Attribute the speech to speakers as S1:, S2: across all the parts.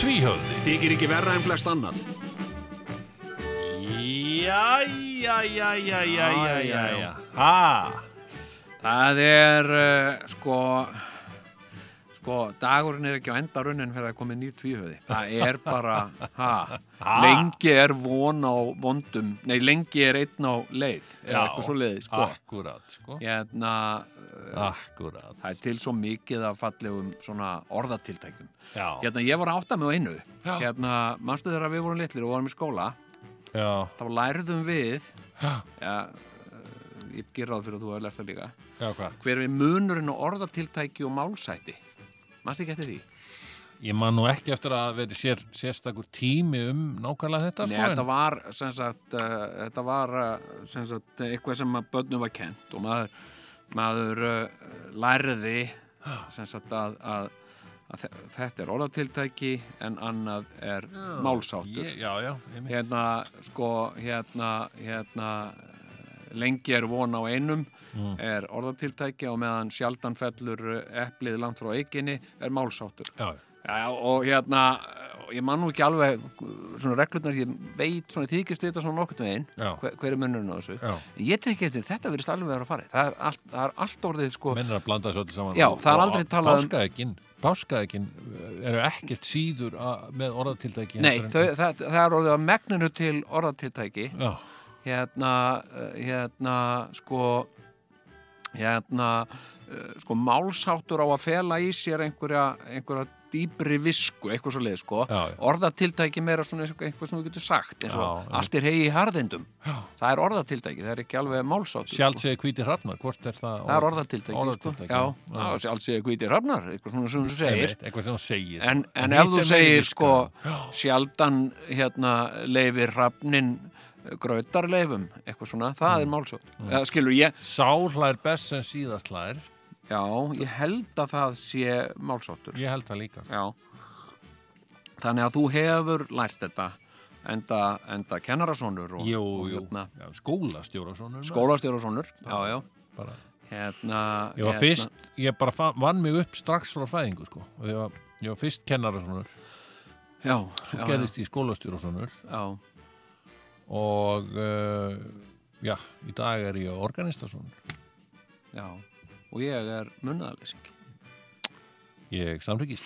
S1: Tvíhöfði
S2: Þykir ekki verra en flest annan
S1: Jæja, jæja, jæja,
S2: Já, já,
S1: jæja,
S2: já.
S1: jæja Ha,
S2: Það er uh, sko sko, dagurinn er ekki á enda runnin fyrir að komið nýr tvíhöði það er bara, ha, lengi er von á vondum nei, lengi er einn á leið eða eitthvað svo leiði, sko
S1: Akkurat, sko
S2: hérna, uh,
S1: Akkurat
S2: það er til svo mikið af fallegum svona orðatiltækjum
S1: Já,
S2: hérna, ég var að átta mig á einu
S1: Já.
S2: hérna, manstu þegar við vorum litlir og vorum í skóla
S1: já,
S2: þá lærðum við
S1: Já.
S2: ja, uh, ég gerði á fyrir að þú hefur lært það líka
S1: já, hvað
S2: hver er munurinn á orðatiltæki og málsæti mannst ekki eftir því
S1: Ég man nú ekki eftir að vera sér, sérstakur tími um nákvæmlega þetta,
S2: Nei,
S1: sko en-
S2: þetta var, sem sagt, uh, þetta var uh, sem sagt, eitthvað sem að börnum var kent og maður, maður uh, lærði sem sagt, að, að, að þe- þetta er orðatiltæki en annað er málsáttur
S1: Ég- Já, já, ég mynd
S2: hérna, sko, hérna, hérna eh, lengi er von á einum er orðatiltæki og meðan sjaldan fellur eh, eplið langt frá eikinni er málsáttur
S1: Já,
S2: Já, og hérna, ég man nú ekki alveg svona reglurnar, ég veit svona þykist þetta svona nokkurn veginn,
S1: Já.
S2: hver, hver er munurinn á þessu.
S1: Já.
S2: En Ég tek eftir, þetta verðist alveg vera að fara. Það er allt, það er allt orðið, sko,
S1: mennir að blanda þessu öllu saman
S2: Já,
S1: og-
S2: það er
S1: og
S2: aldrei talað um-
S1: páskaeggjin, páskaeggjin uh, eru ekkert síður að, með orðatiltæki
S2: nei,
S1: heldur en-
S2: þau, það, það er orðið að megninu til orðatiltæki,
S1: Já,
S2: hérna, eh, hérna, sko, hérna, eh, sko, málsáttur á að fela í sér einhverja, einhverja dýbri visku, eitthvað svo leið, sko.
S1: Já, já.
S2: Orðatiltæki meira svona eins og eitthvað sem þú getur sagt, eins og
S1: Já, já.
S2: allt er hegi í harðindum. Já. Það er orðatiltæki, það er ekki alveg málsáttur.
S1: sjálf segir hvíti hrafnar, hvort er það
S2: Það er orðatiltæki,
S1: Orðatiltæki,
S2: sko. Já, já. já alls ég hviti hrafnar, eitthvað svona sem þú segir.
S1: Einmitt, eitthvað sem hún segir
S2: En,
S1: sko.
S2: en
S1: hitt
S2: ef
S1: er
S2: þú
S1: meiri
S2: segir,
S1: viska.
S2: sko, sjaldan hérna leifir hrafnin grötarleifum, eitthvað svona, það er málsótt. Mm. Skilur, ég,
S1: Sál hlær best sem síðast hlær
S2: já, ég held að það sé málsóttur.
S1: Ég held það líka sko.
S2: Já. Þannig að þú hefur lært þetta, enda, enda kennarasonur og,
S1: Jú,
S2: og
S1: jú,
S2: hérna,
S1: Já, skólastjóra svona
S2: skólastjórasonur. Já, já.
S1: bara.
S2: Hérna,
S1: Ég var
S2: hérna-
S1: fyrst, ég bara fann, vann mig upp strax frá fæðingu sko Og Ég var, ég var fyrst kennara svona
S2: já,
S1: Svo
S2: já,
S1: gerðist ég skólastjóra svona
S2: já,
S1: Og uh, já, í dag er ég organista svona
S2: já, og ég er munnaðalysing
S1: Ég samryggist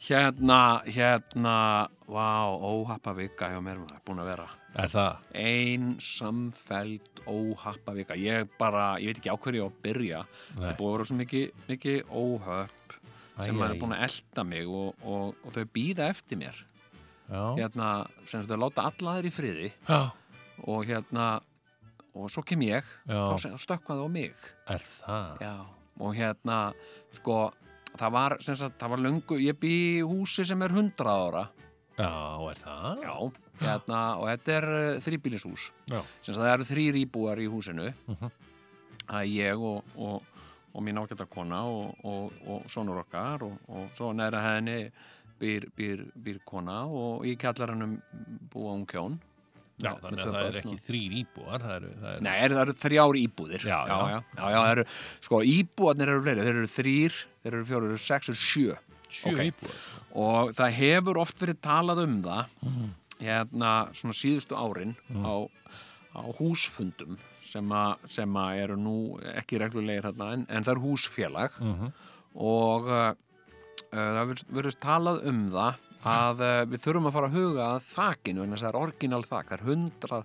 S2: hérna, hérna vá, óhappavika hjá mér maður búin að vera
S1: Er það?
S2: ein samfæld óhappavika ég bara, ég veit ekki á hverju ég á að byrja það
S1: Nei.
S2: er búið að vera svo mikið, mikið óhöpp
S1: Æ,
S2: sem maður
S1: æ,
S2: er búin að elda mig og, og, og þau býða eftir mér
S1: Já,
S2: hérna, sem sagt, þau láta allaðir í friði
S1: já.
S2: og hérna og svo kem ég,
S1: Já.
S2: þá stökkvaði á mig
S1: Er það?
S2: Já, og hérna, sko, það var, sem sagt, það var löngu, ég bý í húsi sem er 100 ára.
S1: Já, er það?
S2: Já. Hérna, og þetta er þrýbílishús.
S1: Já.
S2: Sem sagt, það eru þrýr íbúar í húsinu.
S1: Mhm.
S2: Það er ég og, og, og mín ágæta kona og, og, og sonur okkar og, og svo næra henni býr, býr, býr kona og í kjallaranum búa hún kjón.
S1: Já,
S2: Með-
S1: þannig að
S2: með tvö
S1: það er
S2: börn
S1: ekki
S2: og-
S1: þrýr íbúar, það eru, það eru
S2: Nei, er, það eru þrjár íbúðir.
S1: Já,
S2: já,
S1: já.
S2: já. já, já það eru, sko, íbúarnir eru fleiri. Þeir eru þrýr, þeir eru fjórir, þeir eru sex, þeir eru sjö.
S1: sjö
S2: ok.
S1: íbúar. Sko.
S2: og það hefur oft verið talað um það hérna svona síðustu árin á, á húsfundum sem, a, sem a eru nú ekki reglulegir hérna en, en það er húsfélag og uh, uh, það virðist- virðist talað um það að uh, við þurfum að fara að huga að þakinu en það er orginal þak, það er hundra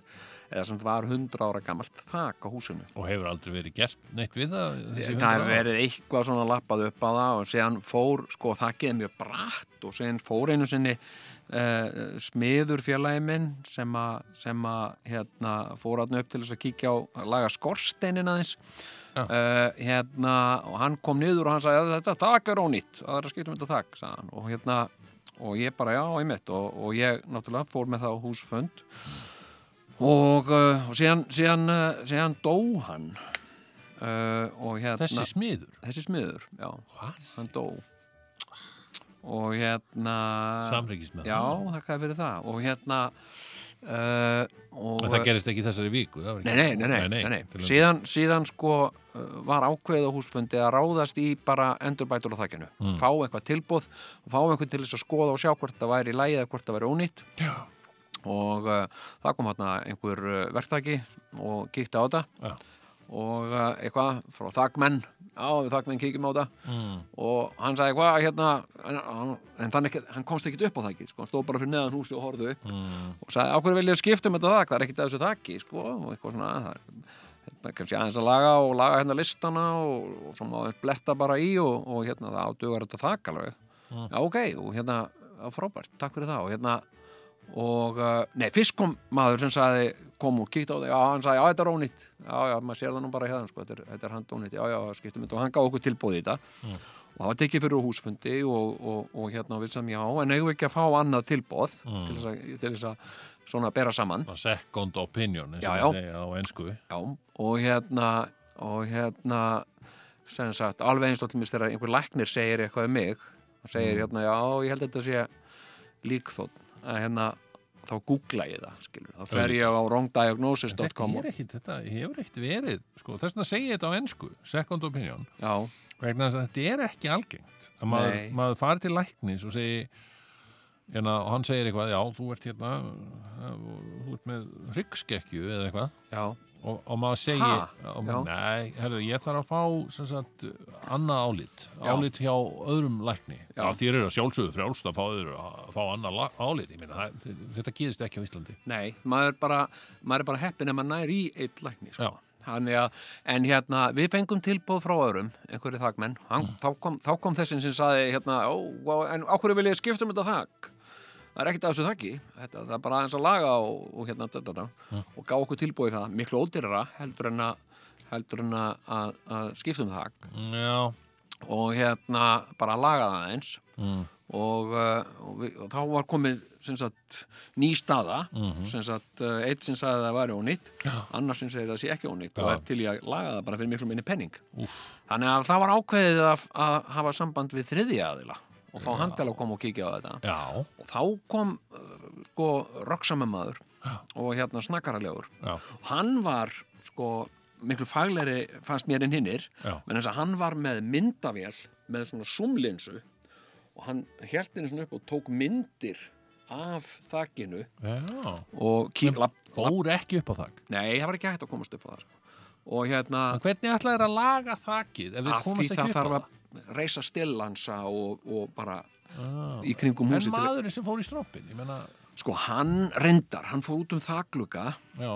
S2: eða sem var hundra ára gamalt þak á húsinu
S1: Og hefur aldrei verið gert neitt við það? þessi
S2: það er
S1: 100 ár?
S2: verið eitthvað svona lappað upp á það og séðan fór, sko, það geði mjög bratt og séðan fór einu sinni uh, smiður félagi minn sem að, sem að hérna, fór hann upp til þess að kíkja á að laga skorsteinin aðeins uh, hérna, og hann kom niður og hann sagði að þetta þak er ónýtt það er að skipta um þetta þak, sagði hann og hérna, og ég bara já, einmitt og, og ég náttúrulega fór með það á húsfönd og, uh, og síðan, síðan, uh, síðan dó hann uh, og hérna
S1: Þessi smiður.
S2: þessi smiður, já,
S1: Hvað?
S2: hann dó og hérna
S1: Samreikist með
S2: já, þakkaði fyrir það og hérna uh, og,
S1: En það gerist ekki í þessari viku. það var
S2: nei,
S1: ekki-
S2: nei, nei, nei, nei,
S1: til
S2: nei.
S1: að-
S2: Síðan, síðan sko uh, var ákveðið á húsfundi að ráðast í bara endurbætur á þakkinu, fá eitthvað tilbúð og fá einhvern til þess að skoða og sjá hvort það væri í lagi eða hvort það væri ónýtt já. og uh, það kom hérna einhver uh, verktaki og kíkti á þetta
S1: Já.
S2: og uh, eitthvað frá þakmenn já, við þakmenn kíkjum á þetta
S1: Mm,
S2: og hann sagði hvað hérna en, hann- en þannig, hann komst ekkit upp á þakki sko, hann stóð bara fyrir neðan húsi og horfði upp og sagði, ákveður viljið skipta um þetta þak það er ekkit að þessu þakki, sko og eitthvað svona, það er hérna, kannski aðeins að laga og laga hérna listana og, og svona aðeins bletta bara í og, og hérna, það ádugar þetta þak alveg já, ok, og hérna, já, frábært takk fyrir það og hérna og, uh, nei, fyrst kom maður sem sagði kom og kíkti á það, já, hann sagði, já, þetta er ónýtt já, já, maður sér það nú bara hérna, sko, þetta er, þetta er hand ónýtt, já, já, skiptum þetta og hann gaf okkur tilbúið í þetta og það var tekið fyrir á húsfundi og, og, og hérna við sem já, en eigum við ekki að fá annað tilbúð til þess að, til þess að svona bera saman
S1: Svona Second opinion, eins og
S2: Já,
S1: það
S2: já.
S1: segja á ennsku.
S2: Já, og hérna og hérna sem sagt, alveg eins og allir þegar einhver læknir segir eitthvað um mig og segir
S1: Mm.
S2: hérna, já, ég held að þetta sé líkþótt, að hérna þá googla ég það, skilur, þá fer ég á
S1: Þetta
S2: wrongdiagnosis.com
S1: er ekkit, þetta hefur ekkit verið, sko, þess vegna segi ég þetta á ennsku, second opinion,
S2: Já,
S1: vegna þess að þetta er ekki algengt. Að maður,
S2: Nei.
S1: maður fari til læknis og segi, hérna, og hann segir eitthvað, já, þú ert hérna, uh, þú ert með hryggskekkju eða eitthvað,
S2: já,
S1: og, og maður segi,
S2: Ha?
S1: og maður, nei, herru, ég þarf að fá, sem sagt, annað álit,
S2: Já.
S1: álit hjá öðrum lækni. Já,
S2: Já.
S1: þér eru að sjálfsögðu frjálst að fá, öðru, að fá annað la- álit, ég meina, það, þetta gerist ekki á Íslandi.
S2: nei, maður er bara maður er bara heppin ef maður nær í eitt lækni, sko
S1: Já.
S2: Þannig að, en hérna, við fengum tilbúð frá öðrum, einhverju þakmenn, hann, þá, kom, þá kom þessin sem saði, hérna, ó, ó, en á hverju vil ég skipta um þetta þak? Það er ekkert að þessu þakki, þetta, það er bara aðeins að laga og, og hérna, þetta, þetta, og gá okkur tilbúið það, miklu ódýrara heldur en að, heldur en að, að, að skipta um þak
S1: Já,
S2: og hérna, bara að laga það eins og, uh, og, við, og þá var komið, sem sagt, ný staða, sem sagt, uh, eitt sem saði að það væri ónýtt, annar sem segir að það sé ekki ónýtt og
S1: Já.
S2: er til í að laga það bara fyrir miklu minni penning. Þannig að það var ákveðið að, að hafa samband við þriðja aðila og fá hann til að koma og kíkja á þetta.
S1: já,
S2: Og þá kom, uh, sko, rocksamamaður og hérna snakkaralegur.
S1: já.
S2: Hann var, sko, miklu faglegri fannst mér en hinnir,
S1: Já.
S2: menn þess að hann var með myndavél, með svona sumlinsu og hann held henni svona upp og tók myndir af þakinu
S1: Já,
S2: og kýla...
S1: fór ekki upp á þakk.
S2: Nei, það var ekki hægt að komast upp á það, sko. Og hérna...
S1: En hvernig ætlaði þér að laga þakkið ef við
S2: að því
S1: komast ekki
S2: það
S1: upp á
S2: þarf
S1: það?
S2: að reysa stillansa og, og bara í kringum
S1: Ah. En
S2: húsi til...
S1: maðurinn sem fór í stroppin, ég menna,
S2: Sko, hann reyndar, hann fór út um þakluga
S1: já,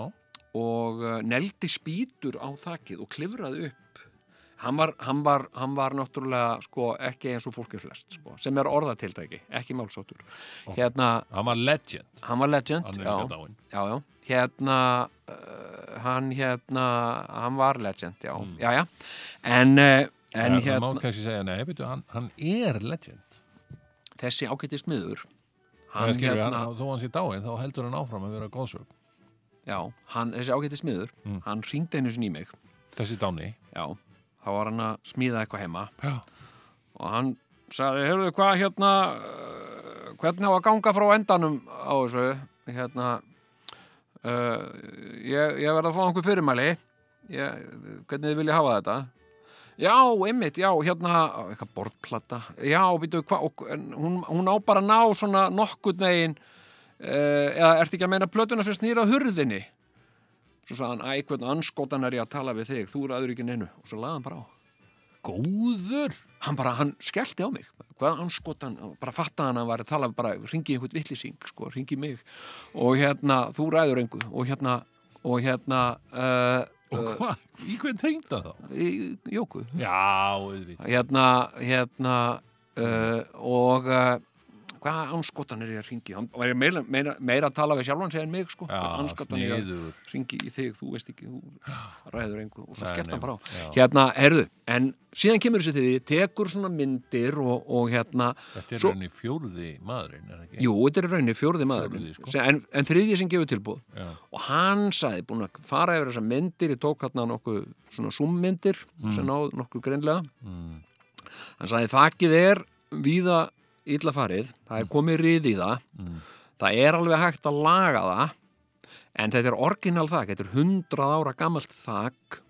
S2: og uh, neldi spýtur á þakið og klifraði upp hann var, hann var, hann var náttúrulega sko, ekki eins og fólkið flest sko, sem er orðatiltæki, ekki málsóttur hérna,
S1: hann var legend.
S2: hann var legend
S1: Hann er
S2: já,
S1: líka dáinn.
S2: já, já, hérna uh, hann hérna hann var legend, já,
S1: Hmm.
S2: já, já en, uh, en
S1: En
S2: hérna
S1: Það má kannski segja, nei, veitu, hann, hann er legend.
S2: þessi ágætti smiður
S1: Hann,
S2: hann
S1: skilur,
S2: hérna,
S1: hann, þó hann sé dáin, þá heldur hann áfram að vera góðsög.
S2: já, hann, þessi ágætti smiður
S1: Hmm.
S2: hann ringdi hennu sinni í mig
S1: Þessi dáni.
S2: já, þá var hann að smíða eitthvað heima
S1: Já.
S2: og hann sagði, heyrðu hvað hérna eh, hvernig á að ganga frá endanum á þessu hérna uh, ég, ég verð að fá einhver fyrirmæli ég, hvernig þið vilja hafa þetta já, einmitt, já, hérna eitthvað borðplata, já, býtu hva, og, en hún, hún á bara að ná svona nokkurn veginn uh, eða ertu ekki að meina plötuna sem snýra hurðinni svo sagði hann, æ, hvernig anskotan er ég að tala við þig, þú er aður ekki neinu og svo laði hann bara á
S1: Góður.
S2: hann bara, hann skellti á mig hvað anskotan, bara fattaði hann að hann var að tala bara, ringi einhvern villising, sko, ringi mig og hérna, þú ræður engu og hérna, og hérna uh,
S1: Og hvað? Í hvern trengda þá?
S2: í jóku
S1: Já, auðvitað.
S2: hérna, hérna uh, og uh, hvað anskotanir ég að ringi hann var ég meira, meira, meira að tala við sjálfan sig en mig sko,
S1: Já,
S2: Hvað anskotanir ég
S1: sniðugur.
S2: að ringi í þig þú veist ekki, þú ræður engu og svo
S1: Nei,
S2: skellt
S1: nei,
S2: hann bara á
S1: já.
S2: hérna, herðu, en síðan kemur þessi þegar ég tekur svona myndir og, og hérna
S1: Þetta er
S2: svo-
S1: henni fjórði maðurinn, er það ekki?
S2: Jú, þetta er í rauninni fjórði maður
S1: Fjórði, sko.
S2: en, en þriðji sem gefur tilbúð
S1: Já.
S2: og hann sagði búin að fara yfir þessar myndir ég tók hérna nokkuð svona súmmyndir sem
S1: Mm.
S2: náð nokkuð greinlega hann sagði þakkið er víða illa farið það
S1: Mm.
S2: er komið rið í það það er alveg hægt að laga það en þetta er orginal þak þetta er 100 ára gamalt þak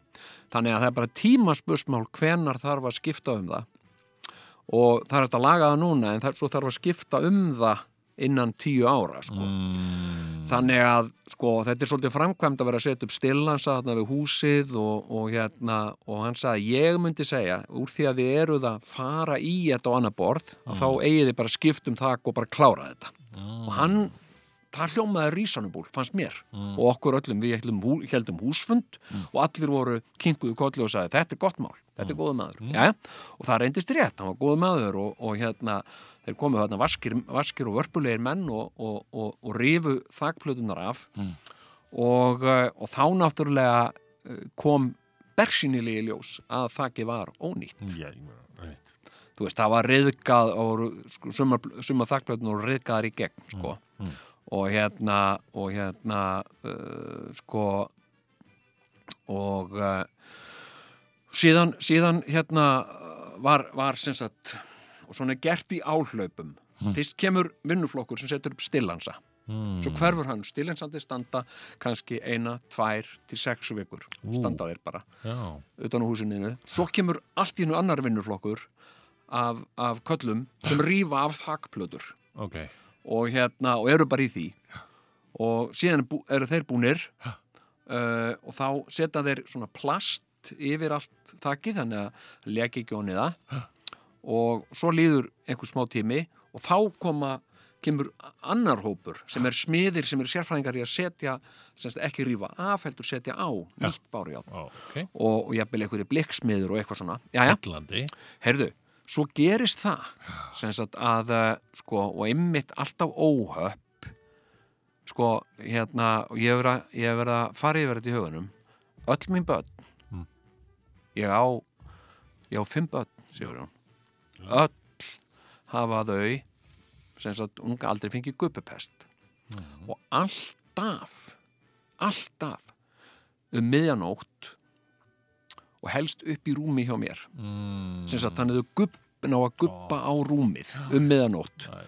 S2: þannig að það er bara tímaspursmál hvenar þarf að skipta um það og það er hægt að laga það núna en það, svo þarf að skipta um það innan tíu ára sko. þannig að sko, þetta er svolítið framkvæmt að vera að setja upp stillansa þarna við húsið og, og, hérna, og hann sagði ég myndi segja úr því að þið eruð að fara í þetta á annað borð að þá eigið þið bara skipt um þak og bara klára þetta og hann það hljómaði rísanubúl, fannst mér og okkur öllum, við heldum, hú- heldum húsfund og allir voru kinkuðu kolli og sagði þetta er gott mál, þetta er góðu maður Mm. mm. og það reyndist rétt, hann var góðu maður og, og hérna, þeir komu þarna vaskir, vaskir og vörpulegir menn og, og, og, og rifu þakplötunar af og, eh, og þá náttúrulega eh, kom bersinilegi ljós að þakki var ónýtt
S1: Já, ég meina, einmitt.
S2: þú veist, það var reyðgað og voru, sko, sumar, sumar þakkblöðin og reyðgaðar í gegn, sko og hérna og hérna uh, sko og uh, síðan, síðan hérna uh, var, var sem sagt og svona er gert í áhlaupum fyrst kemur vinnuflokkur sem setur upp stillansa
S1: Mm.
S2: svo hverfur hann stillansandi standa kannski eina, tvær til sex vikur standa þeir bara
S1: Já,
S2: utan á húsininu svo kemur allt í hennu annar vinnurflokkur af, af köllum sem rýfa af þakplötur
S1: ok.
S2: og, hérna, og eru bara í því og síðan bú- eru þeir búnir uh, og þá setja þeir svona plast yfir allt þakið þannig að leki ekki onni það og svo líður einhver smá tími og þá koma kemur annar hópur sem er smiðir sem er sérfræðingar í að setja sem sagt, ekki rýfa af, heldur setja á nýtt bárjátt
S1: Ok.
S2: og, og jafnvel einhverju blikksmiður og eitthvað svona Jæja,
S1: Allandi.
S2: heyrðu, svo gerist það sem sagt að eh, sko, og einmitt alltaf óhöpp sko, hérna og ég hef verið að- ég hef verið að fara yfir þetta í hugunum öll mín börn ég á ég á fimm börn, sigur hún öll hafa þau sem sagt unga aldrei fengið guppupest og alltaf alltaf um miðjanótt og helst upp í rúmi hjá mér
S1: Mm.
S2: sem sagt hann hefur gubb, ná að gubba á rúmið um miðanótt
S1: Æ.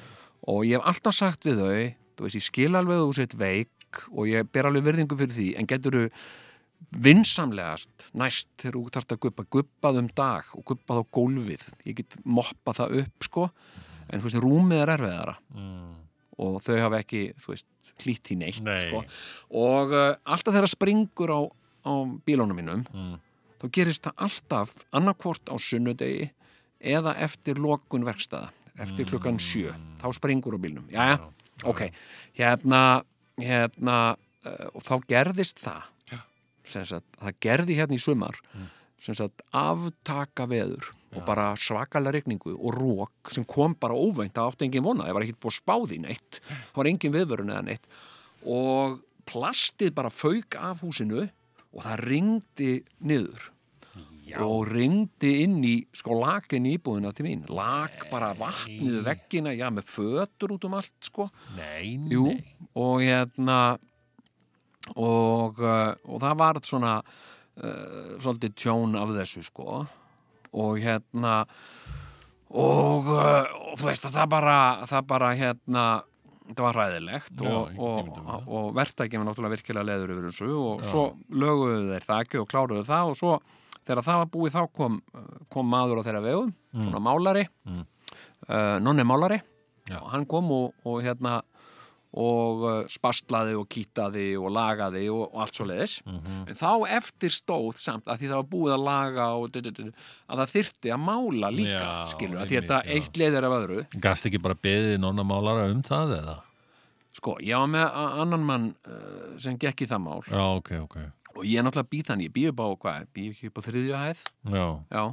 S2: og ég hef alltaf sagt við þau þú veist, ég skil alveg að þú sett veik og ég ber alveg verðingu fyrir því en getur þú vinsamlegast næst þegar þú þarft að gubba gubbað um dag og gubbað á gólfið ég get moppa það upp sko en þú veist, rúmið er erfiðara
S1: Mm.
S2: og þau hafa ekki, þú veist, hlýtt í neitt
S1: Nei.
S2: sko. og uh, alltaf þegar springur á, á bílónum mínum
S1: Mm.
S2: þá gerist það alltaf annarkvort á sunnudegi eða eftir lokun verkstæða eftir
S1: Mm.
S2: klukkan sjö, þá springur á bílnum Jæja, ok hérna, hérna uh, og þá gerðist það
S1: Já.
S2: sem sagt, það gerði hérna í sumar sem sagt, aftaka veður og bara svakalega regningu og rók sem kom bara óvænt það átti engin vona, það var ekkert búið að spá því neitt það var engin viðvörun eða neitt og plastið bara fauk af húsinu og það ringdi niður og ringdi inn í sko lakin íbúðina til mín lak bara vatnið veggina já, með fötur út um allt sko
S1: Nei, nei.
S2: Jú, og hérna og, uh, og það var svona uh, svolítið tjón af þessu sko og hérna og, uh, og þú veist að það bara það bara hérna það var ræðilegt
S1: Já,
S2: og,
S1: ég get
S2: og,
S1: ímyndað mér
S2: og, og verktæki var náttúrulega virkilega leður yfir þessu og svo löguðu þeir það ekki og kláruðu það og svo þegar það var búið þá kom, uh, kom maður á þeirra vegum svona málari mm. nonni málari
S1: Já.
S2: og hann kom og, og hérna og uh, spastlaði og kýtaði og lagaði og, og allt svo leiðis
S1: Mhm.
S2: en þá eftir stóð samt að því það var búið að laga og d -d -d að það þyrfti að mála líka
S1: Já,
S2: skilur, að því
S1: einmitt,
S2: þetta
S1: já.
S2: eitt leiðir af öðru
S1: Gast ekki bara beðið nonna málara um það eða?
S2: sko, ég var með a- annan mann uh, sem gekk í það mál
S1: Já, ok, ok.
S2: og ég er náttúrulega býð þannig, ég býð upp á hvað, býð ekki upp á þriðju hæð
S1: Já.
S2: já,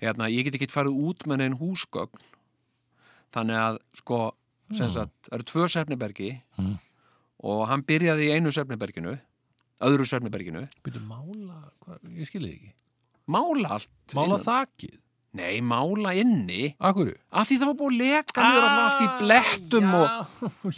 S2: hérna, ég get ekki farið út með neinn húsgögn þannig að sko sem
S1: Hmm.
S2: sagt, það eru tvö sefnibergi og hann byrjaði í einu sefniberginu öðru sefniberginu
S1: Býtu mála, hvað, ég skilði ekki.
S2: mála allt
S1: Mála
S2: innan.
S1: þakið.
S2: Nei, mála inni
S1: Akkurru?
S2: af því það var búið að leka niður alltaf allt í blettum og
S1: Ah,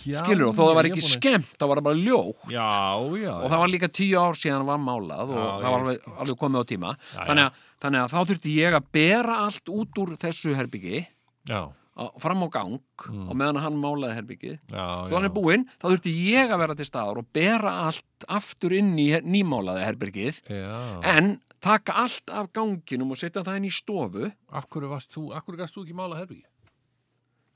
S1: já,
S2: skilur og þó það var
S1: ég er
S2: ekki
S1: búin að-
S2: skemmt, það var bara ljótt
S1: Já, já.
S2: og það var líka tíu ár síðan var málað og
S1: Já,
S2: það var
S1: ég
S2: alveg, alveg komið á tíma
S1: já.
S2: þannig, að, þannig að þá þurfti ég að bera allt út úr þessu herbyggi
S1: Já,
S2: á, fram á gang og meðan hann málaði herbyggi
S1: Mm. já,
S2: svo hann er búinn, þá þurfti ég að vera til staðar og bera allt aftur inn í her- nýmálaði herbyggið
S1: Já.
S2: en taka allt af ganginum og setja það inn í stofu
S1: Af hverju varst þú, af hverju gafst þú ekki mála herbyggi?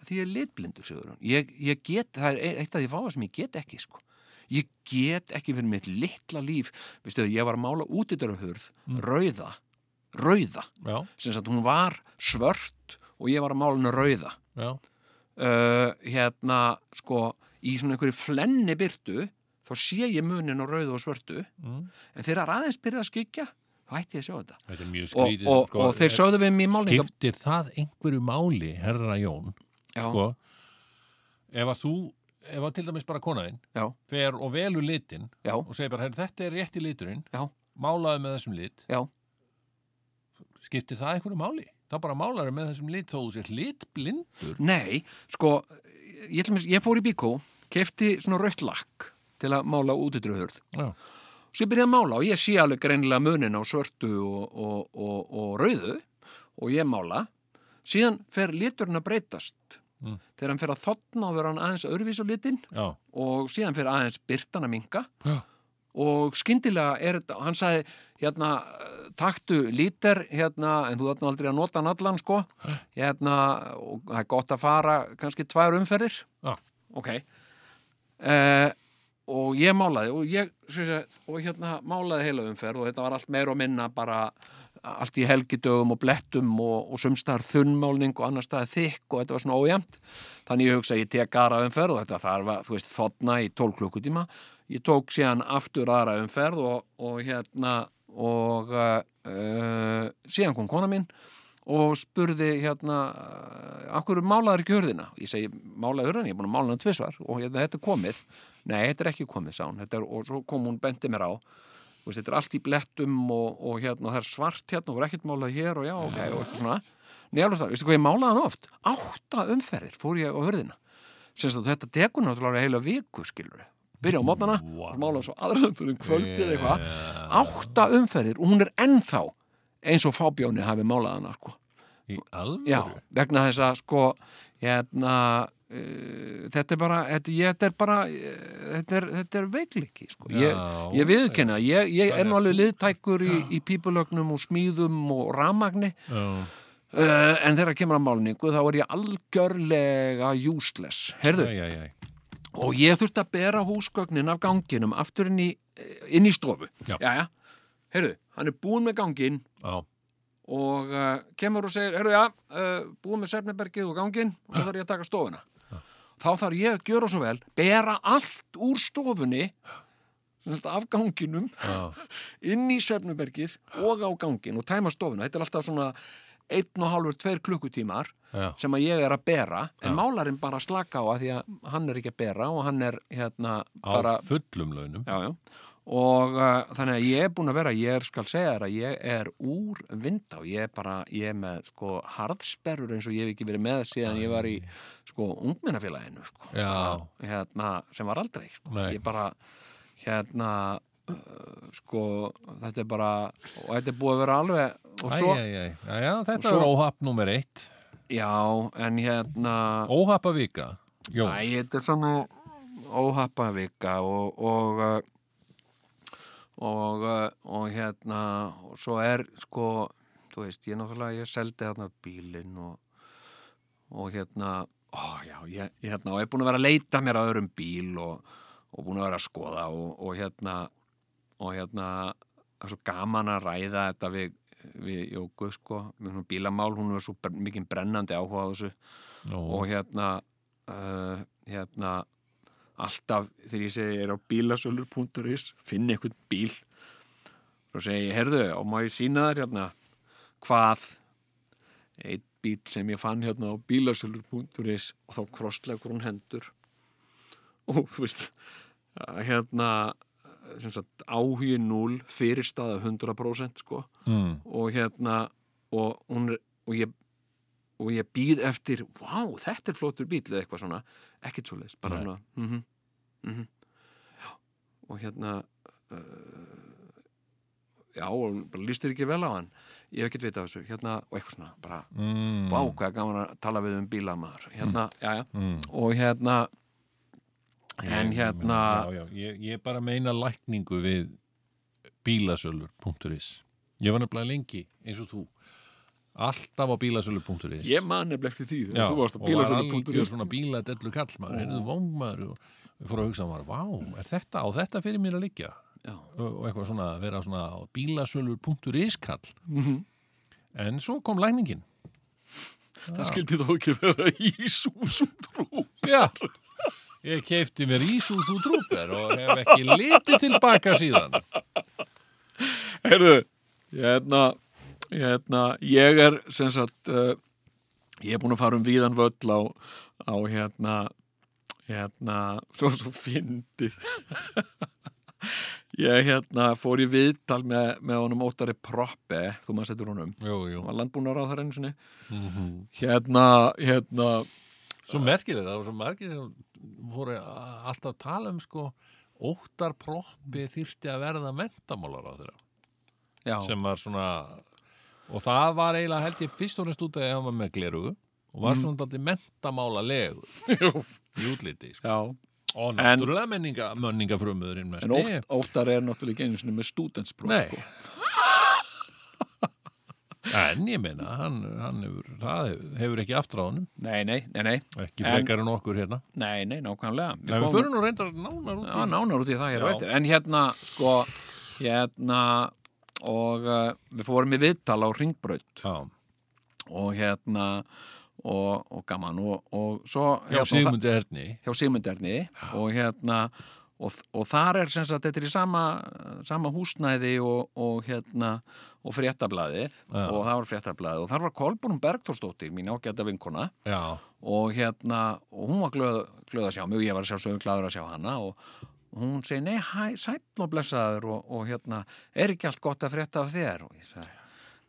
S2: því ég er litblindur, sigur hún ég, ég get, það er e-, eitt af því fáa sem ég get ekki sko. ég get ekki fyrir mitt litla líf, veistu ég var að mála útidörahurð,
S1: Mm.
S2: rauða rauða,
S1: Já,
S2: sem sagt hún var svört og ég var að mála henni rauða
S1: já.
S2: uh, hérna, sko í svona einhverju flenni byrtu þá sé ég munin á rauðu og svörtu
S1: Mm.
S2: en þegar aðeins byrja að skikja þá hætti ég að sjá þetta
S1: Þetta er mjög
S2: og,
S1: skrítið.
S2: og,
S1: sko,
S2: og þeir
S1: er-
S2: sögðu við mér í málninga
S1: Skiptir það einhverju máli, herra Jón,
S2: já,
S1: sko, ef að þú, ef að til dæmis bara konaðinn,
S2: já,
S1: fer og velur litin
S2: já,
S1: og segir bara, herra, þetta er rétti liturinn,
S2: já,
S1: málaðu með þessum lit,
S2: já
S1: skiptir það einhverju máli? Það bara málaðu með þessum lit þó þú sér litblindur.
S2: Nei, sko, ég, ætla mér- ég fór í bíkó, kefti svona rautt lakk til að mála útidröðurð.
S1: Já,
S2: Svo ég byrjaði að mála og ég sé alveg greinilega munin á svörtu og, og, og, og rauðu og ég mála. Síðan fer liturinn að breytast.
S1: Mm.
S2: Þegar hann fer að þotna og vera hann aðeins öðruvís á litin
S1: já,
S2: og síðan fer aðeins byrtan að minka
S1: Já.
S2: og skyndilega er þetta, hann sagði hérna, eh, taktu lítir hérna, en þú þarna aldrei að nota hann allan sko, hérna og það er gott að fara kannski tvær umferðir
S1: Já.
S2: ok eh, og ég málaði og ég, sem sagt, og hérna málaði heila umferð og þetta var allt meira og minna bara allt í helgidögum og blettum og, og sumstaðar þunnmálning og annar staðar þykk og þetta var svona ójæmt þannig ég hugsa að ég tek aðra umferð og þetta þar var, þú veist, þotna í 12 klukkutíma ég tók síðan aftur aðra umferð og, og hérna og uh, uh, síðan kom kona mín og spurði hérna uh, akkur málaður ekki hurðina ég segi málaður hurðina, ég er búin að mála hann tvisvar og hérna, þetta er komið, nei þetta er ekki komið sá hún, Þetta er, og svo kom hún bendi mér á Þú veist, þetta er allt í blettum og, og hérna, það er svart hérna og það er ekkert málað hér og já, ok, og eitthvað svona Nei, alveg það, veistu hvað ég málaði hann oft? Átta umferðir fór ég á hörðina sem sagt, þetta tekur náttúrulega heila viku, skilur byrja á mótana,
S1: Vá.
S2: wow. málaði svo aðra umferðin kvöldið eða eitthvað
S1: Eh,
S2: átta umferðir og hún er ennþá eins og fábjóni hafi málað hana sko.
S1: í alveg.
S2: Já, vegna þess að sko hérna uh, þetta er bara, þetta, ég, þetta er bara uh, þetta, er, þetta er veikleiki sko. ég,
S1: Já,
S2: ég viðurkenna, ég, ég er
S1: Þannig
S2: nú
S1: að
S2: alveg liðtækur í, í pípulögnum og smíðum og ramagni
S1: Já.
S2: uh, en þegar kemur að málningu þá er ég algjörlega useless, heyrðu,
S1: Æ, æ, æ.
S2: og ég þurfti að bera húsgögnin af ganginum aftur inn í, e, inn í stofu
S1: Já.
S2: Jæja. heyrðu, hann er búinn með ganginn
S1: Já,
S2: og uh, kemur og segir, heyrðu já, uh, búið með Sefnebergið og ganginn og þá þarf ég að taka stofuna. Þá þarf ég að gjöra svo vel, bera allt úr stofunni, sem sagt, af ganginum,
S1: já,
S2: inn í Sefnebergið og á ganginn og tæma stofuna. Þetta er alltaf svona einn og hálfur, tveir klukkutímar
S1: já.
S2: sem að ég er að bera, en málarinn bara slaka á að því að hann er ekki að bera og hann er hérna
S1: Á
S2: bara
S1: fullum launum.
S2: já, já. og uh, þannig að ég er búin að vera ég er, skal segja þér að ég er úr vind á, ég er bara, ég er með sko harðsperrur eins og ég hef ekki verið með síðan ég var í sko ungmennafélaginu sko,
S1: Já.
S2: hérna sem var aldrei, sko,
S1: Nei.
S2: ég bara hérna uh, sko, þetta er bara og þetta er búið að vera alveg og
S1: Æ,
S2: svo,
S1: æ, æ. Já, já, þetta
S2: og svo-
S1: er óhapp nummer eitt.
S2: já, en hérna
S1: Óhappa vika. Jón.
S2: Æ, þetta er svona óhappavika og og, uh, og, uh, og hérna og svo er sko þú veist, ég náttúrulega, ég seldi þarna bílinn og, og hérna ó, já, ég, ég hérna og ég er búin að vera að leita mér að öðrum bíl og, og búin að vera að skoða og, og hérna og hérna það er svo gaman að ræða þetta við, við Jóku sko, með svona bílamál, hún er svo br- mikið brennandi áhuga á þessu
S1: Nú,
S2: og hérna uh, hérna alltaf þegar ég segi ég er á bílasölur.is finn einhvern bíl og segi ég, herðu, og má ég sína þér hérna hvað einn bíl sem ég fann hérna á bílasölur.is og þá krosslegur hún hendur og þú veist að hérna sem sagt, áhugin 0 fyrirstaða 100% sko
S1: mm.
S2: og hérna og, hún, er- og ég og ég býð eftir, wow, þetta er flottur bíl eða eitthvað svona, ekkert svoleiðis
S1: Nei.
S2: bara hann að mm -hmm, já, og hérna uh, já, og bara lístir ekki vel á hann ég hef ekkert vitað af þessu, hérna og eitthvað svona, bara,
S1: Mm.
S2: wow, hvað er gaman að tala við um bílamaður, hérna, mm. já, já
S1: Mm.
S2: og hérna en
S1: Ég-
S2: hérna,
S1: já, já, ég, ég bara meina lækningu við bílasölur.is ég var nefnilega lengi eins og þú alltaf á bílasölur.is
S2: ég man nefnilega eftir því
S1: Já,
S2: þegar þú varst
S1: og
S2: að
S1: var
S2: bílasölu.is
S1: algjör svona bíladellu kallmaður, heyrðu vómaður og við fórum að hugsa maður, vá, er þetta á þetta fyrir mér að liggja
S2: Já.
S1: og og eitthvað svona, vera svona á bílasölur.is kall en svo kom lækningin
S2: það skildi þá ekki vera Ísús og trú
S1: Já, ég keipti mér Ísús og Trúper og hef ekki litið tilbaka síðan
S2: Heyrðu, hérna, hérna, ég er sem sagt, uh, ég er búin að fara um víðan völl á, á hérna, hérna, svo svo fyndið. ég hérna fór í viðtal með, með honum óttari Proppe, þú maður setur honum,
S1: Jú, jú
S2: hann var landbúnar á það einu sinni. Hérna, hérna,
S1: Svo merkileg, það var svo margir sem voru a- alltaf að tala um sko óttar proppi þyrfti að verða mentamálar á þeirra
S2: já,
S1: sem var svona og það var eiginlega held ég fyrst og fremst út af því að hann var með glerugu og var svona dætti mentamála legu í útliti sko.
S2: já.
S1: og náttúrulega menninga, menningafrömmuðurinn mest
S2: En ótt, óttar er náttúrulega ekki einu sinni með stúdentsbróð,
S1: Nei.
S2: sko.
S1: en ég meina, hann, hann hefur, það hefur, hefur ekki aftur á honum
S2: Nei, nei, nei, nei,
S1: ekki
S2: En-
S1: frekar en okkur hérna
S2: nei, nei, nákvæmlega. Við
S1: en
S2: komum-
S1: við förum nú reyndar nánar út
S2: Já, nánar út í það hér á
S1: Já.
S2: eftir. En hérna, sko, hérna, og uh, við fórum í viðtal á Ringbraut
S1: já,
S2: og hérna, og, og gaman, og, og svo...
S1: já
S2: hérna,
S1: Sigmundi Erni
S2: Hjá Sigmundarni og hérna, og, og þar er sem sagt, þetta er í sama, sama húsnæði og, og hérna, og fréttablaðið,
S1: Já.
S2: og það var fréttablaðið, og þar var Kolbrún Bergþórsdóttir, mín ágæta vinkona,
S1: já,
S2: og hérna, og hún var glöð, glöð að sjá mig og ég var sjálfsögum gladur að sjá hana og hún segi, nei, hæ, sæll og blessaður og, og hérna, er ekki allt gott að frétta af þér? Og ég sagði,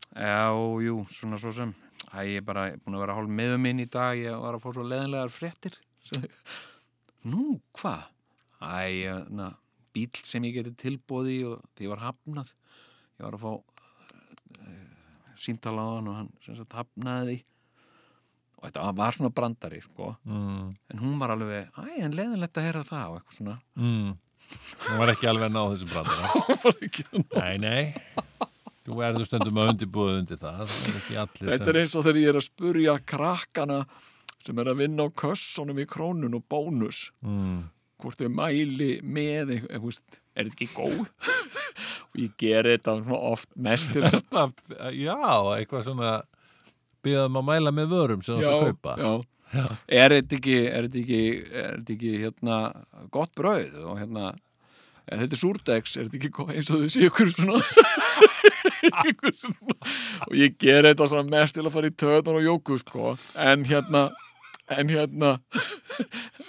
S2: já, jú, svona svo sem, hæ, ég er bara ég er búin að vera hálf meðum minn í dag, ég var að fá svo leðinlegar fréttir. Sagði, Nú, hvað? Æ, na, bíl sem ég geti tilbúði og því var hafnað. Ég var að fá uh, símtala á hann og hann sem sagt hafnaði því. Og þetta var svona brandari, sko.
S1: mm.
S2: En hún var alveg, æ, en leiðinlegt að heyra það og eitthvað svona.
S1: Mm. Hún var ekki alveg að ná þessu brandara.
S2: Hún var ekki að
S1: nei, nei. Þú erður stundum að undirbúða undir það. Það er ekki allir
S2: Þetta er eins og þegar ég er að spurja krakkana sem er að vinna á kössunum í krónun og bónus
S1: Mm.
S2: hvort þau mæli með eitthvað, eitthvað, veist, er þetta ekki góð? og ég geri þetta svona oft mest til þess að
S1: Þetta, já, eitthvað svona byggðum að mæla með vörum sem þú
S2: já,
S1: ætti að kaupa.
S2: já. Er þetta ekki, er þetta ekki, er þetta ekki hérna, gott brauð og hérna Ef þetta er súrdegs, er þetta ekki gott- eins og þau séu ykkur svona, ykkur svona og ég ger þetta svona mest til að fara í töðan og jóku sko. en hérna en hérna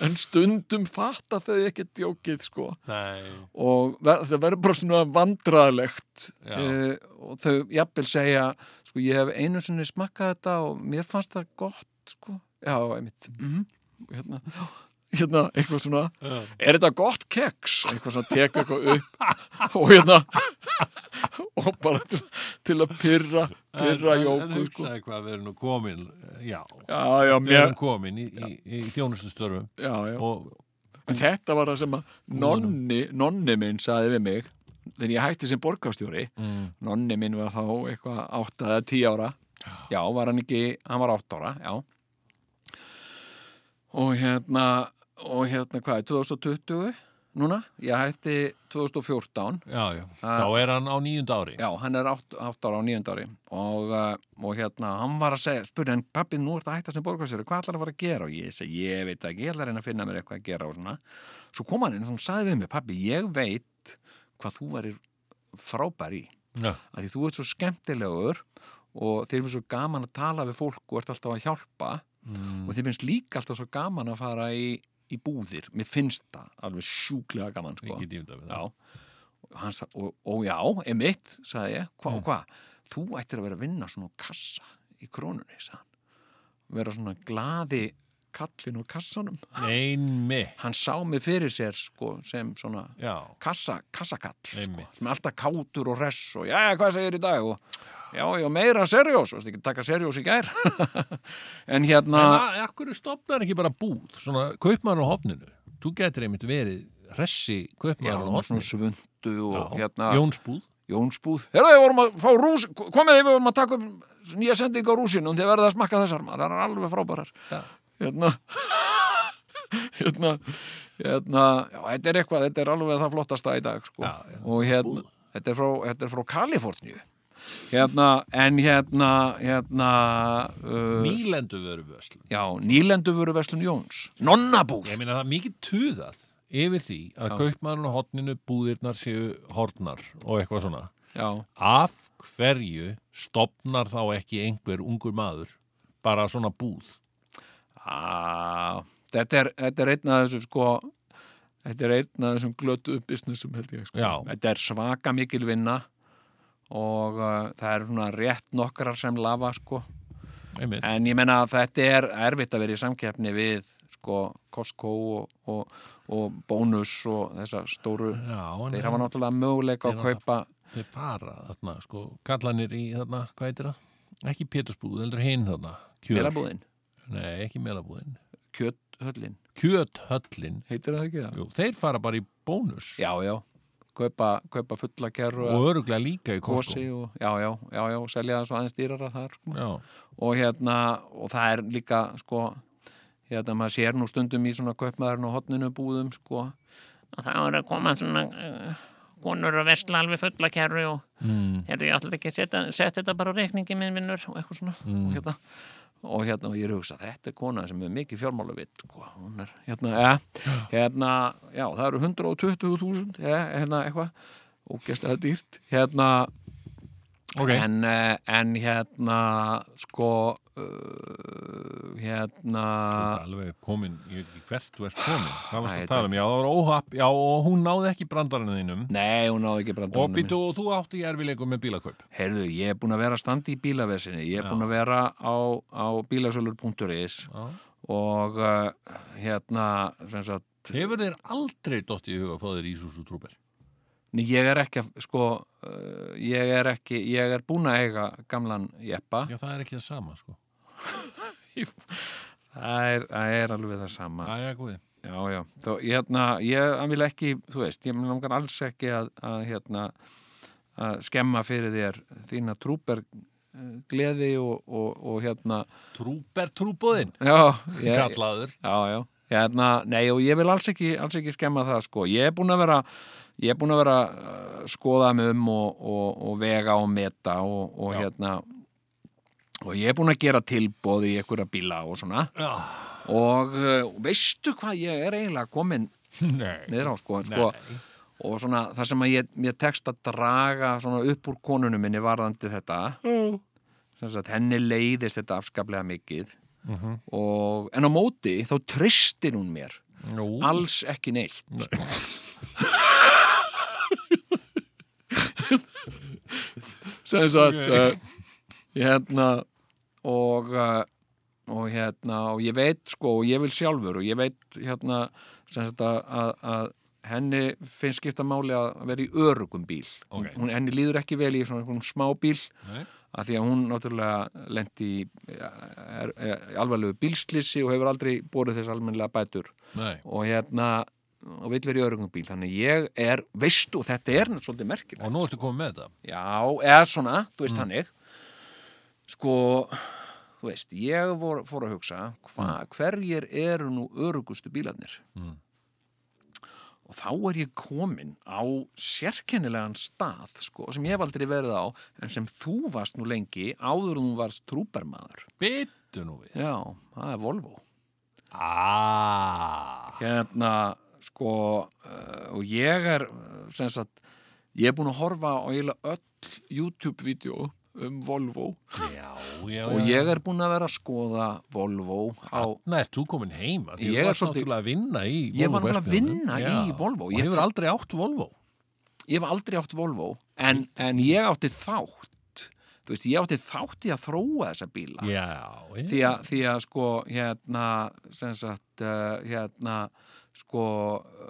S2: en stundum fatta þau ekki djókið sko
S1: Nei.
S2: og ver, það verður bara svona vandræðilegt
S1: Já.
S2: uh, og þau jafnvel segja sko ég hef einu sinni smakkað þetta og mér fannst það gott sko já, einmitt mm
S1: Mhm.
S2: hérna, hérna, eitthvað svona
S1: Já.
S2: er þetta gott keks? eitthvað svona teka eitthvað upp og hérna og bara til, til að pyrra pyrra
S1: En
S2: jóku sko
S1: hugsaði hvað við erum nú komin, já.
S2: já, já,
S1: Við
S2: mér,
S1: erum komin í, í, í þjónustustörfum
S2: já, já
S1: og
S2: En þetta var það sem að nonni, nonni minn saði við mig þegar ég hætti sem borgarstjóri
S1: Mm.
S2: nonni minn var þá eitthvað 8 eða 10 ára já, var hann ekki, hann var 8 ára já og hérna og hérna hvað, er 2020 núna, ég hætti 2014
S1: já, já. Þá er hann á nýjunda ári.
S2: já, hann er 8, 8 ára og 9 ári og, uh, og hérna, hann var að segja spurði hann, pappi, nú ert að hætta sem borgarstjóri hvað ætlar að fara að gera? og ég segi, ég veit ekki, ég ætla að reyna að finna mér eitthvað að gera og svona svo kom hann inn og hann sagði við mig, pappi, ég veit hvað þú varir frábær í
S1: Já.
S2: að því þú ert svo skemmtilegur og þeir finnst svo gaman að tala við fólk og ert alltaf að hjálpa
S1: Mm.
S2: og þeir finnst líka alltaf svo gaman að fara í, í búðir, mér finnst það alveg sjúklega gaman sko.
S1: Ég get ímyndað mér það.
S2: Já, og, hann sa- og, og já, emitt, sagði ég, hvað
S1: Mm.
S2: og hvað, þú ættir að vera að vinna svona á kassa í krónunni, sagði hann. Vera svona glaði kallin á kassanum.
S1: Einmi
S2: Hann sá mig fyrir sér, sko, sem svona
S1: Já,
S2: kassa, kassakall, sko,
S1: Einmitt.
S2: sem er alltaf kátur og hress og já, hvað segir í dag og já, já, meira serjós, veist ekki, taka serjós í gær. en hérna...
S1: en akkur stopnar ekki bara búð svona kaupmann á hopninu þú getur einmitt verið hressi
S2: Já,
S1: kaupmann á
S2: svona
S1: hopninu
S2: svundu og hérna...
S1: Jónsbúð
S2: Jónsbúð Herðu, við vorum að fá rús Komið þið, við vorum að taka upp nýja sending á rúsinum Þið verðið að smakka þessar maður Það er alveg frábærar
S1: Já.
S2: Hérna Hérna Hérna Já, þetta er eitthvað Þetta er alveg það flottasta í dag sko.
S1: Já, já,
S2: Og hérna Þetta er frá, þetta er frá Kaliforníu Hérna En hérna Hérna uh,
S1: nýlendu veru vöslun
S2: Já, nýlendu voru Veslun Jóns Nonnabúð
S1: ég meina það er mikið tuðað yfir því að kaupmann á hopninu búðirnar séu hornar og eitthvað svona
S2: Já,
S1: af hverju stopnar þá ekki einhver ungur maður bara svona búð
S2: Á, þetta, er, þetta er einn af þessum sko þetta er einn af þessum glötu businessum held ég sko.
S1: Já.
S2: þetta er svaka mikil vinna og uh, það er svona rétt nokkrar sem lafa sko
S1: einmitt
S2: en ég menna að þetta er erfitt að vera í samkeppni við sko Costco og, og, og Bónus og þessar stóru
S1: Já, en
S2: þeir hafa náttúrulega möguleika að
S1: Þeir hafa
S2: kaupa
S1: þeir fara þarna, sko, kallanir í þarna, hvað heitir það? Ekki Pétursbúð, heldur hinn þarna. Kjöl.
S2: melabúðin,
S1: Nei, ekki melabúðin.
S2: kjöthöllin
S1: Kjöthöllin.
S2: heitir það ekki það?
S1: Jú, þeir fara bara í bónus
S2: Já, já, kaupa, kaupa fulla kerru
S1: og öruglega líka í Costco.
S2: kosi og já, já, já, já, selja það svo aðeins dýrara þar sko.
S1: Já,
S2: og hérna, og það er líka sko, hérna maður sér nú stundum í svona kaupmaðurinn og hotninu búðum sko,
S3: og það voru að koma svona uh, konur og vesla alveg fulla kerru og mm. heyrðu,
S2: Hérna,
S3: ég ætla ekki að setja, setja þetta bara á reikningi minn vinnur og eitthvað svona
S2: og hérna og hérna, og ég er að hugsa, þetta er kona sem er mikið fjármálavitt, sko, hún er hérna, ja, hérna, já, það eru 120.000, ja, hérna, eitthvað og gæsta það dýrt, hérna
S1: ok.
S2: en, eh, en hérna, sko uh, hérna
S1: Þú ert alveg komin, ég veit ekki hvert þú ert komin. Hvað varst
S2: Æ,
S1: að tala um? Já, það var óhapp. Já, og hún náði ekki brandarinn þínum.
S2: Nei, hún náði ekki
S1: Og
S2: brandarinn
S1: býtu, og þú átti í erfileikum með bílakaup.
S2: Heyrðu, ég er búin að vera að standa í bílavesinni Ég er búin að vera á, á bílasölur.is
S1: Já.
S2: og uh, hérna sem sagt,
S1: Hefur þeir aldrei dottið í huga að fá þér Ísus og trúber?
S2: nei, ég er ekki að, sko, uh, ég er ekki ég er búin að eiga gamlan jeppa
S1: Já, það er ekki það sama, sko.
S2: það er, það er alveg það sama
S1: Æja, góði.
S2: Já, já, þó, hérna, ég hann vil ekki, þú veist, ég mér langar alls ekki að, að hérna, að skemma fyrir þér þína trúber eh, gleði og, og, og hérna,
S1: Trúber trúbóðinn,
S2: já, ég,
S1: kallaður.
S2: Já, já, hérna, nei og ég vil alls ekki, alls ekki skemma það sko, ég er búin að vera, ég er búin að vera uh, skoða mig um og, og, og vega og meta og, og
S1: Já.
S2: hérna, og ég er búin að gera tilbóð í einhverja bíla og svona
S1: Já.
S2: og uh, veistu hvað ég er eiginlega komin
S1: Nei.
S2: niður á sko, sko og svona það sem að ég, ég tekst að draga svona upp úr konunum minni varðandi þetta sem sagt henni leiðist þetta afskaplega mikið og, en á móti þá tristir hún mér
S1: Nú,
S2: alls ekki neitt sko. sem sagt
S1: Ok.
S2: uh, hérna og uh, og hérna og ég veit sko og ég vil sjálfur og ég veit hérna sem sagt að, að, að henni finnst skipta máli að vera í örugum bíl
S1: Ok.
S2: hún, henni líður ekki vel í svona einhvern smá bíl
S1: Nei.
S2: að því að hún náttúrulega lendi í eh, er, er, alvarlegu bílslisi og hefur aldrei borið þess almennlega bætur
S1: nei,
S2: og hérna og vill vera í örugum bíl þannig ég er, veistu, þetta er náttúrulega svolítið merkilegt
S1: og nú ertu komið með þetta.
S2: já, eða svona, þú veist hannig sko þú veist, ég vor, fór að hugsa hva, hverjir eru nú örugustu bílarnir og þá er ég komin á sérkennilegan stað sko, sem ég hef aldrei verið á en sem þú varst nú lengi áður en þú varst trúbermaður
S1: Byttu nú við.
S2: já, það er Volvo
S1: Ah.
S2: hérna sko uh, og eh, ég er uh, sem sagt, ég er búin að horfa á eiginlega öll YouTube-vídeó um Volvo
S1: Já, já,
S2: og ég er búin að vera að skoða Volvo á,
S1: Nei, ert þú komin heim? Af því þú
S2: Ég er
S1: varst
S2: svolítið-
S1: náttúrulega að vinna í Volvo
S2: Ég var nefnilega að
S1: verksmiðjunum.
S2: vinna
S1: Já.
S2: í Volvo.
S1: Og
S2: Ég
S1: hefur
S2: fann-
S1: aldrei átt Volvo
S2: ég hef aldrei átt Volvo en, en ég átti þátt þú veist, ég átti þátt í að þróa þessa bíla
S1: Já, já
S2: Ah. því, að, því að sko hérna sem sagt uh, hérna sko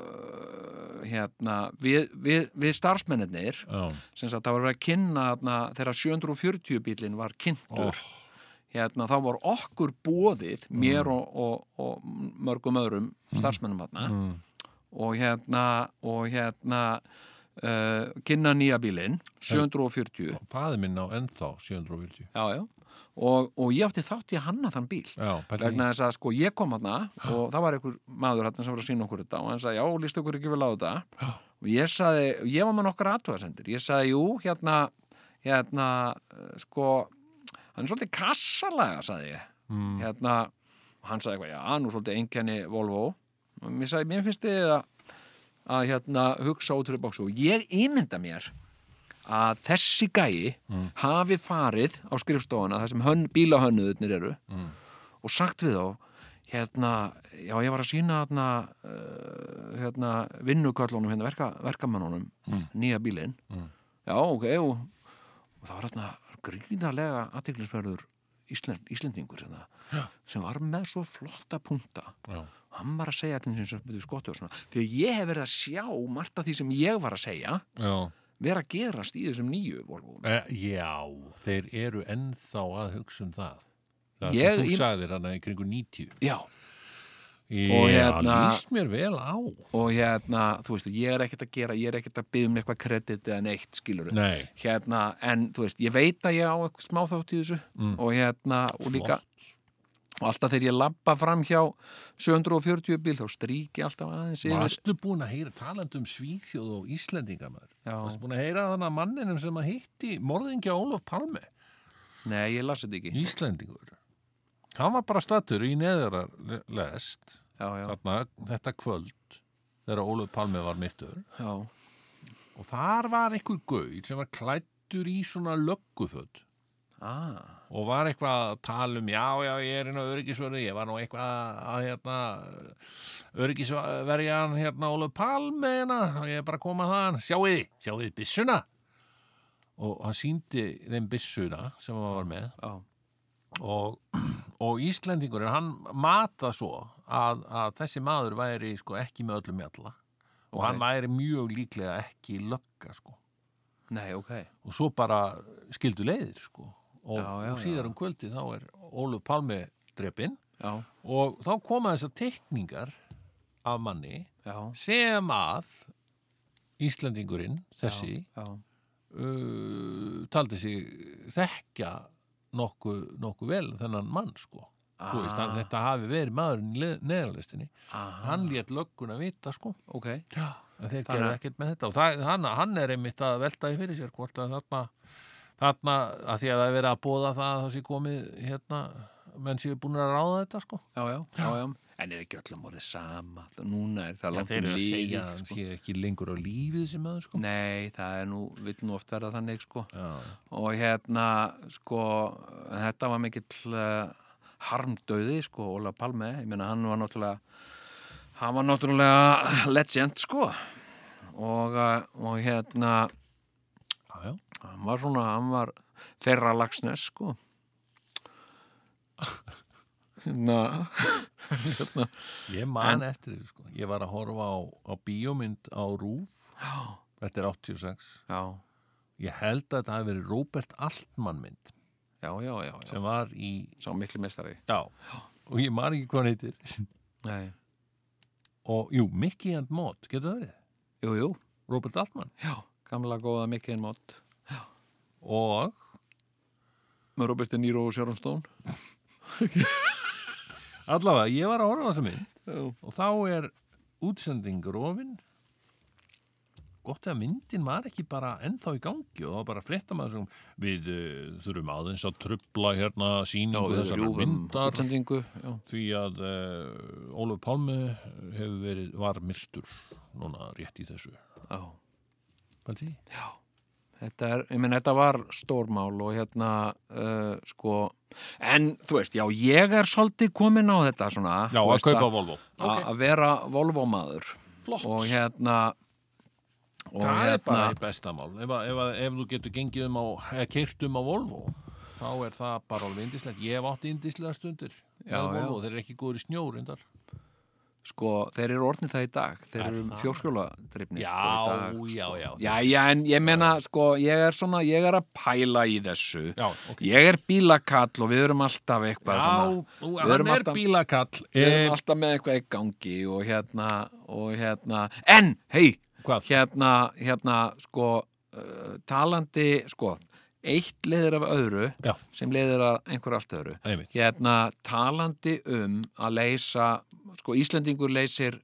S2: uh, hérna við, við, við starfsmennir
S1: Já,
S2: sem sagt það var verið að kynna hérna, þegar 740 bílinn var kynntur hérna þá var okkur bóðið mér og, og, og mörgum öðrum starfsmennum hérna og hérna og hérna uh, kynna nýja bílinn 740
S1: faði minn á ennþá 740
S2: já, já. Og, og ég átti þátt í að hanna þann bíl
S1: Já, pældi
S2: vegna þess að sko ég kom hann og það var einhver maður hann sem var að sína okkur þetta og hann sagði já, lístu okkur ekki vel á þetta og ég sagði, ég var með nokkar aðtúðasendir ég sagði, jú, hérna hérna, eh, sko hann er svolítið kassalega, sagði ég hérna, og hann sagði eitthvað já, nú svolítið einkenni Volvo og mér sagði, mér finnst þið að að hérna hugsa út fyrir bóksu og ég ímynda mér að þessi gæi hafi farið á skrifstofuna, þar sem hönn, bílahönnuðurnir eru og sagt við þá hérna, já ég var að sína hérna, uh, hérna vinnuköllunum hérna, verka, verkamannunum
S1: Mm.
S2: nýja bílinn já ok, og, og það var hérna gríðarlega aðtiklisverður Íslend, Íslendingur hérna, sem var með svo flotta punta
S1: Já.
S2: hann var að segja allir sem sem byrðu skotti og svona því að ég hef verið að sjá margt af því sem ég var að segja
S1: Já.
S2: vera að gerast í þessum nýju Volvo
S1: Eh, já, þeir eru ennþá að hugsa um það Það
S2: Ég-
S1: sem þú
S2: ég-
S1: sagðir hann í kringu 90
S2: já,
S1: Já,
S2: hérna-
S1: líst mér vel á
S2: og hérna, þú veist, ég er ekkert að gera ég er ekkert að byggja um eitthvað kredit eða neitt skilur
S1: Nei,
S2: hérna, en þú veist, ég veit að ég á eitthvað smá þátt í þessu og hérna, og líka og alltaf þegar ég labba fram hjá 740 bíl, þá strík ég alltaf aðeins yfir
S1: varstu búin að heyra talandi um Svíþjóð og Íslendinga maður
S2: Já.
S1: Varstu búin að heyra þannig að manninum sem að hitti morðingja Ólaf Palme
S2: nei, ég las þetta ekki
S1: Íslendingur Hann var bara stattur í neðarar lest
S2: já, já,
S1: þarna, þetta kvöld þegar Ólaf Palme var myrtur
S2: já,
S1: og þar var einhver gauð sem var klættur í svona lögguföld
S2: ah,
S1: og var eitthvað að tala um já, já, ég er inn á öryggisverði ég var nú eitthvað að hérna öryggisverjan hérna Ólaf Palme hérna og ég er bara að koma þaðan, sjáið, þið, sjáið þið byssuna og hann síndi þeim byssuna sem hann var með
S2: já,
S1: og, og Íslendingurinn hann mata svo að, að þessi maður væri sko ekki með öllum mjalla og
S2: Ok.
S1: hann væri mjög líklega ekki lögga sko
S2: nei, ok
S1: og svo bara skildu leiðir sko og,
S2: Já, já,
S1: og síðar um kvöldi þá er Óluf Palmi drepinn
S2: já,
S1: og þá koma þessar teikningar af manni
S2: já,
S1: sem að Íslendingurinn þessi
S2: já,
S1: uh, taldi sig þekkja nokkuð nokku vel þennan mann sko ah. veist, hann, þetta hafi verið maðurinn í neðarlistinni
S2: Aha.
S1: hann lét lögguna vita sko
S2: ok
S1: en þeir
S2: Þannig
S1: gerðu
S2: að-
S1: ekkert með þetta og það, hann, hann er einmitt að velta í fyrir sér hvort að þarna, þarna að því að það er verið að bóða það að það sé komið hérna, menn séu búin að ráða þetta sko
S2: já, já, já, já en er ekki öllum orðið sama Það- núna er það langt um liðið,
S1: að hann
S2: sko.
S1: sé ekki lengur á lífið sem aður sko
S2: nei, það er nú, vill nú oft verða þannig sko
S1: Já,
S2: og hérna sko, en þetta var mikill uh, harmdauði sko, Óla Palme, ég meina hann var náttúrulega hann var náttúrulega legend sko og, uh, og hérna
S1: já, já.
S2: hann var svona, hann var þeirra lagsnes sko hérna hérna
S1: Ég man eftir þessu sko Ég var að horfa á, á bíómynd á Rúf
S2: já,
S1: Þetta er 86
S2: já,
S1: Ég held að þetta hafi verið Robert Altman mynd
S2: já, já, já, já.
S1: sem var í
S2: sá miklu mestari
S1: Já, og ég man ekki hvað hann heitir
S2: Nei.
S1: Og jú, Mickey and Maud, getur það verið?
S2: jú, jú,
S1: Robert Altman
S2: já, gamla góða mikil mót
S1: og
S2: með Robert De Niro og Sharon Stone
S1: allavega, ég var að horfa á þessa mynd
S2: já,
S1: og þá er útsending rofin gott eða myndin var ekki bara ennþá í gangi og það var bara frétta maður sem við uh, þurfum aðeins að trubla hérna síningu
S2: við
S1: þessar
S2: rjúfum
S1: myndar
S2: útsendingu já,
S1: því að uh, Ólaf Pálmi hefur verið, var myrtur núna rétt í þessu
S2: já,
S1: Paldi?
S2: já, Þetta, er, ég menn, þetta var stórmál og hérna, uh, sko, en þú veist, já, ég er svolítið komin á þetta svona.
S1: Já,
S2: þú
S1: að
S2: veist,
S1: kaupa Volvo.
S2: að- Að vera Volvo-maður.
S1: Flott.
S2: Og hérna, og
S1: það er
S2: hérna,
S1: bara eitt besta mál. Ef, að- ef, að- ef þú getur gengið um á, keirt um á Volvo, þá er það bara alveg indislegt. Ég hef átt indislega stundir já,
S2: Já,
S1: með Volvo. Þeir eru ekki góður í snjórindar.
S2: sko, þeir eru orðnir það í dag. Þeir eru fjórskjóladrifnir,
S1: Já,
S2: sko, í dag.
S1: já, já.
S2: Já, já, en ég meina, sko, ég er svona, ég er að pæla í þessu.
S1: Já, ok.
S2: Ég er bílakall og við erum alltaf eitthvað
S1: Já,
S2: svona.
S1: þú-
S2: við
S1: hann
S2: erum
S1: er
S2: alltaf-
S1: bílakall.
S2: Við
S1: Eh,
S2: erum alltaf með eitthvað í gangi og hérna, og hérna, en, hei,
S1: Hvað?
S2: hérna, hérna, sko, uh, talandi, sko, eitt leiðir af öðru
S1: Já.
S2: sem leiðir af einhver allt öðru.
S1: Einmitt.
S2: Hérna, talandi um að leysa, sko, Íslendingur leysir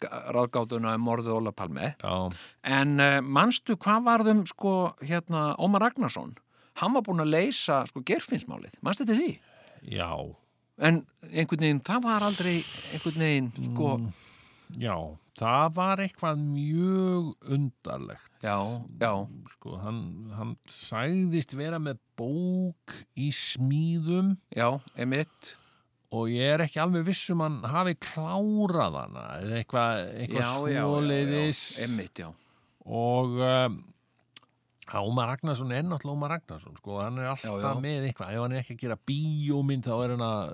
S2: g- ráðgátuna um morðu Óla Palme,
S1: Já,
S2: en uh, manstu hvað varðum, sko, hérna, Ómar Ragnarsson? Hann var búin að leysa, sko, gerfinsmálið, manstu þetta því?
S1: já,
S2: en einhvern veginn, það var aldrei einhvern veginn, sko
S1: Mm. já. Það var eitthvað mjög undarlegt.
S2: já, já,
S1: Sko, hann, hann sagðist vera með bók í smíðum
S2: já, emitt
S1: og ég er ekki alveg viss um hann hafi klárað hana eða eitthvað,
S2: já,
S1: eitthvað
S2: já, já,
S1: svoleiðis
S2: emitt, já
S1: og um, Ómar Ragnarsson er náttúrulega Ómar Ragnarsson sko, hann er alltaf
S2: Já, já.
S1: með eitthvað ef hann er ekki að gera bíómynd þá er hann að,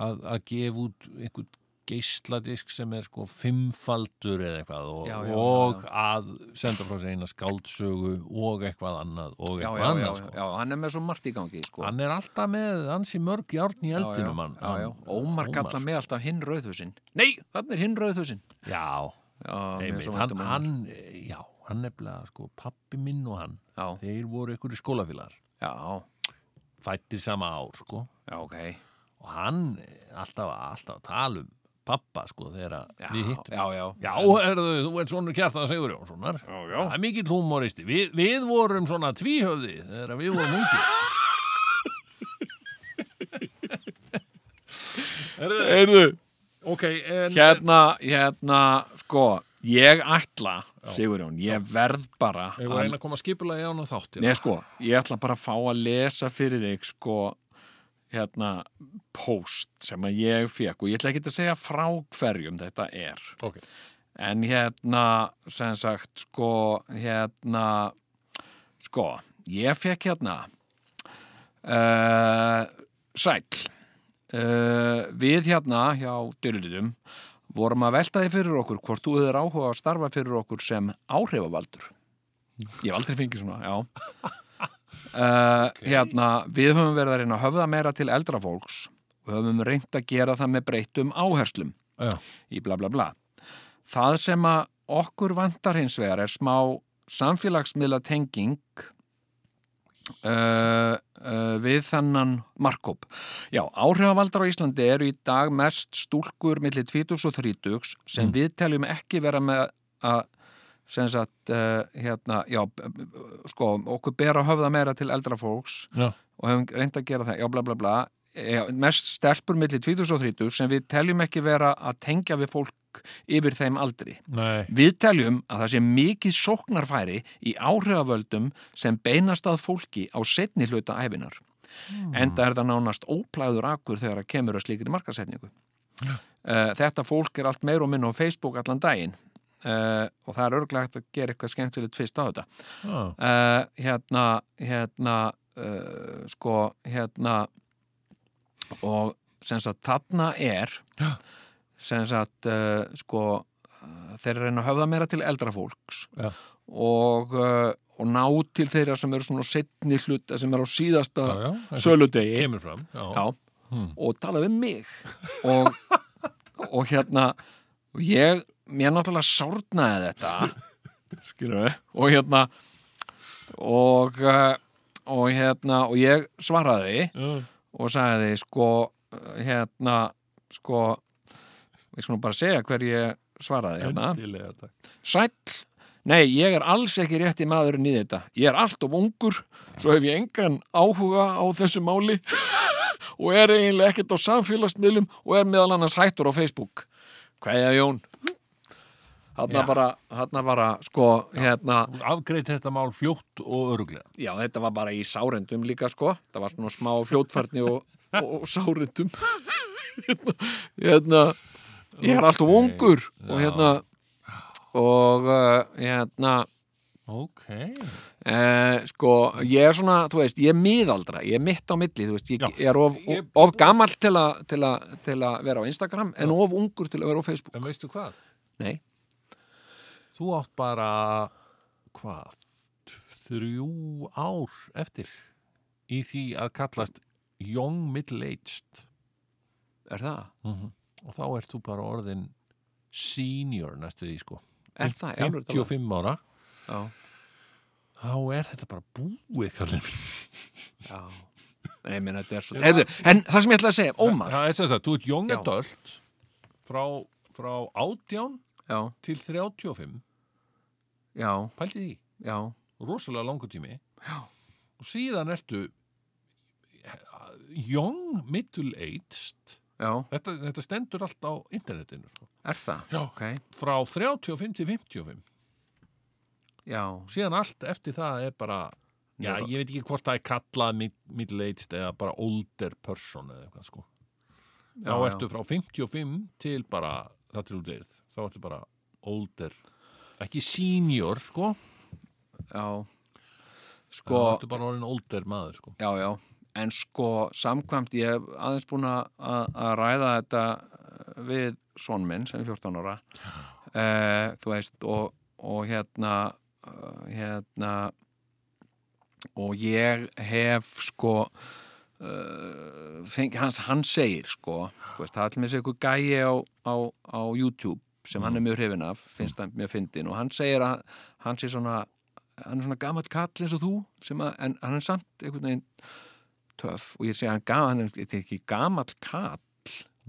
S1: að, að gefa út einhvern geisladisk sem er sko fimmfaldur eða eitthvað og,
S2: Já, já, já,
S1: og að senda frá sér eina skáldsögu og eitthvað annað og
S2: já,
S1: eitthvað
S2: já, já,
S1: annað sko.
S2: já, hann er með svo margt í gangi, sko
S1: hann er alltaf með ansi mörg járn í
S2: Já, já,
S1: eldinum hann,
S2: já, já,
S1: hann-
S2: Ómar kalla mig alltaf hinn rauðhúsin nei, þannig er hinn rauðhúsin
S1: já,
S2: já, mér er
S1: Einmitt,
S2: svo
S1: hann,
S2: vænt um
S1: hann, já, hann nefnilega sko, pappi minn og hann
S2: já,
S1: þeir voru einhverju skólafélagar
S2: já,
S1: fættir sama ár sko
S2: já, ok
S1: og hann eh, alltaf, alltaf að tala um pappa sko þegar að
S2: já,
S1: við hittum
S2: já, já,
S1: Já, herðu, þú ert svona kjartan Sigur Jónssonar Já, já Það er mikill húmóristi við, við vorum svona tvíhöfði þegar við vorum ungi
S2: Heyrðu,
S1: Ok, en
S2: hérna, hérna, sko ég ætla, Sigurjón, ég verð bara
S1: Ég var einn að koma skipulagi án á þáttir
S2: Nei, sko, ég ætla bara að fá að lesa fyrir þig, sko, hérna, post sem að ég fekk og ég ætla ekki að segja frá hverjum þetta er.
S1: Ok,
S2: En hérna, sem sagt, sko, hérna, sko, ég fekk hérna, uh, sæll, uh, við hérna hjá Dylutum vorum að velta því fyrir okkur hvort þú hefur áhuga að starfa fyrir okkur sem áhrifavaldur. Ég hef aldrei fengið svona, já. Uh, Hérna, við höfum verið að reyna að höfða meira til eldra fólks og höfum reynt að gera það með breyttum áherslum
S1: já,
S2: í bla bla bla. Það sem að okkur vantar hins vegar er smá samfélagsmiðla tenging uh, uh, við þennan markkóp. Já, áhrifavaldar á Íslandi eru í dag mest stúlkur millir 20 og 30 sem við teljum ekki vera með að sem sagt, uh, hérna, já, b- b- sko, okkur ber að höfða meira til eldra fólks
S1: já,
S2: og hefum reynd að gera það, já bla bla bla já, eh, mest stelpur millir 20 og 30 sem við teljum ekki vera að tengja við fólk yfir þeim aldri.
S1: nei
S2: Við teljum að það sé mikið sóknarfæri í áhrifavöldum sem beinast að fólki á setni hluta æfinar. Enda er það nánast óplæður akkur þegar að kemur að slíkri markasetningu. Uh, þetta fólk er allt meir og minn á Facebook allan daginn uh, og það er örglega hægt að gera eitthvað skemmtilegt fyrst á þetta
S1: já,
S2: uh, hérna hérna uh, sko hérna og sem sagt þarna er
S1: Já.
S2: sem sagt uh, sko uh, þeir eru að reyna að höfða meira til eldra fólks
S1: Já.
S2: og, uh, og ná til þeirra sem eru svona setni hluta sem eru á síðasta
S1: Ah, já, já
S2: söludegi
S1: Kemur fram, já,
S2: Já, og talaði um mig og, og hérna og ég, mér náttúrulega sárnaði þetta skilur við og hérna og, eh, og hérna og ég svaraði
S1: Já.
S2: og sagði sko eh, hérna sko við skulum bara segja hver ég svaraði hérna
S1: Endilega, takk
S2: sæll Nei, ég er alls ekki rétti maðurinn í þetta. Ég er allt of ungur, svo hef ég engan áhuga á þessu máli og er eiginlega ekkert á samfélagsmiðlum og er meðal annars hættur á Facebook. Hvaðja Jón? þarna
S1: Já.
S2: bara, þarna bara sko, hérna,
S1: Afgreit þetta mál fljótt og öruglega.
S2: já, þetta var bara í sárendum líka, sko, það var svona smá fljótfærni og, og, og sárendum hérna, hérna ég er alltaf ungur og hérna og uh, hérna
S1: Ok.
S2: Eh, sko, ég er svona, þú veist, ég er miðaldra, ég er mitt á milli, þú veist, ég,
S1: Já.
S2: ég er of,
S1: Ég-
S2: of gamall til, a, til, a, til að vera á Instagram en of ungur til að vera á Facebook.
S1: En veistu hvað?
S2: Nei,
S1: Þú átt bara, hvað, þrjú ár eftir í því að kallast young middle-aged
S2: er það?
S1: og þá ert þú bara orðin senior næstu því sko.
S2: Er um það? Í alvöru talað?
S1: 55 ára.
S2: Já,
S1: Þá er þetta bara búið, kallinn.
S2: já. Nei, ég meina, þetta er svo... Hefðu, en það sem ég ætla að segja, Ómar.
S1: Það er sem sagt, þú ert young
S2: Já.
S1: adult frá, frá 18
S2: Já,
S1: til 35,
S2: já,
S1: pældi því,
S2: já,
S1: rosalega langur tími. Já. Og síðan ertu young middle-aged,
S2: já,
S1: þetta, þetta stendur allt á internetinu, sko.
S2: er það?
S1: Já.
S2: Ok,
S1: frá 35 til 55.
S2: já,
S1: Síðan allt eftir það er bara, já,
S2: Nú er-
S1: ég veit ekki hvort það er kallað mid- middle-aged eða bara older person eða eitthvað, sko. þá
S2: Já, já.
S1: ertu frá 55 til bara það til þú deyrð, þá ertu bara older, ekki senior sko,
S2: já.
S1: þá
S2: Sko...
S1: ertu bara orðin older maður sko
S2: Já, já, en sko samkvæmt ég hef aðeins búin að að ræða þetta eh, við son minn sem er 14 ára uh, þú veist og, og hérna uh, hérna og ég hef sko uh, feng, hans, hann segir sko þú veist, það er allir eitthvað gæi á, á, á YouTube sem hann er mjög hrifin af finnst hann mjög fyndin og hann segir að hann sé svona hann er svona gamall kall eins og þú sem að, en hann er samt einhvern veginn töff og ég segi hann, gam, hann er þetta er ekki gamall kall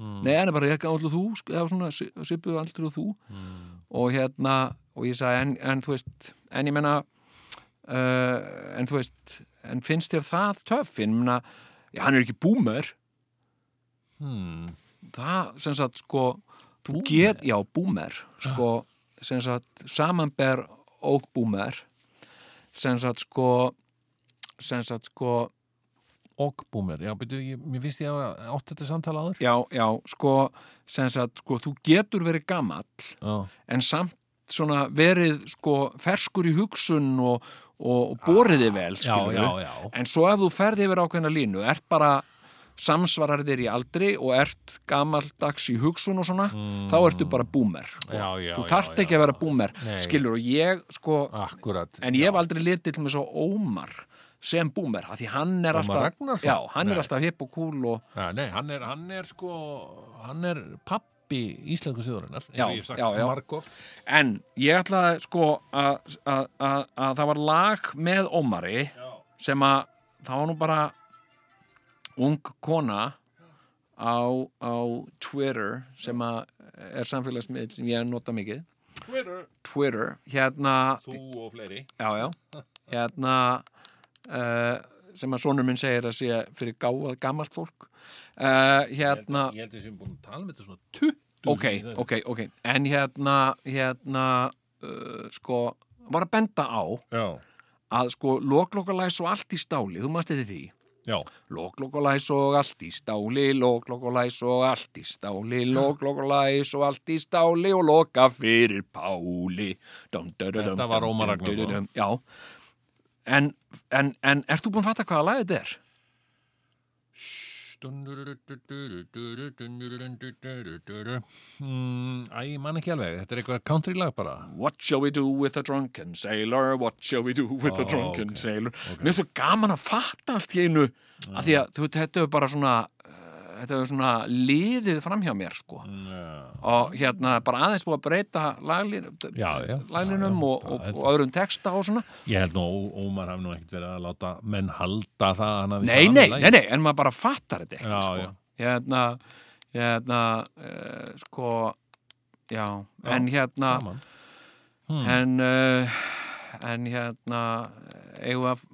S2: nei, hann er bara ekki allir þú sk- eða svona svipuð allir þú og hérna, og ég sagði en, en þú veist, en ég menna uh, en þú veist en finnst þér það töff ég menna, já, hann er ekki boomer
S1: hmm.
S2: það sem sagt sko þú get, já, boomer sko, sem sagt, samanber og boomer sem sagt sko sem sagt sko
S1: og boomer, já, byrju, ég, mér finnst ég að átt þetta samtala áður
S2: já, já, sko sem sagt sko, þú getur verið gamall
S1: já,
S2: en samt svona verið sko ferskur í hugsun og, og, og boriði
S1: Ah,
S2: vel
S1: já,
S2: skilurðu.
S1: já, já.
S2: en svo ef þú ferði yfir ákveðna línu ert bara samsvarar þér í aldri og ert gamaldags í hugsun og svona, þá ertu bara boomer sko.
S1: Mm. Já, já,
S2: þú
S1: já,
S2: þarft
S1: já.
S2: ekki að vera boomer
S1: Nei. Ah,
S2: skilur og ég sko
S1: akkurat
S2: en ég hef aldrei litið til mig svo Ómar sem boomer, af því hann er
S1: Ómar
S2: alltaf
S1: Ragnarsson?
S2: já, hann
S1: Nei.
S2: er alltaf hipp og cool og
S1: já, nei, hann er, hann er sko hann er pappi íslensku þjóðurinnar eins
S2: Já,
S1: og ég hef sagt
S2: já, já.
S1: margóft
S2: En ég ætlaði sko að að- að- að það var lag með Ómari sem að það var nú bara ung kona á, á Twitter sem að er samfélagsmiðl sem ég nota mikið
S1: þú
S2: Twitter, hérna
S1: og fleiri
S2: já, já, hérna uh, sem að sonur minn segir að sé fyrir gáað gamalt fólk uh, hérna
S1: ég held að við séum búin að tala með þetta svona 20
S2: ok, ok, ok en hérna, hérna uh, sko, var að benda á
S1: já,
S2: að sko loklokalæs og allt í stáli, þú manst þetta því
S1: já,
S2: loklokalæs og allt í stáli loklokalæs og allt í stáli loklokalæs og allt í stáli og loka fyrir páli dum, dum, dum,
S1: Þetta var
S2: dum,
S1: Ómar
S2: dum, dum,
S1: Ragnarsson.
S2: dum, dum. já en, en, en ert þú búin að fatta hvaða lagið þetta er?
S1: Mm, Æ, ég man ekki alveg, þetta er eitthvað country lag bara
S2: What shall we do with a drunken sailor? What shall we do with a
S1: Ó,
S2: drunken
S1: ok,
S2: sailor? Mér er svo gaman að fatta allt í einu af því að þú veit, þetta er bara svona uh, þetta er svona liðið framhjá mér sko og hérna bara aðeins búið að breyta laglín,
S1: Já, já,
S2: laglinum
S1: já, já,
S2: og, og,
S1: það er-
S2: og öðrum texta og svona
S1: Ég held nú, Ó- Ómar hafði nú ekkert verið að láta menn halda það að hann hafi
S2: nei,
S1: samið
S2: nei,
S1: lagið.
S2: nei, nei, en maður bara fattar þetta ekki
S1: Já,
S2: sko.
S1: já.
S2: hérna, hérna uh, sko já, en hérna
S1: Gaman.
S2: en, uh, en hérna eigum við að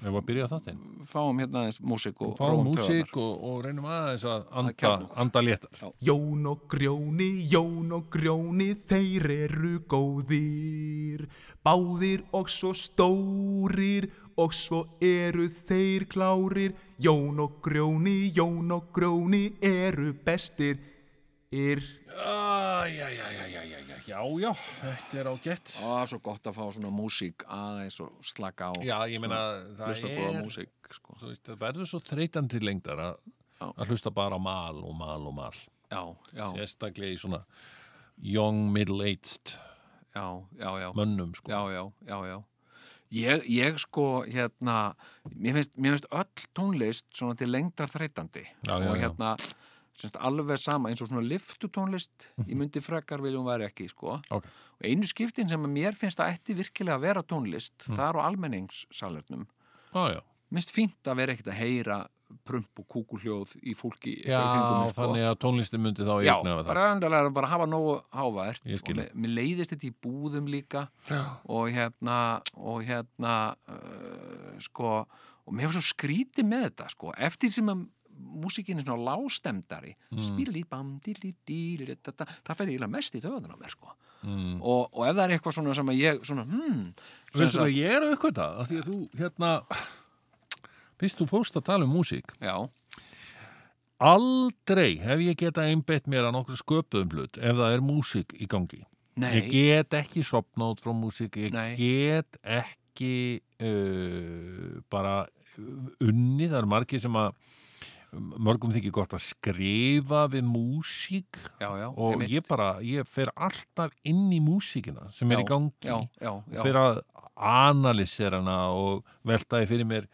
S1: Ef að byrja þáttinn.
S2: fáum hérna aðeins músík og
S1: Fáum
S2: róum
S1: músík og, og reynum aðeins að anda,
S2: kjarna okkur.
S1: anda léttar.
S4: Jón og grjóni, Jón og grjóni, þeir eru góðir. Báðir og svo stórir og svo eru þeir klárir. Jón og grjóni, Jón og grjóni eru bestir. Ir.
S1: Æ, já, já, já, já, já, já, já, já, þetta er ágætt.
S2: töfana. Á, svo gott að fá svona músík aðeins og slaka á
S1: Já, ég meina, það
S2: hlusta góða
S1: er,
S2: músík sko.
S1: þú veist, það verður svo þreytandi lengdar að,
S2: Já.
S1: að hlusta bara á mal og mal og mal.
S2: já, já,
S1: Sérstaklega í svona young middle-aged
S2: já, já, já.
S1: mönnum, sko.
S2: já, já, já, já. Ég, ég sko, hérna, mér finnst, mér finnst öll tónlist svona til lengdar þreytandi
S1: Já, já,
S2: og
S1: já.
S2: hérna, semst alveg sama eins og svona liftutónlist,
S1: Mhm.
S2: ég myndi frekar viljum væri ekki, sko.
S1: Ok.
S2: Og einu skiptin sem að mér finnst að ætti virkilega að vera tónlist,
S1: Mhm.
S2: það er á almenningssalernum.
S1: Já, já.
S2: Mist fínt að vera ekkert að heyra prump og kúkuljóð í fólki
S1: Já,
S2: eitthvað í kringum mig, sko.
S1: þannig að tónlistin myndi þá
S2: Já,
S1: eigna það.
S2: bara endalega bara hafa nógu hávært
S1: Ég skil.
S2: og mér- mér leiðist þetta í búðum líka Já. og hérna og hérna uh, sko, og mér hefur svo skrítið með þetta sko, eftir sem að músikin er svona lástemdari mm. spýrlít, bam, dýrlít, dýrlít það fer eiginlega mest í töðan á mér sko mm. og, og ef það er eitthvað svona sem að ég svona, hmm, sem
S1: Veistu
S2: sagt-
S1: hvað ég er að aukvita? Af því að þú, hérna, fyrst þú fórst að tala um músík,
S2: Já,
S1: aldrei hef ég getað einbeitt mér að nokkur sköpuðum hlut ef það er músík í gangi.
S2: nei,
S1: Ég get ekki sopna út frá músík, ég
S2: Nei.
S1: get ekki uh, bara unni, það eru margir sem að mörgum þykir gott að skrifa við músík
S2: já, já
S1: og
S2: einmitt.
S1: ég bara, ég fer alltaf inn í músíkina sem er í
S2: Já,
S1: gangi
S2: já, já, já,
S1: fyrir að analysera hana og veltaði fyrir mér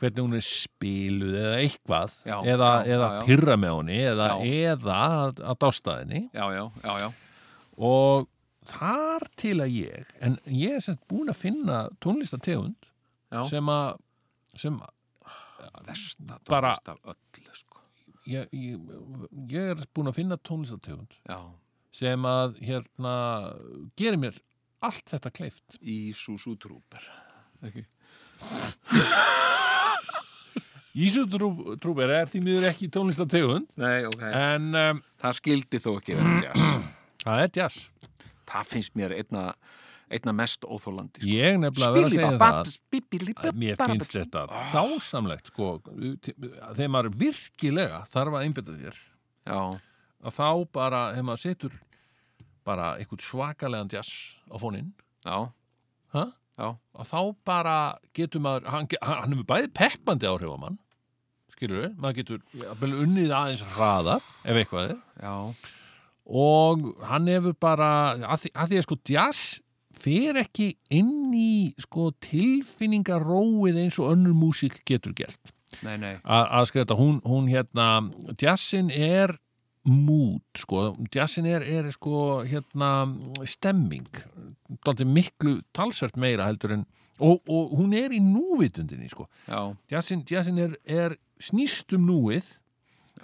S1: hvernig hún er spiluð eða eitthvað
S2: Já,
S1: eða,
S2: já,
S1: eða
S2: já, já.
S1: pyrra með honum eða,
S2: Já.
S1: eða að, að dásta henni
S2: já, já, já, já,
S1: og þar til að ég en ég er semst búin að finna tónlistategund
S2: Já.
S1: sem að sem
S2: versta
S1: Bara-
S2: tónlist af öllu sko
S1: ég, ég, ég er búin að finna tónlistategund
S2: Já,
S1: sem að hérna gerir mér allt þetta kleift
S2: í Susutrúper okay.
S1: Ísutrúber er því miður ekki tónlistategund
S2: Nei, ok
S1: en um,
S2: Það skildi þó ekki vera jazz
S1: það er jazz
S2: Það finnst mér einna, einna mest óþólandi sko.
S1: Ég nefnilega verð að segja það að
S2: Spilibabab
S1: mér finnst þetta dásamlegt sko, þegar maður virkilega þarf að einbytta þér
S2: Já,
S1: að þá bara, þegar maður setur bara einhvern svakalegan jazz á fóninn
S2: já,
S1: ha?
S2: já,
S1: og þá bara getur maður hann, ge- hann hann hefur bæði peppandi áhrif á mann skilur við, maður getur jafnvel unnið aðeins hraðar ef eitthvað er
S2: já
S1: og hann hefur bara að því að, því að sko jazz fer ekki inn í sko tilfinningaróið eins og önnur músík getur gert
S2: Nei, nei,
S1: að að skrifa þetta, hún, hún hérna jazzin er mood, sko, jazzin er, er sko, hérna, stemming dálítið miklu talsvert meira heldur en, og, og hún er í núvitundinni, sko,
S2: já,
S1: jazzin, jazzin er, er snýst um núið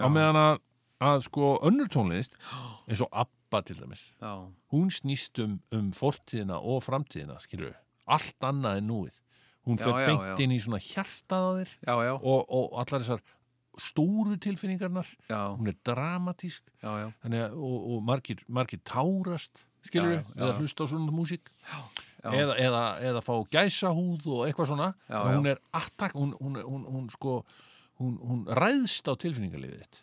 S1: á meðan að, að sko, önnur tónlist, eins og Abba til dæmis,
S2: já
S1: hún snýst um, um fortíðina og framtíðina, skilur allt annað en núið hún
S2: Já,
S1: fer
S2: já,
S1: beint
S2: já.
S1: inn í svona hjartað á þér
S2: Já, já,
S1: og, og allar þessar stóru tilfinningarnar
S2: já,
S1: hún er dramatísk
S2: já, já,
S1: þannig að, og, og margir, margir tárast skilur
S2: Já,
S1: við,
S2: já,
S1: eða
S2: já.
S1: hlusta á svona músík
S2: já.
S1: eða, eða, eða fá gæsahúð og eitthvað svona
S2: Já,
S1: En hún
S2: já.
S1: er attak, hún, hún, hún, hún sko hún, hún ræðst á tilfinningarliðið þitt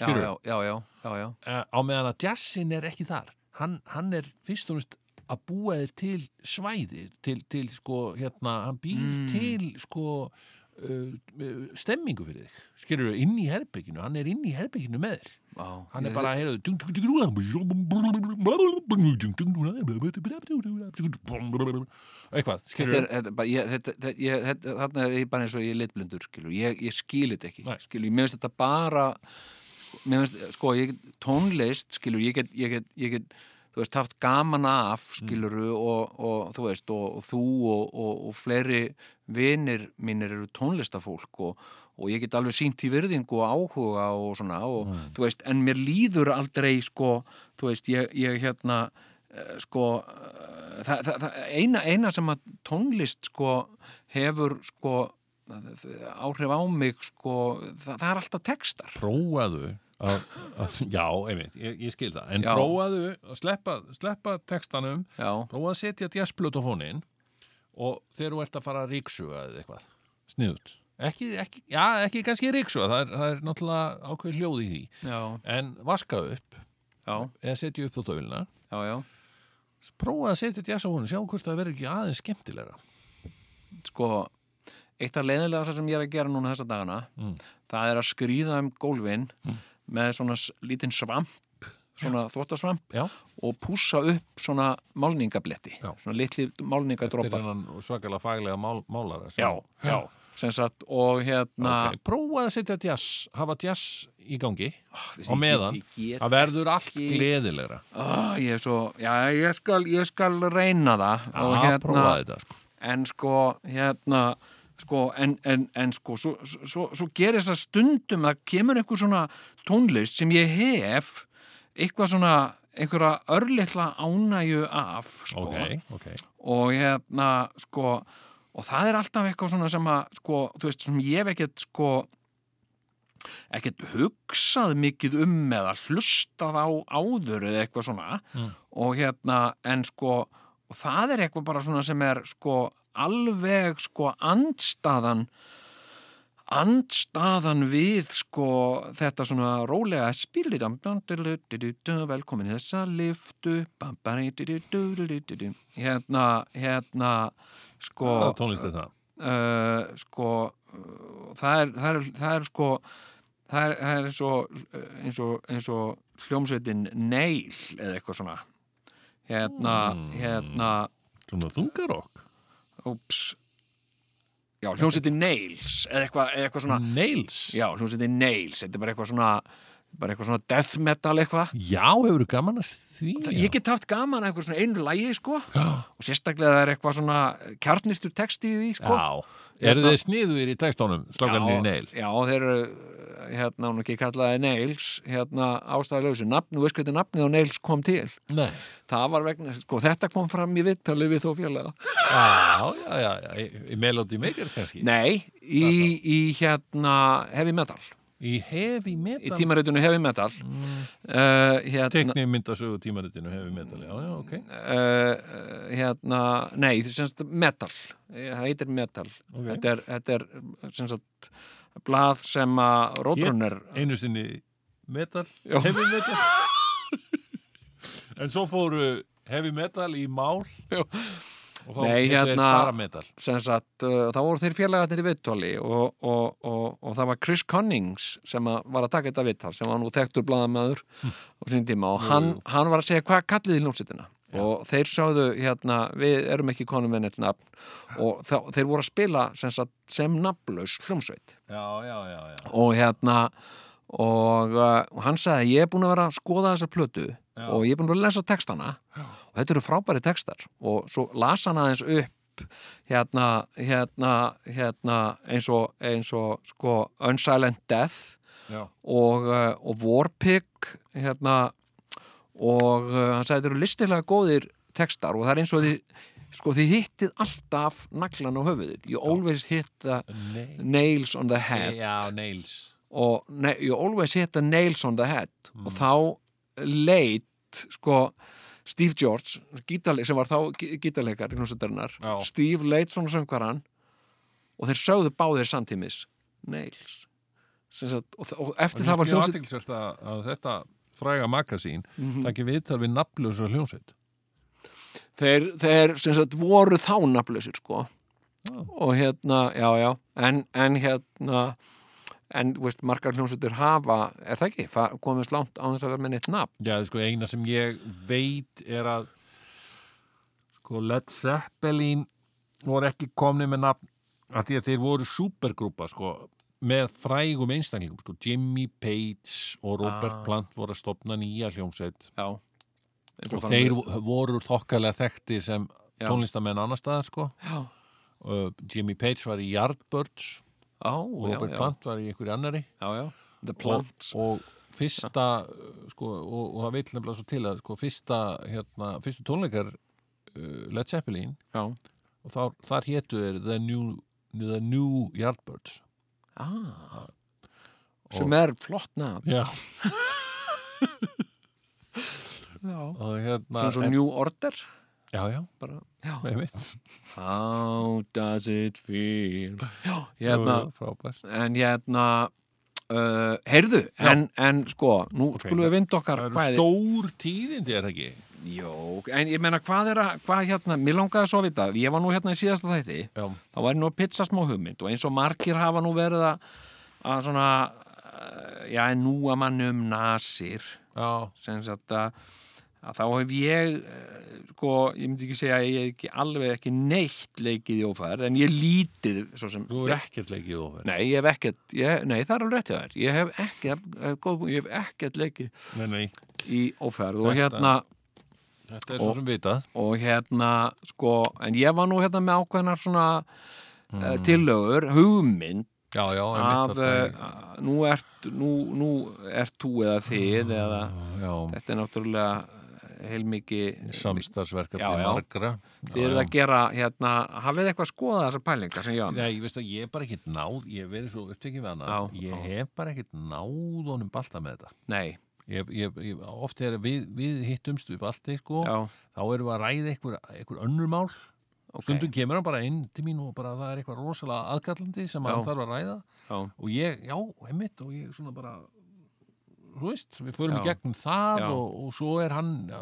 S2: já,
S1: skilurðu?
S2: já, já, já, já, já.
S1: Eh, á meðan að jazzin er ekki þar hann, hann er fyrst og næst að búa þér til svæði til, til sko, hérna, hann býr
S2: Mm.
S1: til sko uh, uh, stemmingu fyrir þig, skilur við inn í herbygginu, hann er inn í herbygginu með þér
S2: Já,
S1: hann er
S2: ég-
S1: bara að heyra eitthvað,
S2: Þetta
S1: skilur
S2: er, þetta, er bara- ég, þetta, þetta, ég, þetta, þarna er ég bara eins og ég er litblindur, skilu, ég, ég skil þetta ekki,
S1: Nei.
S2: skilu, mér finnst þetta bara, mér finnst, sko, ég, get- tónlist, skilu, ég get, ég get, ég get, þú veist, haft gaman af, skiluru, og, og, þú veist, og, og þú og, og, og fleiri vinir mínir eru tónlistafólk og, og ég get alveg sínt í virðingu og áhuga og svona, og, þú veist, en mér líður aldrei, sko, þú veist, ég, ég hérna, eh, sko eh, það, það, það, eina, eina sem að tónlist sko hefur sko áhrif á mig sko það, það er alltaf textar
S1: prófaðu að, að, já, einmitt, ég, ég skil það en
S2: Já.
S1: prófaðu að sleppa, sleppa textanum
S2: Já.
S1: prófaðu að setja jazzblöt á fónin og þegar þú ert að fara að ríksuga eða eitthvað, sniðut ekki, ekki, já, ekki kannski ríksuga það er, það er náttúrulega ákveð hljóð í því
S2: Já,
S1: en vaska upp
S2: já,
S1: eða setja upp þóttavélina
S2: já, já
S1: prófaðu að setja jazz á fónin, sjá hvort það verður ekki aðeins skemmtilegra
S2: sko eitt af leiðilega sem ég er að gera núna þessa dagana
S1: Mm.
S2: það er að skrýða um gólfin með svona s- lítinn svamp svona þvottasvamp
S1: já,
S2: og pússa upp svona málningabletti
S1: Já.
S2: svona litli
S1: þetta
S2: málningadrópa
S1: er hann svakalega faglega mál, málara sem-
S2: já, já, sem sagt og hérna
S1: hérna. Ok, prófaðu að setja jazz, hafa jazz í gangi
S2: Ah, vissi,
S1: á
S2: ég-
S1: meðan,
S2: ég get
S1: það verður allt
S2: ekki-
S1: gleðilegra
S2: ah, ég, er svo, já, ég, skal, ég skal reyna það og hérna-
S1: að prófa Ah, þetta sko.
S2: en sko hérna sko, en, en, en sko svo, svo, svo gerist það stundum að kemur einhver svona tónlist sem ég hef eitthvað svona einhverja örlitla ánægju af sko,
S1: ok, ok,
S2: og hérna sko og það er alltaf eitthvað svona sem að sko, þú veist, sem ég hef ekkert sko ekkert hugsað mikið um eða hlustað á áður eða eitthvað svona og hérna, en sko og það er eitthvað bara svona sem er sko alveg sko andstaðan andstaðan við sko þetta svona rólega spilið velkomin í þessa liftu bam, bari, du, du, du, du, du, du, du. hérna, hérna sko
S1: og, tónlist er það
S2: uh, sko uh, það er, það er, það er sko það er, það er eins, og, uh, eins og eins og hljómsveitin neil eða eitthvað svona hérna,
S1: Hmm.
S2: hérna
S1: svona þungarokk,
S2: úps já, hljómsveitin neils eða eitthvað, eða eitthvað svona
S1: Hmm. nails
S2: Ah. já, hljómsveitin neils, þetta er bara eitthvað svona bara eitthvað svona death metal eitthvað
S1: já, hefur gaman að því
S2: Það-
S1: já.
S2: Ég get haft gaman að eitthvað svona einu lægi sko
S1: Já.
S2: og sérstaklega það er eitthvað svona kjarnirtur texti í því sko
S1: já, eru þið sniður í textónum
S2: já,
S1: slagarnir nail
S2: já, þeir eru hérna, hún ekki kallaði Nails hérna ástæðilösu, nafn, þú veist hvernig nafnið á Nails kom til,
S1: Nei.
S2: það var vegna sko, þetta kom fram í vittali við þó félaga
S1: já, já, já, já, í- í Melody Maker kannski
S2: nei, í, í hérna Heavy Metal,
S1: í heavy
S2: í
S1: metal
S2: tímaritinu Heavy Metal
S1: Mm.
S2: uh, hérna
S1: tekni myndasögu tímaritinu heavy metal já, já, ok,
S2: uh, hérna, nei, það er semst metal, eh, það heitir metal
S1: Ok.
S2: þetta er, þetta er semst blað sem að Róbrunner
S1: Hét einu sinni metal,
S2: eh. Já.
S1: heavy metal en svo fóru heavy metal í mál
S2: Já.
S1: og þá
S2: Nei,
S1: heitir þeir
S2: hérna-
S1: bara metal
S2: sem sagt, uh, þá voru þeir félagarnir í viðtali og, og, og, og það var Chris Cunnings sem að, var að taka þetta viðtal sem var nú þekktur bladamæður á sín tíma og hann, hann var að segja hvað kallið í ljónsettina og þeir sáðu hérna, við erum ekki konum með neitt nafn og þá, þeir voru að spila sem, sagt, sem nafnlaus hljómsveit
S1: já, já, já, já,
S2: og hérna og uh, hann sagði ég er búin að vera að skoða þessa plötu og ég er búin að vera að lesa textana og þetta eru frábæri textar og svo las hann aðeins upp hérna, hérna, hérna eins og, eins og sko, Unsilent Death
S1: já.
S2: og, uh, og Warpig hérna, og uh, hann sagði þetta eru listilega góðir textar og það er eins og því sko þið hittið alltaf naglan á höfuðið you always hit the
S1: Nei.
S2: nails on the head
S1: já, nails
S2: og ne- you always hit the nails on the head og þá leit sko Steve George gítarleik, sem var þá gí- gítarleikar í hljómsveitarinnar,
S1: Já.
S2: Steve leit svona söngvaran og þeir sögðu báðir samtímis nails Sem sagt, og, þa- og eftir það
S1: það
S2: var
S1: var
S2: hljómsveit Mhm.
S1: aðtilsvert að, að þetta fræga magasín mm -hmm. takki viðtal við nafnlaus og hljómsveit
S2: þeir, þeir sem sagt voru þá nafnlausir sko og hérna, já já en, en hérna en þú veist, margar hljómsveitur hafa er það ekki, fa- komist langt á þess að vera með neitt nafn
S1: já, sko, eina sem ég veit er að sko, Led Zeppelin voru ekki komni með nafn af því að þeir voru supergrúpa sko, með frægum einstaklingum sko, Jimmy Page og Robert
S2: Ah.
S1: Plant voru að stopna nýja hljómsveit
S2: já
S1: og þeir vo- voru þokkalega þekkti sem
S2: Já.
S1: tónlistamenn annar staðar sko.
S2: já,
S1: Uh, Jimmy Page var í Yardbirds
S2: á,
S1: og
S2: já,
S1: Robert
S2: já,
S1: Plant var í einhverju annari
S2: já, já The Plants
S1: og, og fyrsta uh, sko, og, og það veit nefnilega svo til að sko, fyrsta, hérna, fyrstu tónleikar uh, Led Zeppelin
S2: já,
S1: og þar, þar hétu þeir The New, The New Yardbirds
S2: ah, sem er flott nafn
S1: Já,
S2: já.
S1: og hérna
S2: svona svo New Order
S1: Já, já,
S2: bara, já.
S1: einmitt
S2: How does it feel já, hérna
S1: Jú, Frábært
S2: en hérna uh, heyrðu, en, en sko nú skulum við vinda okkar
S1: Það eru
S2: kvæði.
S1: stór tíðindi, er það ekki?
S2: Jó, en ég meina hvað er að, hvað hérna, mér langaði svo að vita, ég var nú hérna í síðasta þætti,
S1: Já,
S2: þá væri nú að pizza smá hugmynd og eins og margir hafa nú verið að, að svona, eh, já, en nú að mann um nasir,
S1: já,
S2: sem sagt að, að þá hef ég, eh, sko, ég myndi ekki segja að ég hef ekki alveg ekki neitt leikið í ófæður, en ég lítið, svo sem,
S1: þú er ekkert leikið ofur
S2: nei, ég hef ekkert, ég, nei, það er alveg rétt hjá þær, ég hef ekkert, eh, góð punktur, ég hef ekkert leikið
S1: Nei, nei,
S2: í ófæður og
S1: Þetta-
S2: hérna,
S1: þetta er svo
S2: Og-
S1: sem vitað
S2: og hérna sko, en ég var nú hérna með ákveðnar svona mm. tillögur, hugmynd
S1: Já, já,
S2: að
S1: einmitt
S2: uh, nú ert nú, nú ert þú eða þið
S1: Ah.
S2: eða
S1: Já,
S2: þetta er náttúrulega eh, heilmikið
S1: samstarfsverkefni
S2: Já, já.
S1: margra
S2: þið eruð að gera hérna, hafið þið eitthvað að skoða þessar pælingar sem ég á
S1: Nei, ég veist að ég er bara ekkert náð, ég hef verið svo upptekið við hana,
S2: Já,
S1: ég
S2: já.
S1: hef bara ekkert náð honum balta með þetta.
S2: nei,
S1: Ég, ég, ég, oft er að við, við hittumst við balti, sko,
S2: já,
S1: þá erum við að ræða einhver, einhver önnur mál.
S2: ok
S1: Stundum kemur hann bara inn til mín og bara það er eitthvað rosalega aðkallandi sem hann
S2: Já.
S1: þarf að ræða
S2: já,
S1: og ég, já, einmitt og ég svona bara, þú veist, við förum í
S2: Já.
S1: gegnum það
S2: Já.
S1: og, og svo er hann ja,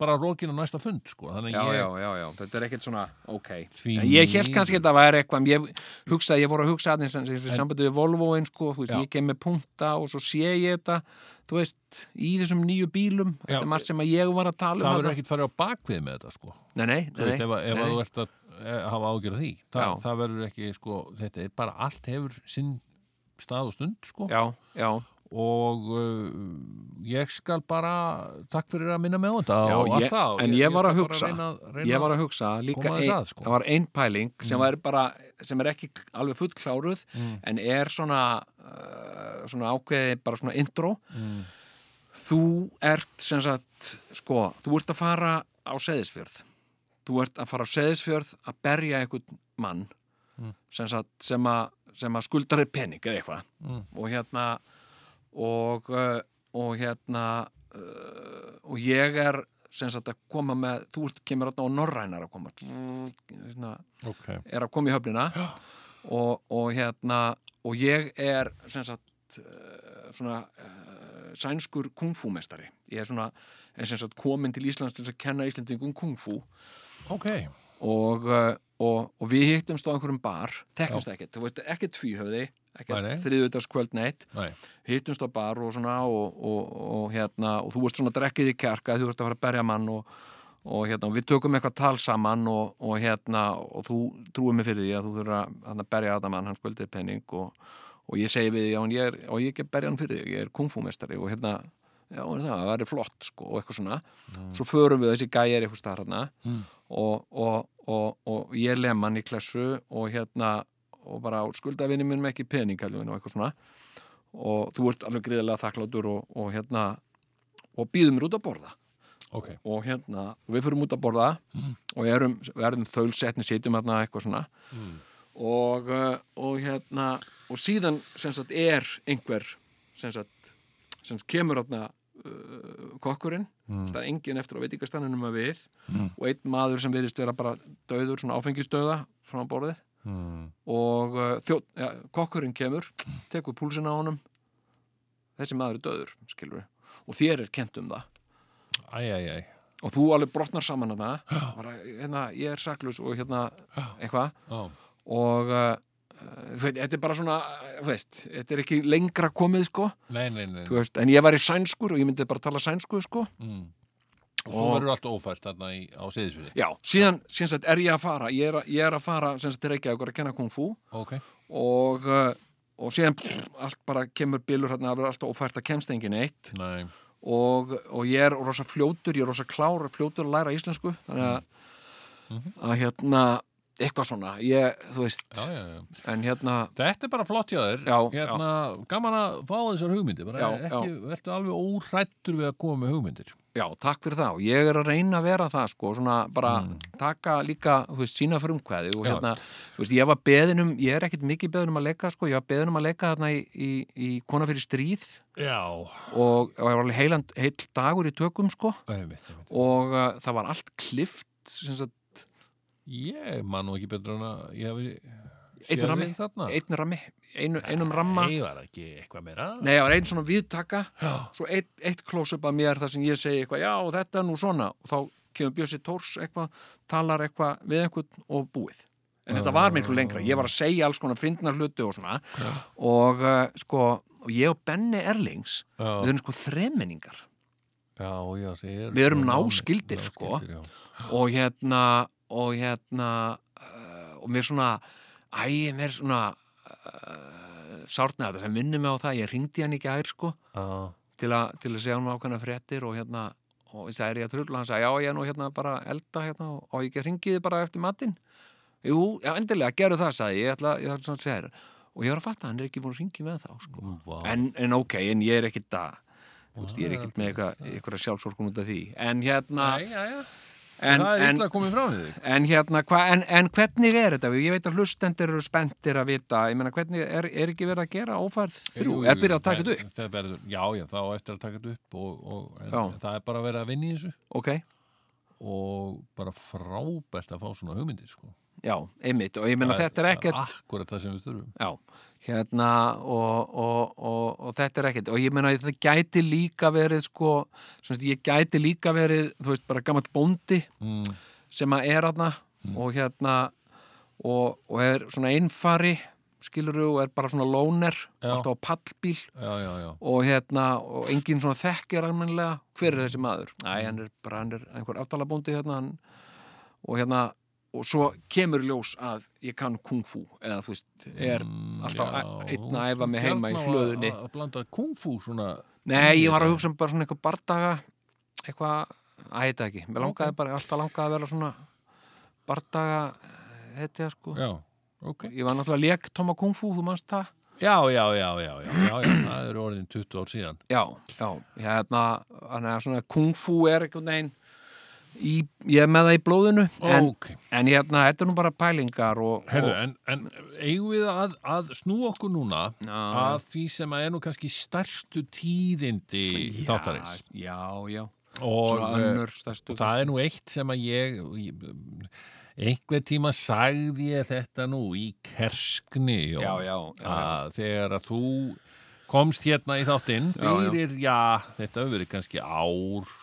S1: bara rókin á næsta fund, sko, þannig
S2: já,
S1: að
S2: já,
S1: ég...
S2: já, já, þetta er ekkert svona ok,
S1: Því
S2: en ég held
S1: miður.
S2: kannski að þetta væri eitthvað en ég hugsaði, ég voru að hugsa aðeins í sambandi við Volvoin, sko, þú veist,
S1: Já.
S2: ég kem með punkta og svo sé ég þetta þú veist, í þessum nýju bílum
S1: Já.
S2: þetta er margt sem að ég var að tala
S1: Það
S2: um
S1: verður
S2: þarna.
S1: ekkert farið á bakvið með þetta, sko.
S2: nei, nei,
S1: þú veist,
S2: nei,
S1: ef, að- ef að
S2: nei, nei.
S1: þú ert að eh, hafa ágjörð því Þa,
S2: Já.
S1: það verður ekki, sko, þetta er bara allt hefur sinn stað og stund, sko
S2: já, já,
S1: og uh, ég skal bara takk fyrir að minna með á þetta
S2: Já,
S1: og allt
S2: ég-
S1: það og
S2: en ég var
S1: skal
S2: að
S1: bara
S2: hugsa-
S1: reyna, reyna,
S2: ég var að hugsa líka
S1: Koma aðeins
S2: ein,
S1: að, sko. Mm.
S2: það var ein pæling sem var bara, sem er ekki alveg fullkláruð, en er svona uh, svona ákveði bara svona intro
S1: Mm.
S2: þú ert sem sagt, sko, þú ert að fara á Seyðisfjörð þú ert að fara á Seyðisfjörð að berja einhvern mann
S1: Mm.
S2: sem, sagt, sem, að, sem að skuldar er pening eða eitthvað
S1: Mm.
S2: og hérna og, uh, og hérna uh, og ég er sem sagt að koma með þú ert kemur þarna og norrænar að koma svona,
S1: ok,
S2: er að koma í höfnina og, og hérna og ég er sem sagt eh, svona eh, sænskur kungfúmestari ég er svona er sem sagt komin til Íslands til þess að kenna Íslandingum kungfú
S1: ok
S2: og, eh, og, og við hittumst á einhverjum bar þekkjumst ekkert, þú veit ekki tvíhöfði
S1: Nei, nei.
S2: ekki þriðutaskvöld neitt
S1: Nei.
S2: hittumst á bar og svona og, og, og hérna, og þú ert svona drekkið í kjarka þú ert að fara að berja mann og, og hérna, og við tökum eitthvað tal saman og, og hérna, og þú trúir mig fyrir því að þú þurfa að hérna, berja að mann hann skuldið penning og, og ég segi við því, já, en ég er, og ég er berja hann fyrir því ég er kungfúmestari og hérna já, er það, það er flott, sko, og eitthvað svona svo förum við þessi gæjar eitthvað staðar hérna og, og, og, og ég lem hann í klessu og hérna og bara skuldavinni minnum ekki pening kallum við og eitthvað svona og þú ert alveg gríðilega þakklátur og, og hérna og býðum mér út að borða
S1: ok,
S2: og hérna, og við fyrum út að borða og erum, verðum þaulsetni sitjum hérna eitthvað svona og, uh, og hérna og síðan sem sagt er einhver sem sagt, sem sagt kemur hérna uh, kokkurinn það er engin eftir á veitingastannunum að við og einn maður sem virðist vera bara döður, svona áfengisdöða frá borðið
S1: mm.
S2: og uh, þjó, ja, kokkurinn kemur tekur púlsina á honum þessi maður er döður, skilur við og þér er kent um það
S1: æ, æ, æ
S2: og þú alveg brotnar saman hana bara, hérna, ég er saklus og hérna eitthvað
S1: Ó,
S2: og uh, uh, veit, þetta er bara svona uh, veist, þetta er ekki lengra komið sko,
S1: nei, nei, nei,
S2: Þú veist, en ég var í sænskur og ég myndi bara tala sænsku sko
S1: Mm. og svo
S2: og-
S1: verður allt ófært þarna í, á seðisviði
S2: já, síðan, síðan sagt, er ég að fara ég er, að- ég er að fara, sem sagt, til Reykjavíkur að kenna kung fu
S1: ok,
S2: og, uh, og síðan pff, allt bara kemur bylur hérna, það verður alltaf ófært að kemst engin eitt
S1: nei,
S2: og, og ég er rosa fljótur, ég er rosa klár fljótur að læra íslensku þannig að, að hérna, eitthvað svona, ég, þú veist
S1: Mhm. já, já, já.
S2: en hérna,
S1: Þetta er bara flott hjá þér
S2: Já,
S1: hérna, Gaman að fá þessar hugmyndir bara
S2: Já,
S1: ekki, Vertu alveg órættur við að koma með hugmyndir
S2: já, takk fyrir það og ég er að reyna að vera það, sko, svona bara taka líka, þú veist, sína frumkvæði og
S1: Mhm. Já.
S2: hérna, þú veist, ég var beðinum ég er ekkit mikið beðinum að leika, sko, ég var beðinum að leika þarna í, í, í kona fyrir stríð
S1: Já
S2: og það var alveg heilan, heil dagur í tökum, sko
S1: einmitt, einmitt.
S2: og uh, það var allt klift, sem sagt,
S1: Ég man nú ekki betur en að ég hafi séð
S2: einn rammi,
S1: þig þarna
S2: einn rammi einu, einum ramma
S1: Nei, var ekki eitthvað meira
S2: Nei, það var einn svona viðtaka svo eitt, eitt close-up að mér þar sem ég segi eitthvað, já, þetta er nú svona og þá kemur Bjössi Tórs eitthvað talar eitthvað við einhvern og búið en þetta var miklu lengra, ég var að segja alls konar fyndnar hluti og svona og uh, sko, og ég og Benni Erlings
S1: Já.
S2: við erum sko þremenningar
S1: Já, já, þið eru
S2: Við erum
S1: svona
S2: náskyldir,
S1: nánir-
S2: sko.
S1: náskyldir, já.
S2: og hérna og hérna uh, og mér svona æ, mér svona uh, sárnaði þetta sem minnum mig á það, ég ringdi hann í gær sko,
S1: Já.
S2: til, a, til að segja hann ákveðna fréttir og hérna og ég sagði er ég að trulla, hann sagði já, ég er nú hérna bara að elda hérna og, og ég ringiði bara eftir matinn jú, já, endilega, gerðu það, sagði ég, ég ætla, ég ætla svona að segja þér og ég var að fatta, hann er ekki búin að ringi með þá sko.
S1: Vá.
S2: en, en ok, en ég er ekkit að þú veist, ég er ekkit með eitthvað, eitthvað sjálfsorkun út af því en hérna
S1: Nei, já, já.
S2: en,
S1: Það er
S2: en,
S1: illa að koma frá við þig
S2: En hérna, hva, en, en hvernig er þetta? Ég veit að hlustendur eru spenntir að vita, ég meina hvernig er, er ekki verið að gera ófærð þrjú,
S1: Jú,
S2: er byrjað að taka
S1: það-
S2: þetta upp?
S1: það verður, Já, já, þá á eftir að taka þetta upp og, og, en,
S2: Já.
S1: Það er bara að vera að vinna í þessu
S2: Ok,
S1: og bara frábært að fá svona hugmyndir sko.
S2: já, einmitt og ég meina þetta er ekkert,
S1: Akkurat það sem við þurfum
S2: já, hérna og, og, og, og þetta er ekkert og ég meina þetta gæti líka verið sko, sem sagt, ég gæti líka verið, þú veist, bara gammalt bóndi
S1: mm.
S2: sem að er aðna og hérna og, og er svona einfari, skilur og er bara svona lóner,
S1: Já.
S2: alltaf á pallbíl
S1: Já, já, já
S2: og hérna, og enginn svona þekkir almennilega, hver er þessi maður? Æ,
S1: Mm.
S2: hann er bara, hann er einhver aftalabóndi hérna, hann, og hérna og svo kemur í ljós að ég kann kung fu, eða þú veist er alltaf
S1: Mm,
S2: e-
S1: Já,
S2: einn að æfa mig
S1: þú
S2: heima í
S1: gjarn á
S2: hlöðunni
S1: að, að blanda kungfú svona
S2: Nei, ég var að hugsa um bara svona eitthvað bardaga eitthvað, að heita ekki mér langaði bara, alltaf langaði að vera svona bardaga heitja sko,
S1: Já, ok
S2: ég var náttúrulega lék Toma kung fu, þú manst það?
S1: Já, já, já, já, já, já, já það eru orðin 20 ár síðan
S2: Já, já, hérna hann er svona kung fu er einhvern veginn í, ég er með það í blóðinu en,
S1: Ok.
S2: en hérna, þetta er nú bara pælingar og,
S1: Herru,
S2: og
S1: en, en eigum við að, að snú okkur núna að því sem að er nú kannski stærstu tíðindi þáttarins
S2: Já, já,
S1: og,
S2: svona
S1: eh,
S2: önnur stærstu
S1: og það er nú eitt sem að ég, ég einhver tíma sagði ég þetta nú í kerskni Jón.
S2: Já, já, já, já.
S1: að þegar að þú komst hérna í þáttinn
S2: já.
S1: fyrir, já, þetta hefur verið kannski ár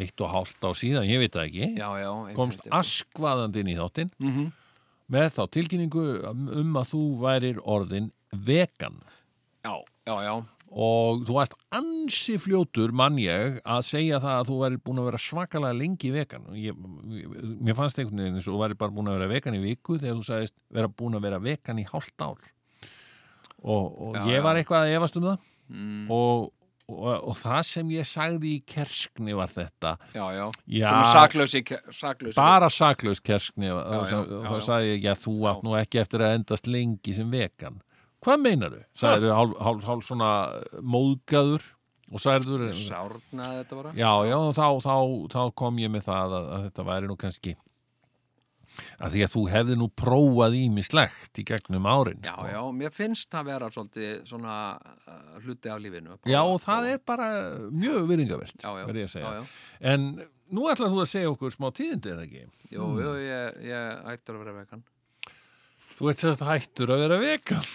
S1: eitt og hálft á síðan, ég veit það ekki
S2: Já, já, einmitt,
S1: komst
S2: já.
S1: askvaðandi inn í þáttinn
S2: Mhm.
S1: með þá tilkynningu um að þú værir orðin vegan
S2: Já, já, já,
S1: og þú varst ansi fljótur mann ég að segja það að þú væri búin að vera svakalega lengi vegan og ég, mér fannst einhvern veginn eins og þú væri bara búin að vera vegan í viku þegar þú sagðist vera búin að vera vegan í hálft ár og, og
S2: Já,
S1: ég
S2: já. Mm.
S1: var eitthvað að efast um það og, og, og það sem ég sagði í kerskni var þetta
S2: já, já
S1: Já.
S2: Svona saklausi, saklausi
S1: bara saklaus kerskni já,
S2: já,
S1: þá
S2: já, já.
S1: sagði ég, já þú átt nú ekki eftir að endast lengi sem vegan hvað meinaru? sagði þú hálf, hálf, hálf svona móðgaður og sagði þú
S2: Sárnaði þetta bara
S1: já já þá, þá, þá kom ég með það að, að þetta væri nú kannski að því að þú hefði nú prófað ímislegt í gegnum árin
S2: Já,
S1: sko.
S2: já, mér finnst það vera svolítið svona uh, hluti af lífinu
S1: Já, og það er bara mjög virðingavert
S2: Já, já,
S1: verð ég að segja
S2: já, já.
S1: en nú ætlar þú að segja okkur smá tíðindi eða ekki
S2: Jú, jú, ég, ég ættur að vera vegan
S1: þú ert sérst hættur að vera vegan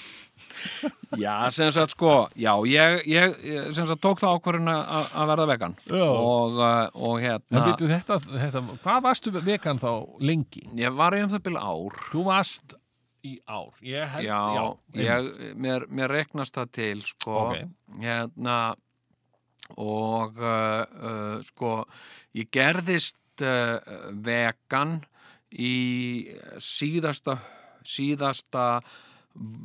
S2: Já, sem sagt sko, já, ég, ég ég sem sagt tók það ákvörðin að að verða vegan
S1: Já.
S2: og, uh, og
S1: En
S2: hérna
S1: býttu þetta, þetta, hvað varstu vegan þá lengi?
S2: Ég var í um það byrja ár
S1: Þú varst í ár, ég held,
S2: Já,
S1: já,
S2: ég, mér, mér reknast það til sko,
S1: Ok.
S2: hérna og uh, uh, sko, ég gerðist uh, vegan í síðasta síðasta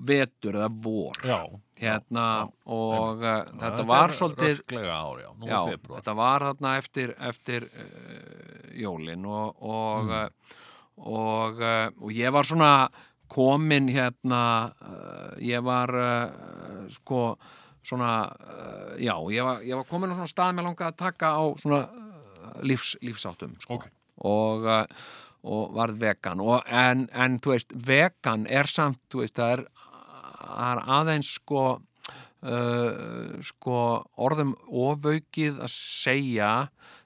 S2: vetur eða vor
S1: já,
S2: hérna og uh, þetta
S1: er
S2: var svolítið
S1: Rösklega ár, já, nú
S2: Já,
S1: er februar
S2: þetta var þarna eftir, eftir uh, jólin eh, og, og, mm. og, eh, og ég var svona komin hérna eh, ég var eh, sko svona eh, já, ég var, ég var komin á svona stað með langaði að taka á svona eh, lífs, lífsáttum sko.
S1: Ok.
S2: og, eh, og varð vegan og, en, en þú veist, vegan er samt þú veist, það er, það er aðeins sko Uh, sko orðum ofaukið að segja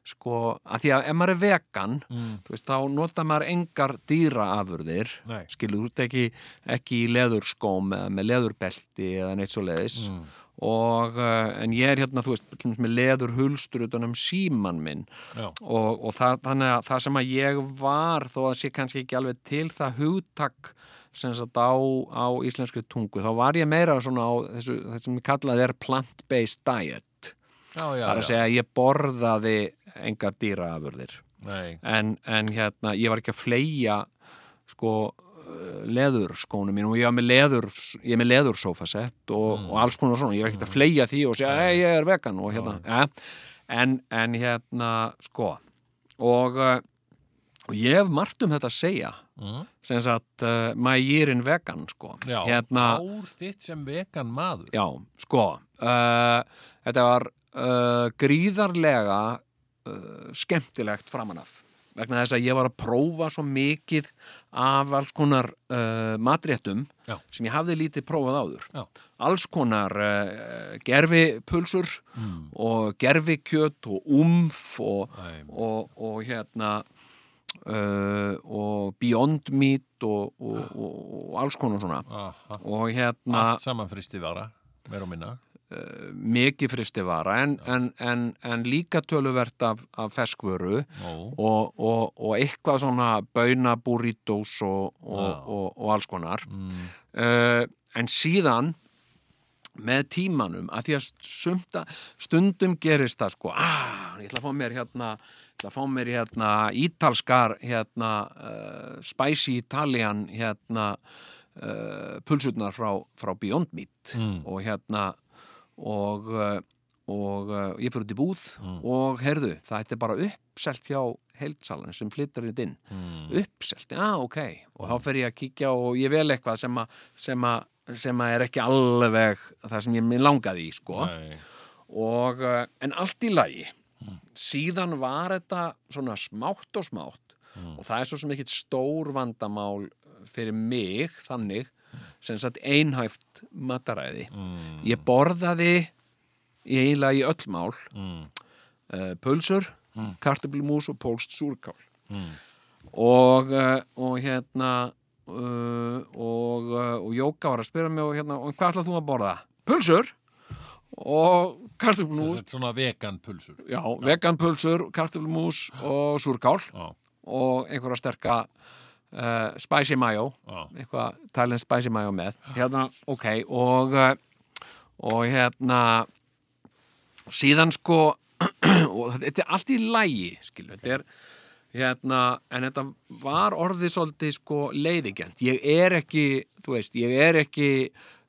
S2: sko að því að ef maður er vegan
S1: Mm.
S2: þú veist, þá nota maður engar dýraafurðir
S1: Nei.
S2: skilur út ekki, ekki í leðurskóm eða með leðurbelti eða neitt svo leiðis
S1: Mm.
S2: og uh, en ég er hérna þú veist, til dæmis með leðurhulstur utan um síman minn
S1: Já.
S2: og, og það, þannig að það sem að ég var þó að sé kannski ekki alveg til það hugtak sem sagt á, á íslenskri tungu þá var ég meira svona á þessu, þessu sem ég kallaði er plant-based diet
S1: Já, já,
S2: það er að segja að ég borðaði engar dýraafurðir
S1: Nei,
S2: en, en hérna, ég var ekki að fleia sko eh, leðurskónum mínum og ég var með leður ég er með leðursófasett og,
S1: Mm.
S2: og alls konar svona, ég var ekkert að fleia því og segja, hei, ég er vegan og hérna eh, en, en hérna, sko og, eh, og ég hef margt um þetta að segja
S1: Mhm.
S2: sem sagt, uh, maður ég er vegan sko,
S1: já,
S2: hérna
S1: ár þitt sem vegan maður
S2: Já, sko uh, Þetta var uh, gríðarlega uh, skemmtilegt framan af vegna þess að ég var að prófa svo mikið af alls konar uh, matréttum
S1: Já.
S2: sem ég hafði lítið prófað áður
S1: Já.
S2: alls konar uh, gerfipulsur
S1: Hmm.
S2: og gerfikjöt og umf og,
S1: Nei.
S2: og, og hérna uh, og Beyond Meat og, og, og, og alls konar svona
S1: Aha.
S2: og hérna
S1: Allt saman fristi vara, meir og minna
S2: mikið fristivara en, en, en, en líka töluvert af, af ferskvöru
S1: Ó,
S2: og, og, og eitthvað svona bauna burritos og, og,
S1: Já.
S2: og, og alls konar
S1: mm,
S2: uh, en síðan með tímanum að því að sumta, stundum gerist það sko, ah, ég ætla að fá mér hérna ég ætla að fá mér hérna ítalskar hérna uh, spicy Italian hérna uh, pulsurnar frá, frá Beyond Meat
S1: Mm.
S2: og hérna og, uh, og uh, ég fyrir út í búð og heyrðu, það er bara uppselt hjá heildsalan sem flyttur þetta inn uppselt, já ok og þá fer ég að kíkja og ég vel eitthvað sem að sem að sem að er ekki alveg það sem ég minn langaði í sko
S1: nei,
S2: og, eh, en allt í lagi síðan var þetta svona smátt og smátt og það er svo sem ekkit stór vandamál fyrir mig þannig sem sagt einhæft mataræði ég borðaði í eiginlega í öll mál mm. pulsur, mm. kartöflumús og pólst súrkál og, eh, og hérna uh, og, uh, og Jóka var að spyrja mig og hérna, og hvað ætlað þú að borða? Pulsur og kartöflumús
S1: Þetta er svona vegan pulsur
S2: já, veganpulsur, kartöflumús og súrkál
S1: Já,
S2: og einhverja sterka uh, spicy mayo
S1: Já.
S2: eitthvað talin spicy mayo með hérna, ok, og uh, og hérna síðan sko og þetta er allt í lægi skilu, þetta er hérna, en þetta var orðið svolítið sko leiðigjönd, ég er ekki þú veist, ég er ekki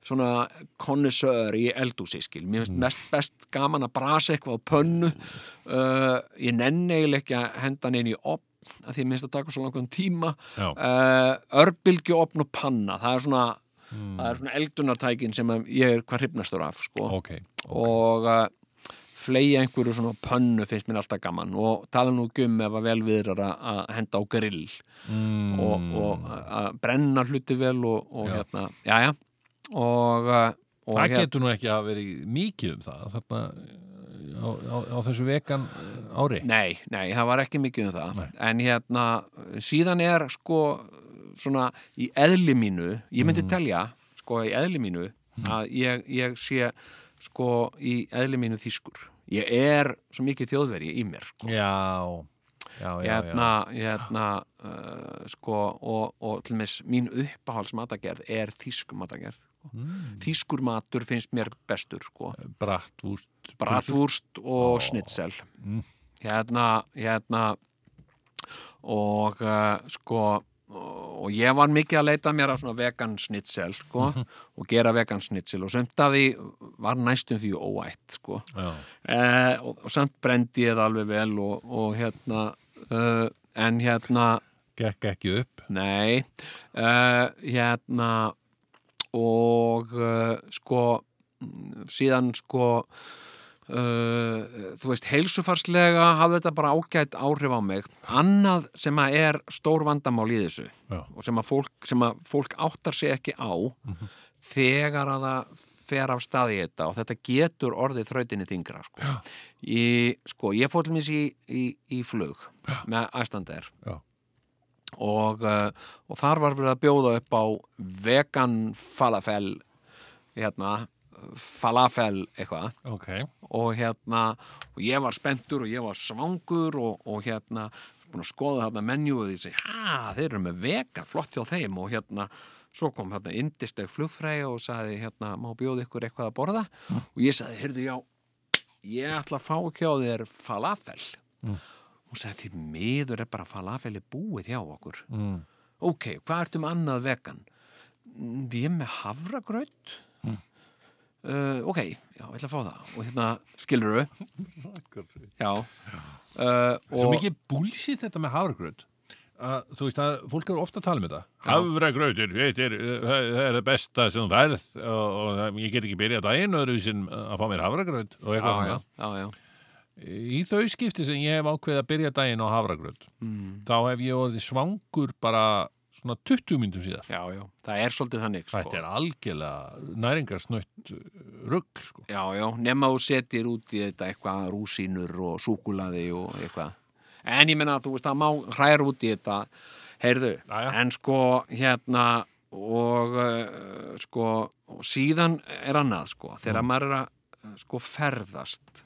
S2: svona konnesör í eldúsi skil, mér finnst mest best gaman að brasa eitthvað á pönnu uh, ég nenni eiginlega ekki að henda hann inn í opn að því að minnst að taka svo langan tíma
S1: Já.
S2: uh, örbylgju opn og panna það er svona, það er svona eldunartækin sem að ég er hvað hrifnastur af sko
S1: ok
S2: og uh, fleia einhverju svona pönnu finnst mér alltaf gaman og tala nú ekki um ef að vel viðrar að- að henda á grill
S1: mm,
S2: og, og að- að brenna hluti vel og, og hérna, jæja og, uh, og
S1: Það getur nú ekki að verið mikið um það þarna eh, á, á, á þessu vegan eh, ári
S2: Nei, nei, það var ekki mikið um það en hérna, síðan er sko, svona, í eðli mínu ég
S1: Mm.
S2: myndi telja, sko, í eðli mínu að ég, ég sé sko, í eðli mínu þýskur ég er svo mikið þjóðveri í mér sko.
S1: Já, já, já,
S2: hérna, hérna uh, sko, og, og til með mín uppáhalds matagerð er þýsk matagerð sko.
S1: Mm.
S2: þýskur matur finnst mér bestur sko.
S1: já. Brattvúst
S2: Bratwurst og snitsel
S1: Mm.
S2: hérna, hérna og uh, sko og ég var mikið að leita mér að svona vegan snitsel sko, og gera vegan snitsel og sumt að því var næstum því óætt sko.
S1: Já,
S2: eh, og, og samt brendi ég það alveg vel og, og hérna uh, eh, en hérna
S1: gekk ekki upp
S2: Nei, uh, hérna og uh, sko mm, síðan sko uh, þú veist, heilsufarslega hafði þetta bara ágætt áhrif á mig annað sem að er stór vandamál í þessu
S1: Já.
S2: og sem að fólk, sem að fólk áttar sig ekki á þegar að það fer af staði þetta og þetta getur orðið þrautinni þingra sko. Í, sko, ég fór til mér í, í, í flug Já. með æstandeir
S1: Já.
S2: og, eh, og þar var verið að bjóða upp á vegan falafel hérna falafel eitthvað
S1: Ok,
S2: og hérna og ég var spenntur og ég var svangur og, og hérna búin að skoða þarna menju og því segi, ha, þeir eru með vega, flott hjá þeim og hérna, svo kom hérna indisteg flugfræði og sagði, hérna, má bjóða ykkur eitthvað að borða og ég sagði, heyrðu, já ég ætla að fá ekki á þér falafel
S1: Mm.
S2: hún sagði, því miður er bara falafel er búið hjá okkur mm. ok, hvað ertu með annað vegan? "Mm, Við erum með havragraut
S1: Mm.
S2: uh, ok, já, ég ætla að fá það og hérna skilur þau já uh,
S1: svo
S2: og,
S1: mikið búlsitt þetta með hafragraut að, þú veist að fólk eru ofta að tala um þetta hafragrautur, þetta er, uh, það er það besta sem þú verð og, og það- ég get ekki byrjað daginn öðruvísin að fá mér hafragraut og eitthvað
S2: já,
S1: svona
S2: já, já, já.
S1: í þau skipti sem ég hef ákveðið að byrja daginn á hafragraut þá hef ég orðið svangur bara svona 20 myndum síðar
S2: já, já, það er svolítið þannig sko.
S1: Þetta er algjörlega næringarsnött rugg sko.
S2: já, já, nema þú setir út í þetta eitthvað rúsínur og súkulaði og eitthvað en ég menna, þú veist, það má hræra út í þetta heyrðu,
S1: Já, já.
S2: en sko hérna og uh, sko og síðan er annað sko þegar
S1: Mm.
S2: maður er að uh, sko ferðast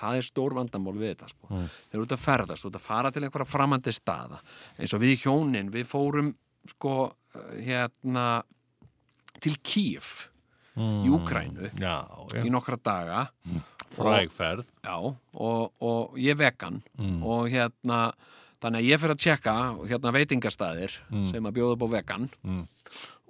S2: það er stór vandamál við þetta sko
S1: Mm.
S2: þegar þú ert að ferðast, þú ert að fara til einhverja framandi staða eins og við hjónin, við fórum sko uh, hérna til Kýf í
S1: Mm.
S2: Úkrænu
S1: Já, já. Mm.
S2: í nokkra daga
S1: frægferð
S2: Já, og, og ég er vegan
S1: Mm.
S2: og hérna, þannig að ég fyrir að tjekka hérna veitingastæðir
S1: Mm.
S2: sem að bjóða upp á vegan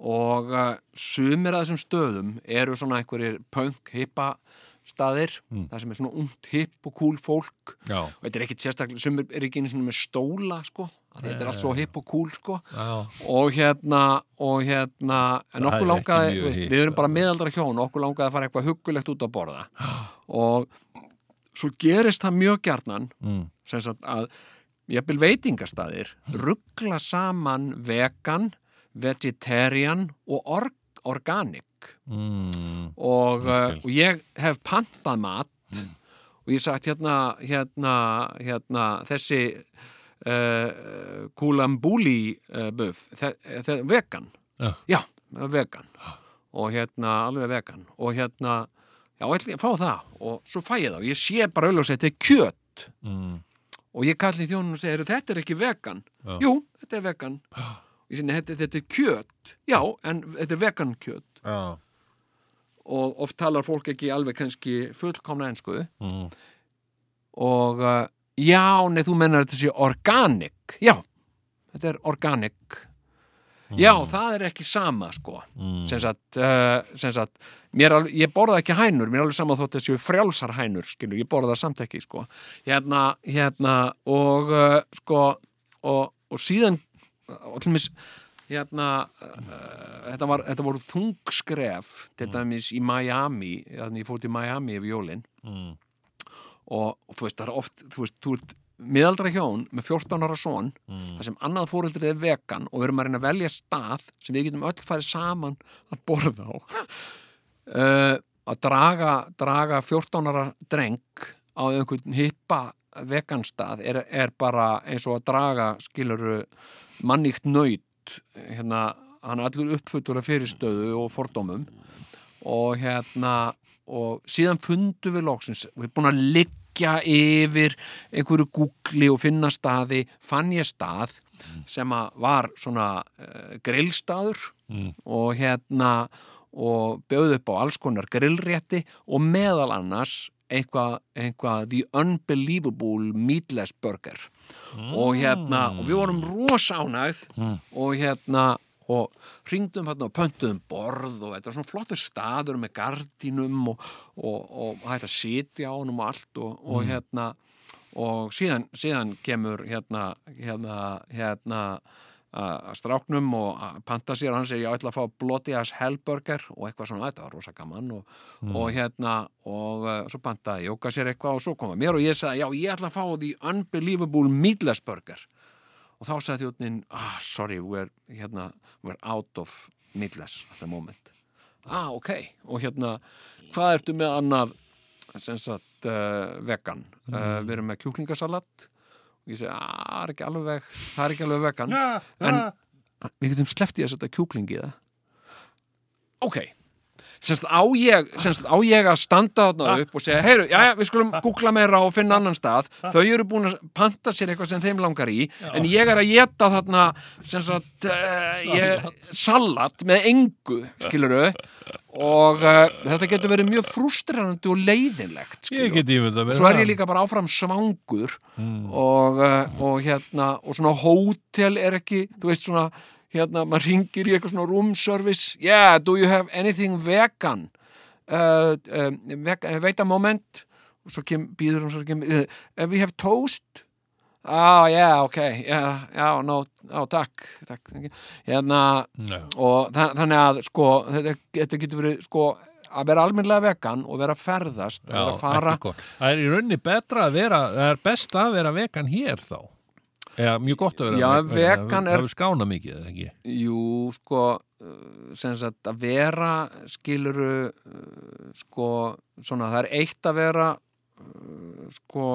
S2: og uh, sumir að þessum stöðum eru svona einhverjir punk hippa staðir, það sem er svona ungt hipp og cool fólk
S1: Mm. Já.
S2: og þetta er ekkit sérstaklega, sumir er ekki einu sinni með stóla sko, að þetta er allt svo hipp og cool sko
S1: Já,
S2: og hérna, og hérna
S1: Það
S2: en
S1: er
S2: okkur
S1: ekki
S2: langaði,
S1: mjög sko.
S2: veist,
S1: hitt,
S2: við erum bara miðaldra hjón og okkur langaði að fara eitthvað huggulegt út að borða og svo gerist það mjög gjarnan mm. sem sagt að jafnvel veitingastæðir ruggla saman vegan, vegetarian og org organic
S1: mm,
S2: og,
S1: Ég
S2: uh,
S1: skil.
S2: og ég hef pantað mat og ég sagt hérna, hérna, hérna þessi uh, kulambúli uh, buff, þe þe vegan
S1: Já.
S2: já, vegan og hérna, alveg vegan og hérna, já, ætli ég að fá það og svo fæ ég það og ég sé bara auðvitað þetta er kjöt
S1: mm,
S2: og ég kalli þjónun og segi, "Heyrðu, þetta er ekki vegan
S1: Já.
S2: jú, þetta er vegan ég sinni, þetta, þetta er kjöt já, en þetta er vegan kjöt
S1: já.
S2: og oft talar fólk ekki alveg kannski fullkomna ensku
S1: Mm.
S2: og uh, já, nei, þú mennar þetta sé organic já, þetta er organic já, það er ekki sama sko
S1: Mm.
S2: sem sagt, uh, sem sagt mér alveg, ég borða ekki hænur, mér er alveg sama þótt þessi frjálsar hænur, skilur, ég borða það samt ekki sko, hérna, hérna og uh, sko og, og síðan og til mis, hérna uh, þetta, var, þetta voru þungskref til dæmis í Miami þannig ég fór til Miami yfir jólin
S1: Mm.
S2: og, og þú veist, það er oft þú veist, þú ert miðaldra hjón með 14 ára son þar sem annað fóreldrið er vegan og við erum að reyna að velja stað sem við getum öll farið saman að borða á uh, að draga, draga 14 ára dreng á einhvern hippa veganstað er, er bara eins og að draga skiluru manníkt nöyt hérna, hann er allur uppfutur af fyrirstöðu og fordómum og hérna og síðan fundu við loksins við erum búin að liggja yfir einhverju googli og finna staði fann ég stað sem að var svona uh, grillstaður og hérna og bjóð upp á alls konar grillrétti og meðal annars eitthvað, eitthvað the unbelievable meatless burger og hérna og við vorum rosánægð og hérna og ringdum hérna og pöntuðum borð og þetta var svona flottur staður með gardínum og, og, og hægt að sitja á honum og allt og, og hérna og síðan, síðan kemur hérna, hérna, hérna að stráknum og að panta sér hann segir ég ætla að fá Bloody Ass Hellburger og eitthvað svona, þetta var rosa gaman og, og hérna, og uh, svo pantaði Jóka sér eitthvað og svo koma mér og ég sagði já, ég ætla að fá The Unbelievable Meatless Burger og þá sagði þjóttnin, ah, sorry, we're, hérna, we're out of midless at the moment. Ah, ok, og hérna, hvað ertu með annað, sem sagt, uh, vegan? Uh, við erum með kjúklingasalat og ég segi, ah, það er ekki alveg, það er ekki alveg vegan. En við getum sleftið að setja kjúkling í það. Ok, semst á ég, semst á ég að standa þarna upp og segja, heyru, já, já, við skulum googla meira og finna annan stað, þau eru búin að panta sér eitthvað sem þeim langar í, en ég er að geta þarna, sem sagt, uh, ég, salat með engu, skiluru, og uh, þetta getur verið mjög frústrarandi og leiðinlegt,
S1: Ég
S2: skiluru.
S1: get yfir þetta
S2: Svo er ég líka bara áfram svangur
S1: Mm.
S2: og, uh, og hérna, og svona hótel er ekki, þú veist svona, hérna, maður ringir í eitthvað svona room service, yeah, do you have anything vegan? Uh, um, veg, uh, wait a moment, og svo kem, býður hún svo kem, uh, we have toast? Ah, yeah, ok, yeah, já, no, á, takk, takk, hérna,
S1: líka
S2: og þa- þannig að sko, þetta, þetta getur verið sko, að vera almennlega vegan og vera að ferðast
S1: Já,
S2: og vera að fara
S1: ekki gott. Það er í rauninni betra að vera, það er best að vera vegan hér þá. Já, mjög gott að vera
S2: Já,
S1: veg-
S2: vegan
S1: vegna-
S2: er-
S1: Það er skána mikið, eða ekki?
S2: Jú, sko, uh, sem sagt að vera skiluru, uh, sko, svona það er eitt að vera, uh, sko,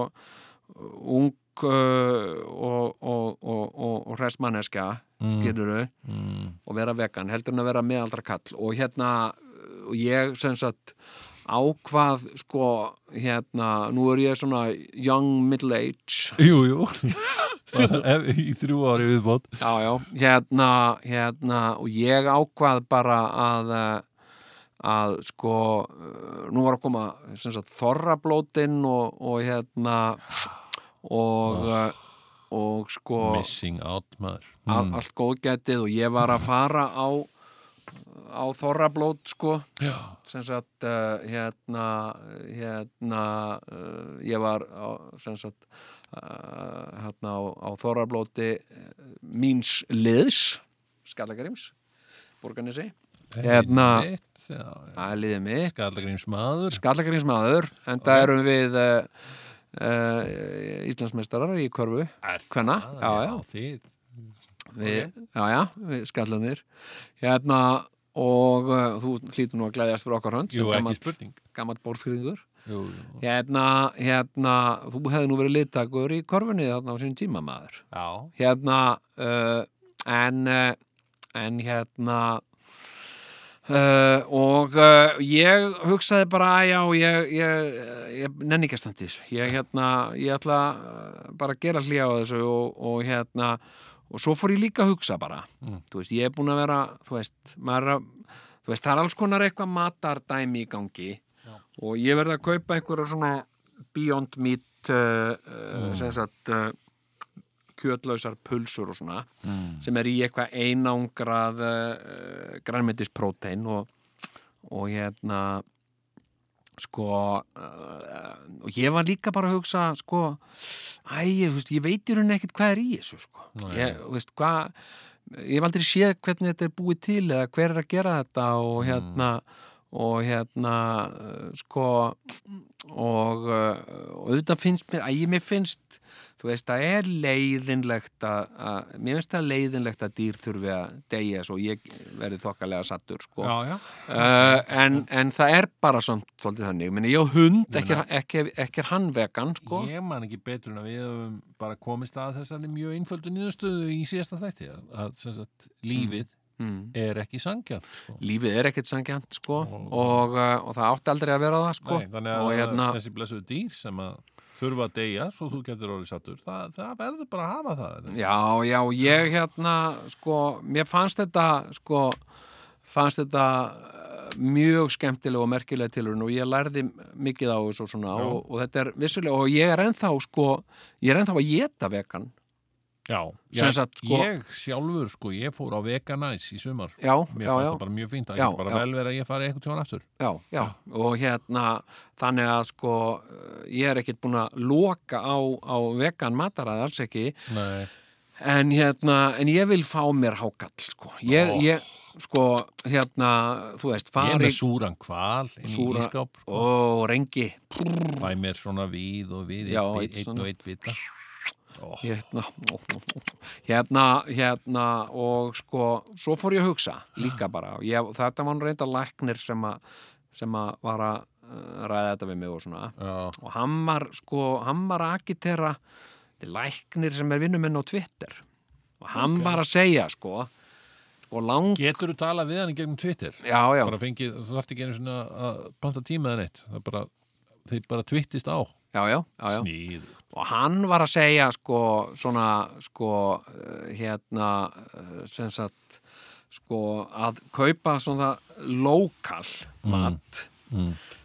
S2: ung uh, og, og, og, og, og hressmanneska, skiluru, og vera vegan, heldur en að vera meðaldra kall. Og hérna, uh, og ég sem sagt ákvað, sko, hérna, nú er ég svona young middle age,
S1: Jú, jú. Bara ef- í þrjú ári viðbót.
S2: Já, já, hérna, hérna og ég ákvað bara að eh, að sko eh, nú var að koma sem sagt þorrablótin og, og hérna og oh. og sko
S1: Missing out, maður.
S2: all, allt góðgætið og ég var að fara á á þorrablót sko
S1: Já.
S2: sem sagt uh, hérna hérna uh, ég var á, sem sagt uh, hérna á, á Þorrablóti uh, míns liðs Skallagrims, Borganesi Hérna- það er liðið mitt
S1: Skallagrims maður.
S2: Skallagrims maður en það erum við uh, uh, Íslandsmeistarar í körfu hvenna,
S1: Ah,
S2: já, já,
S1: Þið.
S2: við, já, já, við skallanir hérna og uh, þú hlýtur nú að glæðjast fyrir okkar hönd sem
S1: Jú, ekki
S2: gamall-
S1: spurning.
S2: gamall borfyrðingur
S1: Jú, jú.
S2: hérna, hérna, þú hefði nú verið litakur í korfunni þarna á sínum tíma maður
S1: Já.
S2: hérna uh, en uh, en hérna uh, og uh, ég hugsaði bara "Æ, já, ég, ég, ég nenni ekki að standa í þessu ég, hérna, ég ætla uh, bara að gera hlýja á þessu og, og hérna og svo fór ég líka að hugsa bara þú veist, ég er búin að vera þú veist, maður er að þú veist, það er alls konar eitthvað matardæmi í gangi og ég verði að kaupa einhverja svona Beyond Meat uh, uh, sem sagt uh, kjötlausar pulsur og svona sem er í eitthvað einangrað uh, grænmetisprotein og, og hérna sko uh, og ég var líka bara að hugsa sko, æ, ég, þú veist, ég veit í rauninni ekkert hvað er í þessu sko.
S1: Nei.
S2: ég, þú veist, hvað ég hef aldrei séð hvernig þetta er búið til eða hver er að gera þetta og
S1: Mm.
S2: hérna og hérna uh, sko og, uh, og auðvitað finnst mér að ég mér finnst þú veist það er leiðinlegt að, að mér finnst það leiðinlegt að dýr þurfi að deyja svo ég verði þokkalega sattur sko
S1: Já, já.
S2: Uh, en, en það er bara samt svolítið þannig, Meni, ég á hund, ekki, er- ekki, ekki er hann vegan sko.
S1: Ég man ekki betur en að við höfum bara komist að þessari mjög einföldu nýðustöðu í síðasta þætti að, að sem sagt, lífið
S2: mm.
S1: er ekki sangjant sko.
S2: lífið er ekkert sangjant sko. og, uh, og það átti aldrei að vera það sko.
S1: Nei, þannig að
S2: og hérna
S1: þessi blessuðu dýr sem að þurfa að deyja svo þú getur orðið sattur það, það verður bara að hafa það eða?
S2: Já, já, ég hérna, sko, mér fannst þetta, sko, fannst þetta eh, mjög skemmtileg og merkileg tilurinn og ég lærði mikið á þessu og svona og, og þetta er vissulega, og ég er ennþá, sko, ég er ennþá að geta vegan
S1: Já,
S2: Sem
S1: ég,
S2: sagt, sko-
S1: ég sjálfur, sko, ég fór á Veganæs í sumar.
S2: já,
S1: Mér
S2: já,
S1: fannst
S2: já,
S1: það bara mjög fínt. Það
S2: Já,
S1: er bara
S2: já.
S1: vel verið að ég fari eitthvað tjóðan aftur.
S2: já, já og hérna þannig að sko eh, ég er ekkert búin að loka á, á vegan mataræði alls ekki
S1: Nei.
S2: En hérna, en ég vil fá mér hákall, sko. Ég,
S1: Ó.
S2: ég, sko, hérna, þú veist,
S1: Ég er
S2: fari
S1: með súran kval inn í
S2: Súra-
S1: ískáp, sko.
S2: og rengi.
S1: Fæ mér svona við og við,
S2: Já,
S1: einn,
S2: einn
S1: einn
S2: svona.
S1: og einn vita.
S2: Hérna, hérna, hérna, og sko, svo fór ég að hugsa líka bara. Ég, þetta var nú reynda læknir sem að, sem að var að eh, ræða þetta við mig og svona.
S1: Já,
S2: Og hann var, sko, hann var að agitera þetta er læknir sem er vinnuminn á Twitter. Og hann var að segja, sko, sko, lang...
S1: Getur þú talað við hann í gegnum Twitter?
S2: Já, já.
S1: Bara fengið, þú þarft ekki einu svona að planta tíma eða neitt. Það er bara, þeir bara twittist á.
S2: Já, já, já, já.
S1: Sníð.
S2: og hann var að segja sko svona sko eh, hérna eh, sem sagt sko að kaupa svona lokal
S1: Mm.
S2: mat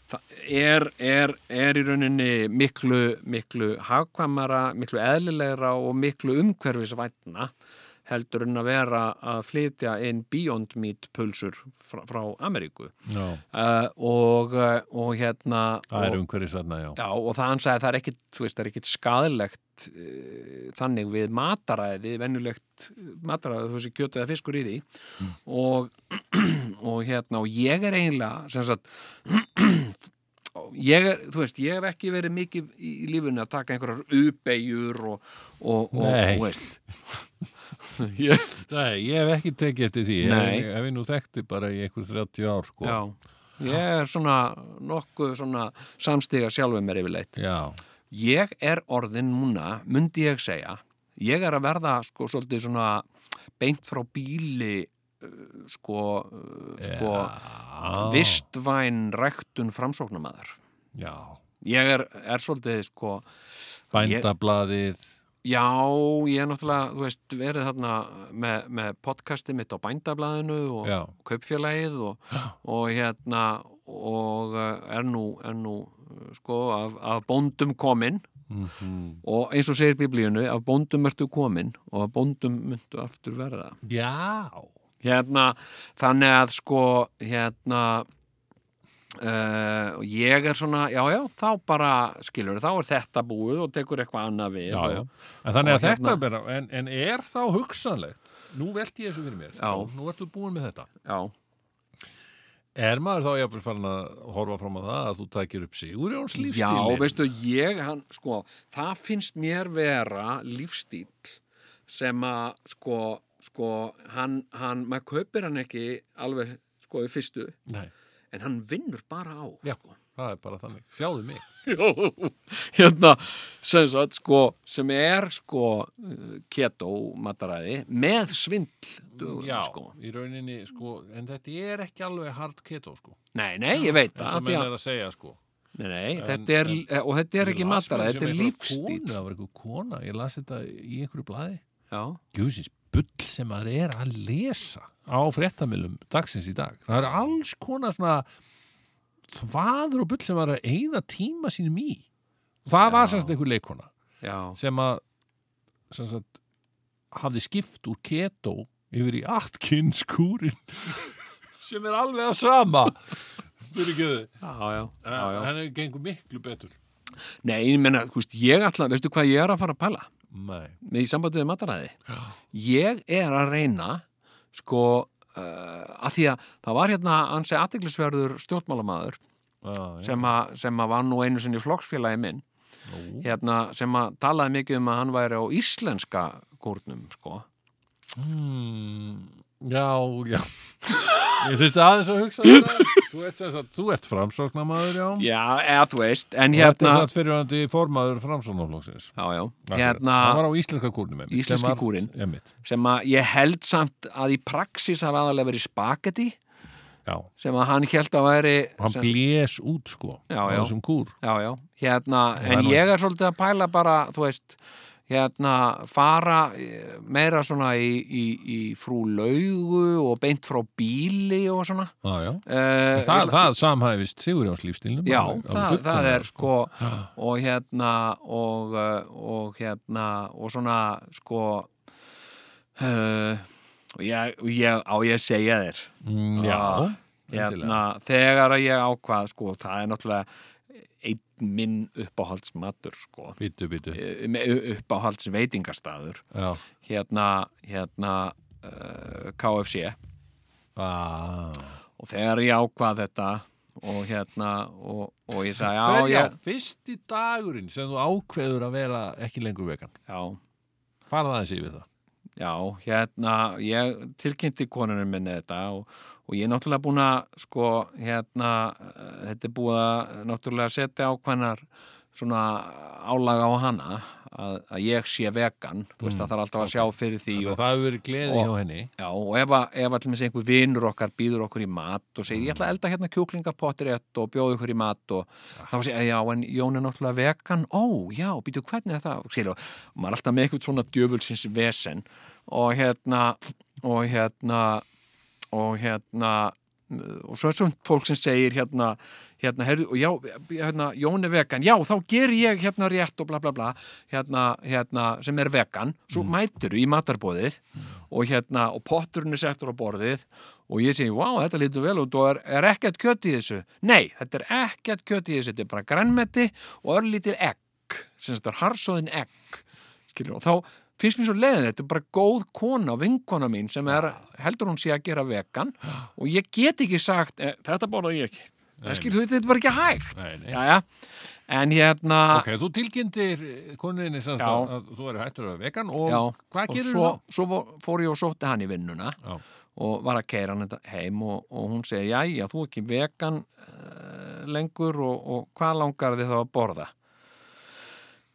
S2: það er, er, er í rauninni miklu, miklu hagkvæmara, miklu eðlilegra og miklu umhverfisvætna heldur en að vera að flytja inn Beyond Meat pulsur frá, frá Ameríku
S1: Já.
S2: uh, og, eh, og hérna
S1: Það
S2: og-
S1: er umhverfisverna, já.
S2: Já, og það hann sagði að það er ekkit, þú veist, það er ekkit skadilegt uh, þannig við mataræði, venjulegt eh, mataræði, þú veist, kjötu eða fiskur í því og, og hérna, og ég er eiginlega, sem sagt, ég er, þú veist, ég hef ekki verið mikið í, í lífunni að taka einhverjar ubegjur og, og, og,
S1: Nei.
S2: og veist, ég,
S1: Nei, ég hef ekki tekið eftir því.
S2: Nei.
S1: Ég hef ég nú þekkti bara í einhver 30 ár, sko.
S2: já, ég er svona nokkuð svona samstiga sjálfum mér yfirleitt.
S1: Já.
S2: ég er orðin núna, myndi ég segja ég er að verða sko svolítið svona beint frá bíli uh, sko, uh, sko
S1: Já.
S2: vistvæn ræktun framsóknamaður
S1: Já.
S2: ég er, er svolítið sko
S1: Bændablaðið.
S2: já, ég er náttúrulega, þú veist, verið þarna með, með podcastið mitt á bændablaðinu og
S1: Já.
S2: kaupfélagið og, og hérna og uh, er nú, er nú uh, sko af, af bóndum kominn
S1: Mhm.
S2: og eins og segir biblíunu af bóndum ertu komin og af bóndum myndu aftur verða
S1: Já.
S2: hérna, þannig að sko hérna uh, ég er svona já já, þá bara skilur þá er þetta búið og tekur eitthvað annað við
S1: Já,
S2: og,
S1: já. En þannig
S2: Og
S1: að þetta
S2: hérna-
S1: er bara, en, en er þá hugsanlegt, nú velti ég þessu fyrir mér,
S2: Já.
S1: nú ertu búin með þetta.
S2: já,
S1: Er maður þá jafnvel farin að horfa fram á það að þú takir upp Sigurjóns lífstíli?
S2: Já, veistu, ég, hann, sko, það finnst mér vera lífstíl sem að, sko, sko, hann, hann, maður kaupir hann ekki alveg, sko, í fyrstu,
S1: Nei,
S2: en hann vinnur bara á. sko.
S1: já, það er bara þannig. Sjáðu mig.
S2: Jó, hérna, sem sagt, sko, sem er, sko, eh, keto mataræði með svindl,
S1: Já,
S2: sko.
S1: í rauninni, sko, en þetta er ekki alveg hard keto, sko.
S2: Nei, nei, ég veit
S1: En
S2: það,
S1: sem
S2: því
S1: menn
S2: að,
S1: er að segja, sko.
S2: nei, nei,
S1: En-
S2: þetta er,
S1: en-
S2: og þetta er
S1: Ég
S2: ekki
S1: las meira sem
S2: mataræði, þetta er
S1: einhverja
S2: lífstíl.
S1: Konu, það var eitthvað kona, ég las þetta í einhverju blaði.
S2: Já,
S1: Júsins bull sem maður er að lesa á fréttamilum dagsins í dag. Það eru alls konar svona þvaður og bull sem maður er að eigða tíma sínum í. Það
S2: Já.
S1: var semst einhver leikona
S2: já,
S1: sem að sem sagt, hafði skipt úr keto yfir í Atkins kúrin sem er alveg að sama. Fyrir ekki þau.
S2: já, já, já, já.
S1: Hann er gengur miklu betur.
S2: Nei, ég menna, þú veist, ég ætla, veistu hvað ég er að fara að pæla
S1: Nei.
S2: með í sambandi við mataræði?
S1: Já.
S2: Ég er að reyna, sko, uh, að því að það var hérna ansi aðteglisverður stjórnmálamaður
S1: Já,
S2: sem, að, sem að var nú einu sinni flokksfélagi minn,
S1: já.
S2: hérna, sem að talaði mikið um að hann væri á íslenska kórnum, sko.
S1: Mm, já, já Ég þurfti aðeins að hugsa um þetta Þú ert, sem sagt, þú ert framsóknamaður, já
S2: Já, eða þú veist, en
S1: Þetta
S2: hérna...
S1: er satt fyrirhandi formaður framsóknarflóksins
S2: Já, já,
S1: Hann
S2: hérna,
S1: var á íslenska kúrnum einmitt,
S2: Íslenski
S1: sem var-
S2: kúrinn.
S1: einmitt.
S2: sem að ég held samt að í praxis hafa aðalega verið spagetti,
S1: Já,
S2: sem að hann held að væri...
S1: hann
S2: sem-
S1: blés út sko
S2: Já,
S1: á
S2: já.
S1: þessum kúr
S2: Já, já, hérna,
S1: það er
S2: en
S1: nú-
S2: ég er svolítið að pæla bara, þú veist, hérna fara eh, meira svona í, í, í frú laugu og beint frá bíli og svona
S1: Já, já.
S2: uh,
S1: Það, það samhæfist Sigurjóns lífstílnum.
S2: Já,
S1: alveg- alveg
S2: það, það
S1: fullkomlega,
S2: er sko og hérna og, uh, og hérna og svona sko uh, ég, ég, á ég að segja þér
S1: Mm, Já,
S2: Ah,
S1: endilega.
S2: hérna, þegar að ég ákvað sko, það er náttúrulega einn minn uppáhaldsmatur sko.
S1: Bítu, bítu.
S2: Eh, með uppáhaldsveitingastaður
S1: Já.
S2: hérna, hérna uh, KFC
S1: Ah.
S2: og þegar ég ákvað þetta og hérna og, og ég sagði já,
S1: Ah. Hver, já,
S2: ég,
S1: fyrsti dagurinn sem þú ákveður að vera ekki lengur vegan.
S2: já,
S1: Farða aðeins yfir það.
S2: já hérna, ég tilkynnti konunum minni þetta og, og ég er náttúrulega búin að sko, hérna eh, þetta er búið að náttúrulega setja ákveðnar svona álaga á hana að, að ég sé vegan, þú veist að það er alltaf að sjá fyrir því og,
S1: það hefur verið gleði
S2: og-
S1: hjá henni.
S2: Já, og ef, að- ef allir með segja einhver vinur okkar býður okkur í mat og segir ég ætla að elda hérna kjúklingapotrétt og bjóða ykkur í mat og þá segja já, en Jón er náttúrulega vegan ó, já, býtu hvernig er það Sér, og maður er alltaf með eitthvað svona djöfulsins vesen og hérna og hérna og hérna og svo er svona fólk sem segir hérna, hérna, herðu, og já, hérna, Jón er vegan, já, þá ger ég hérna rétt og bla bla bla, hérna, hérna sem er vegan, svo mm. mætur í matarbóðið og hérna og potturinn er settur á borðið og ég segi, wow, þetta lítur vel út og er, er ekkert kjöt í þessu, nei, þetta er ekkert kjöt í þessu, þetta er bara grænmeti og örlítil egg, sem þetta er harsóðin egg, skilur, og þá finnst mér svo leiðin, þetta er bara góð kona vinkona mín sem er, heldur hún sé að gera vegan og ég get ekki sagt e, þetta borða ég ekki það skilur þú, þetta er bara ekki hægt
S1: Nei, nei.
S2: Jæja. en hérna
S1: Ok, þú tilkynntir koninni sem
S2: Já.
S1: það að þú er hættur að vera vegan og
S2: já,
S1: hvað gerir
S2: svo,
S1: þú?
S2: svo fó- fór ég og sótti hann í vinnuna
S1: Já.
S2: og var að keira hann þetta heim og, og hún segir, jæja, þú er ekki vegan uh, lengur og, og hvað langar þið þá að borða?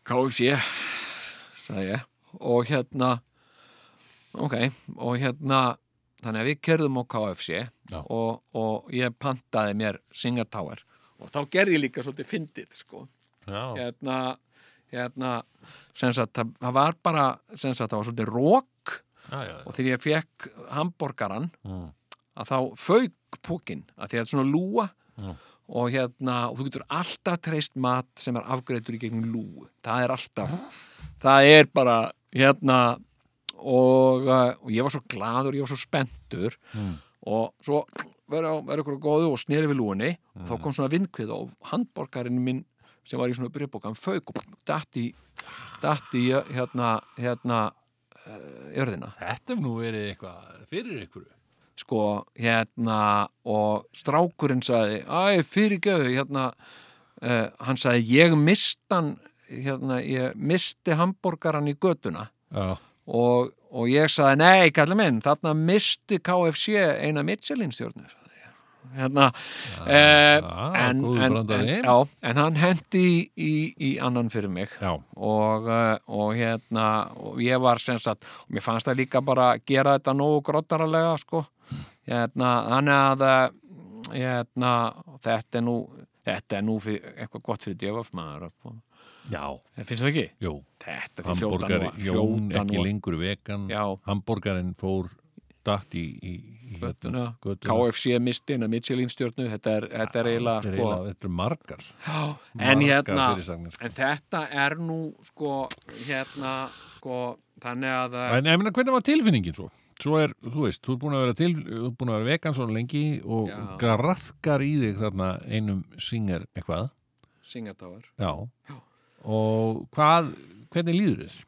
S2: KFC sagði ég og hérna ok, og hérna þannig að við kerðum á KFC
S1: Já.
S2: og, og ég pantaði mér Singer Tower og þá gerði ég líka svolítið fyndið sko
S1: Já.
S2: hérna, hérna sem sagt, það það var bara sem sagt, það var svolítið rók
S1: Já, já, já.
S2: og þegar ég fekk hambúrgaran
S1: Mm.
S2: að þá fauk púkin að því að þetta er svona lúa
S1: Já.
S2: og hérna, og þú getur alltaf treyst mat sem er afgreitur í gegnum lúu það er alltaf, það er bara hérna og, uh, og ég var svo gladur, ég var svo spenntur og svo verður verður ykkur góðu og sneri við lúinni og þá kom svona vindkvið og handborgarinn minn sem var í svona byrjubókan fauk og datt í, datt í hérna, hérna uh, jörðina
S1: Þetta hef nú verið eitthvað fyrir ykkur.
S2: sko, hérna og strákurinn sagði æ, fyrirgjöðu, hérna uh, hann sagði, ég mistan hérna, ég misti hambúrgaran í götuna
S1: Já.
S2: og, og ég sagði, nei, kallar minn þarna misti KFC eina Michelin-stjórnu hérna eh,
S1: já,
S2: en,
S1: góður
S2: en, en,
S1: brandari.
S2: já, en hann hendi í, í, í annan fyrir mig
S1: Já.
S2: og, eh, og hérna og ég var sem sagt, og mér fannst það líka bara að gera þetta nógu grottaralega sko, hérna, þannig að eh, hérna, þetta er nú þetta er nú fyrir, eitthvað gott fyrir djöfaf maður finnst
S1: Já.
S2: það ekki?
S1: Jú.
S2: Þetta er
S1: Hamborgari, Jón ekki lengur vegan.
S2: Já.
S1: Hamborgarin fór datt í, í, í hérna,
S2: göttuna,
S1: göttuna.
S2: KFC misti en að Michelin stjórnu þetta er, þetta er
S1: Þetta
S2: eiginlega
S1: er
S2: sko,
S1: eiginlega- Þetta er margar.
S2: en
S1: margar
S2: hérna
S1: fyrirsagnir, sko.
S2: en þetta er nú sko hérna sko þannig að eh, það-
S1: En ég meina, hvernig var tilfinningin svo? Svo er, þú veist, þú er búin að vera, til, þú er búin að vera vegan svo lengi og
S2: Já.
S1: graðkar í þig þarna einum singer eitthvað.
S2: Singatáar,
S1: Já. Og hvað, hvernig líður þér?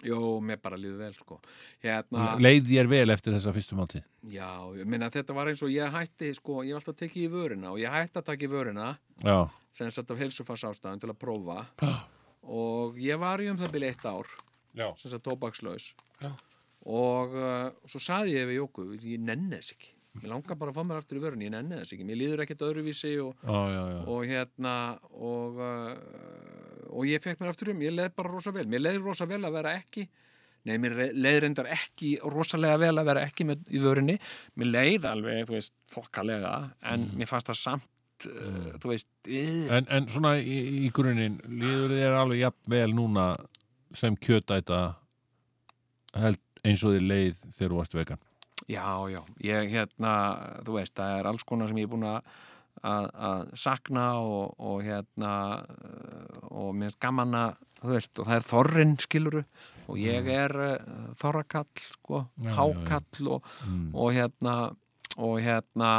S2: jú, mér bara líður vel sko hérna,
S1: Leið þér vel eftir þessa fyrstu máltíð?
S2: já, ég minna þetta var eins og ég hætti sko, ég var alltaf að tekið í vörina og ég hætti að taka í vörina
S1: Já.
S2: sem sett af heilsufars ástæðan til að prófa og ég var í um það byrja eitt ár
S1: Já.
S2: sem sagt tóbakslaus
S1: Já.
S2: og uh, svo saði ég við Jóku ég nenni þess ekki, ég langar bara að fá mér aftur í vörun, ég nenni þess ekki, mér líður ekkert öðruvísi og,
S1: Já, já, já.
S2: og hérna og, uh, og ég fekk mér aftur um, ég leið bara rosa vel mér leið rosa vel að vera ekki nei, mér re- leið reyndar ekki rosalega vel að vera ekki með, í vörunni mér leið alveg, þú veist, þokkalega en
S1: Mm.
S2: mér fannst það samt uh, þú veist, uh,
S1: En, en svona í, í grunninn, líður þér alveg jafn vel núna sem kjötæta held eins og því leið þegar þú varst vegan
S2: Já, já, ég hérna, þú veist, það er alls konar sem ég er búin að að- að sakna og, og hérna eh, og mér finnst gaman að, þú veist, og það er þorrin skiluru og ég er uh, þorrakall, sko,
S1: Mm. Já, já, já.
S2: hákall Og, og hérna og hérna,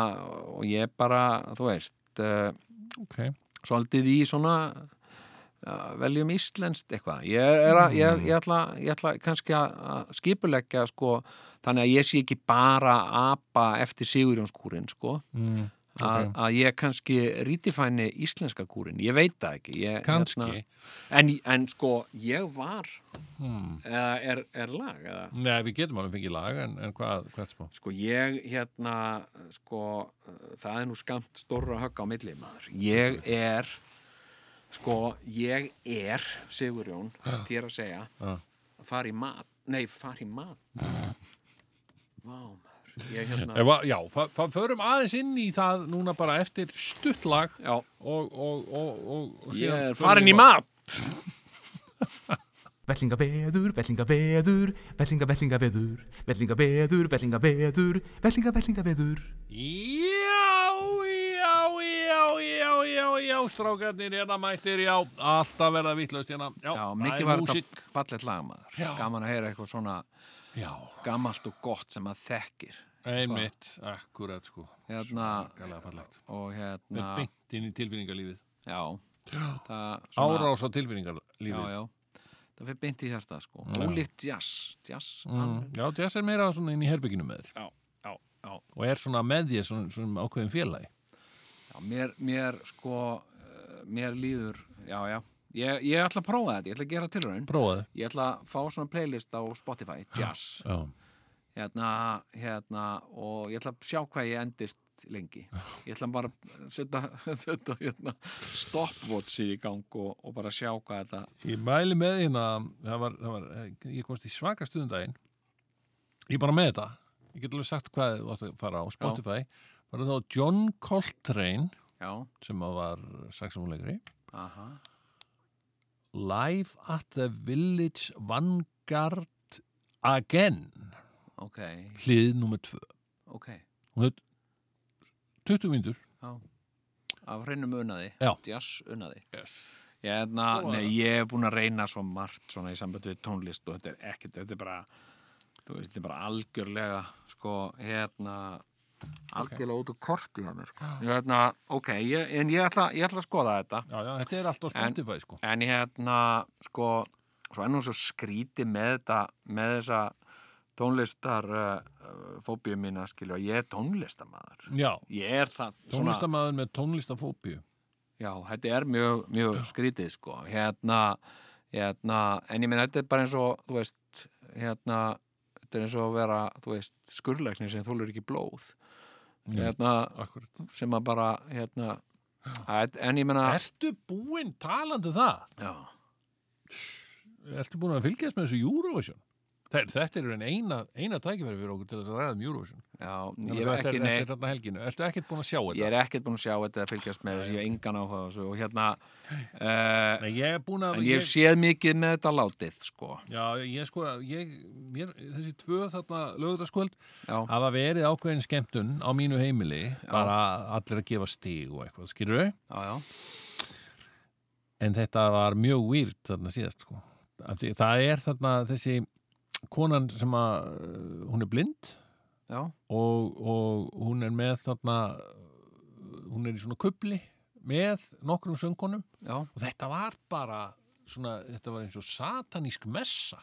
S2: og ég bara þú veist, uh,
S1: okay.
S2: svolítið í svona uh, veljum íslenskt eitthvað ég, er að, ég, ég, ætla, ég ætla kannski að að skipuleggja sko, þannig að ég sé ekki bara apa eftir Sigurjónskúrin sko,
S1: mm.
S2: að, að ég kannski rítifæni íslenska kúrin ég veit það ekki ég, hérna,
S1: Kannski.
S2: en, en sko, ég var
S1: Hmm.
S2: eða er, er lag eða
S1: Nei, við getum alveg fengið lag en, en hvað, hvað spá?
S2: Sko ég hérna, sko, uh, það er nú skamt stórra högg á milli maður. Ég er, sko, ég er, Sigurjón, þér að segja,
S1: Já.
S2: fara í mat, nei, fara í mat. Vá maður, ég hérna,
S1: Efa, já, fa- fa- förum aðeins inn í það núna bara eftir stutt lag
S2: já,
S1: og, og, og, og, og
S2: ég er
S1: förum
S2: farin í
S1: við-
S2: mat.
S4: Vellingaveður, vellingaveður, vellingavellingaveður, vellingaveður, vellingaveður, vellingavellingaveður.
S1: Já, já, já, já, já, já, strákarnir hérna mættir, já, alltaf verða vitlaust hérna. Já,
S2: Já,
S1: það er
S2: mikið var
S1: músík.
S2: þetta fallet lag maður.
S1: Já.
S2: Gaman að heyra eitthvað svona
S1: Já,
S2: gamalt og gott sem maður þekkir.
S1: einmitt, akkurat sko.
S2: Hérna-
S1: Svakalega fallegt.
S2: Og
S1: Með
S2: hérna,
S1: beint inn í tilfinningarlífið.
S2: já,
S1: Já.
S2: það
S1: Árás á tilfinningarlífið.
S2: já, já. það fyrir beint í hjarta sko.
S1: Já.
S2: ólíkt jazz, jazz
S1: Mm. Já, þess er meira svona inn í herbygginu með þér
S2: já, já, já.
S1: og er svona með þér svona, svona ákveðin félagi.
S2: já mér, mér sko eh, mér líður já, já. Ég, ég ætla að prófa þetta, ég ætla að gera tilraun
S1: Prófaðu.
S2: ég ætla að fá svona playlist á Spotify jazz,
S1: Já.
S2: hérna, hérna og ég ætla að sjá hvað ég endist lengi ég ætla bara að setja, setja hérna, stopwatchi í gang og, og bara sjá hvað þetta
S1: Ég mæli með því hérna, það var, það var, ég komst í svaka stundaginn, ég er bara með þetta, ég get alveg sagt hvað þú átt að fara á Spotify, var það þá John Coltrane
S2: já,
S1: sem að var saxofónleikari,
S2: aha,
S1: Live at the Village Vanguard Again,
S2: ok
S1: hlið nummer tvö.
S2: ok,
S1: Hún er 20 mínútur.
S2: já af hreinum unaði,
S1: Já.
S2: jazz unaði
S1: Yes.
S2: Hérna,
S1: Prófaðu
S2: nei,
S1: það.
S2: ég hef búin að reyna svo margt svona í samband við tónlist og þetta er ekkert, þetta er bara þú veist, þetta er bara algjörlega sko, hérna algjörlega út úr korti hjá mér sko. hérna, ok, ég, en ég ætla, ég ætla að skoða þetta
S1: Já, já, þetta er allt á
S2: En-
S1: Spotify, sko.
S2: en hérna, sko svo ennum svo skríti með þetta með þessa tónlistar uh, fóbíu mína, skilja ég er tónlistamaður
S1: Já,
S2: ég er það svona-
S1: tónlistamæður með tónlistafóbíu.
S2: Já, þetta er mjög, mjög skrítið sko hérna, hérna en ég meina þetta er bara eins og þú veist, hérna þetta er eins og að vera, þú veist, skurleiknir sem þólur ekki blóð hérna,
S1: Akkurat.
S2: sem að bara hérna, að, en ég meina
S1: Ertu búinn talandi um það?
S2: já,
S1: Ertu búin að fylgjast með þessu Eurovision? Þetta, þetta er einn eina, eina tækifæri fyrir okkur til þess að ræða um Eurovision.
S2: já,
S1: Þannig
S2: ég
S1: að
S2: er
S1: þetta
S2: ekki
S1: er- þetta er
S2: neitt
S1: þarna helginu. Ertu ekkert búin að sjá þetta?
S2: ég er ekkert búin að sjá þetta að fylgjast með þessu, ég er engan áhuga á þessu og hérna uh,
S1: Nei, ég er búin að...
S2: en ég hef séð mikið með þetta látið sko,
S1: Já, ég sko, ég, mér, þessi tvö þarna lögutaskvöld
S2: já,
S1: hafa verið ákveðin skemmtun á mínu heimili, bara allir að gefa stig og eitthvað, skilur þau?
S2: já, já
S1: En þetta var mjög weird þarna síðast, sko. Af því- Það er þarna þessi konan sem að, uh, hún er blind
S2: já,
S1: og, og hún er með þarna hún er í svona kubli með nokkrum söngunum
S2: já,
S1: og þetta var bara svona, þetta var eins og satanísk messa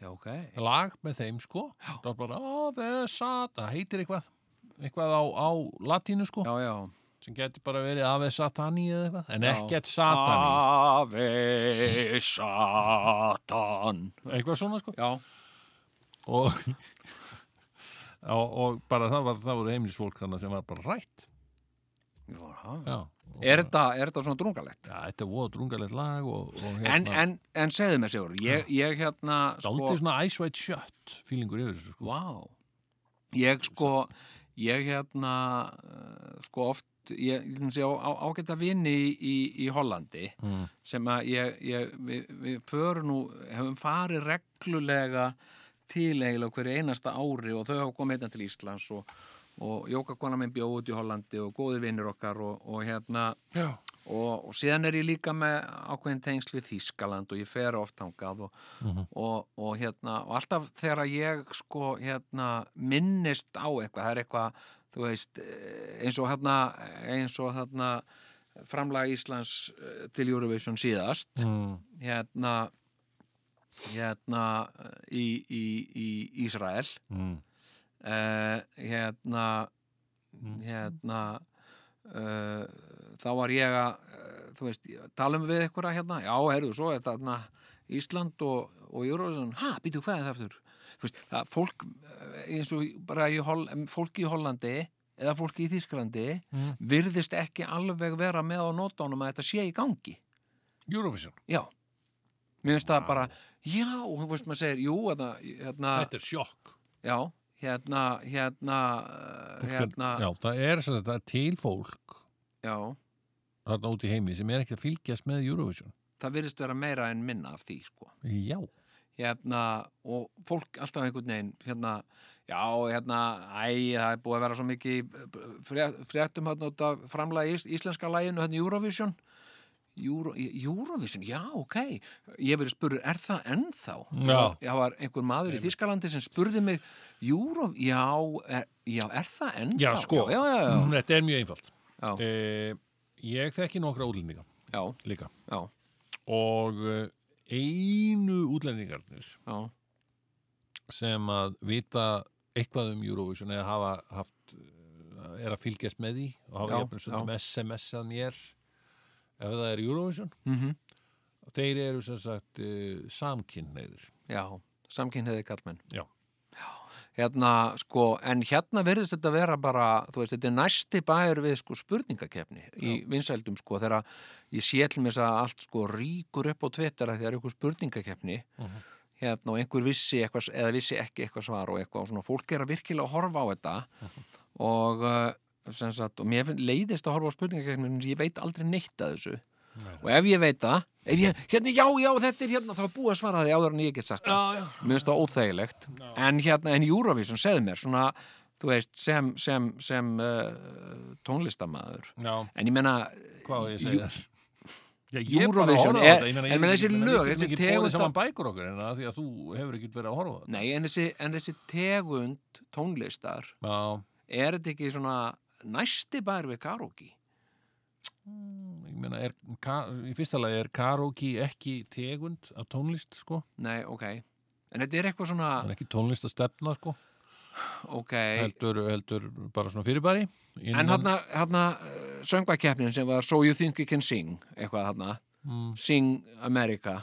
S2: já, ok
S1: lag með þeim sko það var bara, ó, veð, sat það heitir eitthvað, eitthvað á, á latínu sko,
S2: já, já
S1: sem geti bara verið ave satani eða eitthvað, en
S2: Já. Ah.
S1: ekkert satanísk
S2: Ave Satan
S1: eitthvað svona sko
S2: Já,
S1: og, og, og bara það var, það voru heimilisfólk þannig sem var bara rætt já, og,
S2: er þetta, er þetta svona drungalegt?
S1: já þetta voru drungalegt lag og, og hérna
S2: En, en, en segðu mér Sigur, ég, ég hérna
S1: Daldið
S2: sko,
S1: svona Ice White Shut fílingur yfir þessu sko.
S2: Vá Ég sko, ég hérna eh, sko oft átt ég, ég sé, á, á, ágæta vini í, í, í Hollandi sem að ég, ég við, við förum nú, hefum farið reglulega til eiginlega á hverju einasta ári og þau hafa komið hérna til Íslands og, og jókakona minn bjóð út í Hollandi og góðir vinnir okkar og, og hérna
S1: Já.
S2: og, og síðan er ég líka með ákveðin tengsl við Þýskaland og ég fer oft hangað og, og, og hérna og alltaf þegar ég sko hérna minnist á eitthvað, það er eitthvað þú veist, eh, eins og hérna eins og hérna framlag Íslands eh, til Eurovision síðast
S1: Mm.
S2: hérna hérna eh, í, í, í Ísrael
S1: Mm.
S2: uh, hérna hérna uh, þá var ég að uh, þú veist, talum við ykkur að hérna já, heyrðu, svo þetta hérna, Ísland og, og Eurovision, ha, býtu hvað er það aftur þú veist, það fólk eh, eins og bara í Hol fólk í Hollandi eða fólki í Þýskalandi virðist ekki alveg vera með á nótunum að þetta sé í gangi
S1: Eurovision,
S2: já, mér finnst það bara já, þú veist, maður segir, jú hérna, hérna,
S1: þetta er sjokk
S2: já, hérna hérna, eh, hérna
S1: Já, það er sem þetta til fólk
S2: Já,
S1: þarna út í heimi sem er ekkert að fylgjast með Eurovision
S2: það virðist vera meira en minna af því, sko.
S1: Já,
S2: Hérna, og fólk alltaf einhvern veginn, hérna, já, hérna, æ, það er búið að vera svo mikið í fré- fréttum hérna út af framlega ís, íslenska læginu, hérna Eurovision. Euro, Eurovision, já, ok. Ég hef verið spurður, er það ennþá?
S1: Já.
S2: Það var einhver maður í Þískalandi sem spurði mig, Euro, já, er, já, er það ennþá?
S1: já sko,
S2: Já, já, já,
S1: þetta er mjög einfalt
S2: Já.
S1: Eh, Ég þekki nokkra útlendinga
S2: já,
S1: líka
S2: já,
S1: og eh, einu útlendingarnir
S2: já,
S1: sem að vita eitthvað um Eurovision eða hafa haft eh, er að fylgjast með því og hafa
S2: Já,
S1: jafnir stundum
S2: já.
S1: SMS-að mér ef það er Eurovision -hmm. þeir eru sem sagt uh, samkynneigður
S2: já, samkynniði kallmenn.
S1: Já,
S2: hérna sko, en hérna verðist þetta vera bara, þú veist, þetta er næsti bæður við sko spurningakefni í vinsældum sko, þegar ég sé til mér að allt sko ríkur upp á tvittara þegar ykkur spurningakefni hérna og einhver vissi eitthvað, eða vissi ekki eitthvað svar og eitthvað og svona, fólk er að virkilega horfa á þetta og uh, sem sagt, og mér finn- leiðist að horfa á spurningakefni en ég veit aldrei neitt að þessu og ef ég veit það, ef ég, hérna, já, já, þetta er hérna, þá er búið að svara því áður en ég get sagt það
S1: já
S2: mér finnst það óþægilegt en hérna, en Eurovision segði mér svona, þú veist, sem, sem, sem uh, tónlistamæður
S1: Já,
S2: en ég menna
S1: hvað á ég að segja þér? Já, ég bara
S2: Eurovision
S1: horfa á
S2: er-
S1: þetta, ég meina,
S2: en
S1: ég-
S2: meina, þessi
S1: ég meina, við
S2: lög,
S1: getum
S2: þessi
S1: ekki
S2: tegund
S1: borið
S2: af-
S1: saman bækur okkur en að því að þú hefur ekkert verið að horfa á þetta.
S2: nei, en þessi, en þessi tegund tónlistar,
S1: Já,
S2: er þetta ekki svona næsti bær við karaoke
S1: ég meina, er, ka- í fyrsta lagi er karaoke ekki tegund af tónlist, sko
S2: nei, ok, en þetta er eitthvað svona
S1: það er ekki tónlist að stefna, sko
S2: ok,
S1: heldur, heldur bara svona fyrirbæri innan,
S2: en hérna, hérna söngvakeppnin sem var So You Think You Can Sing eitthvað hérna,
S1: Mm.
S2: Sing America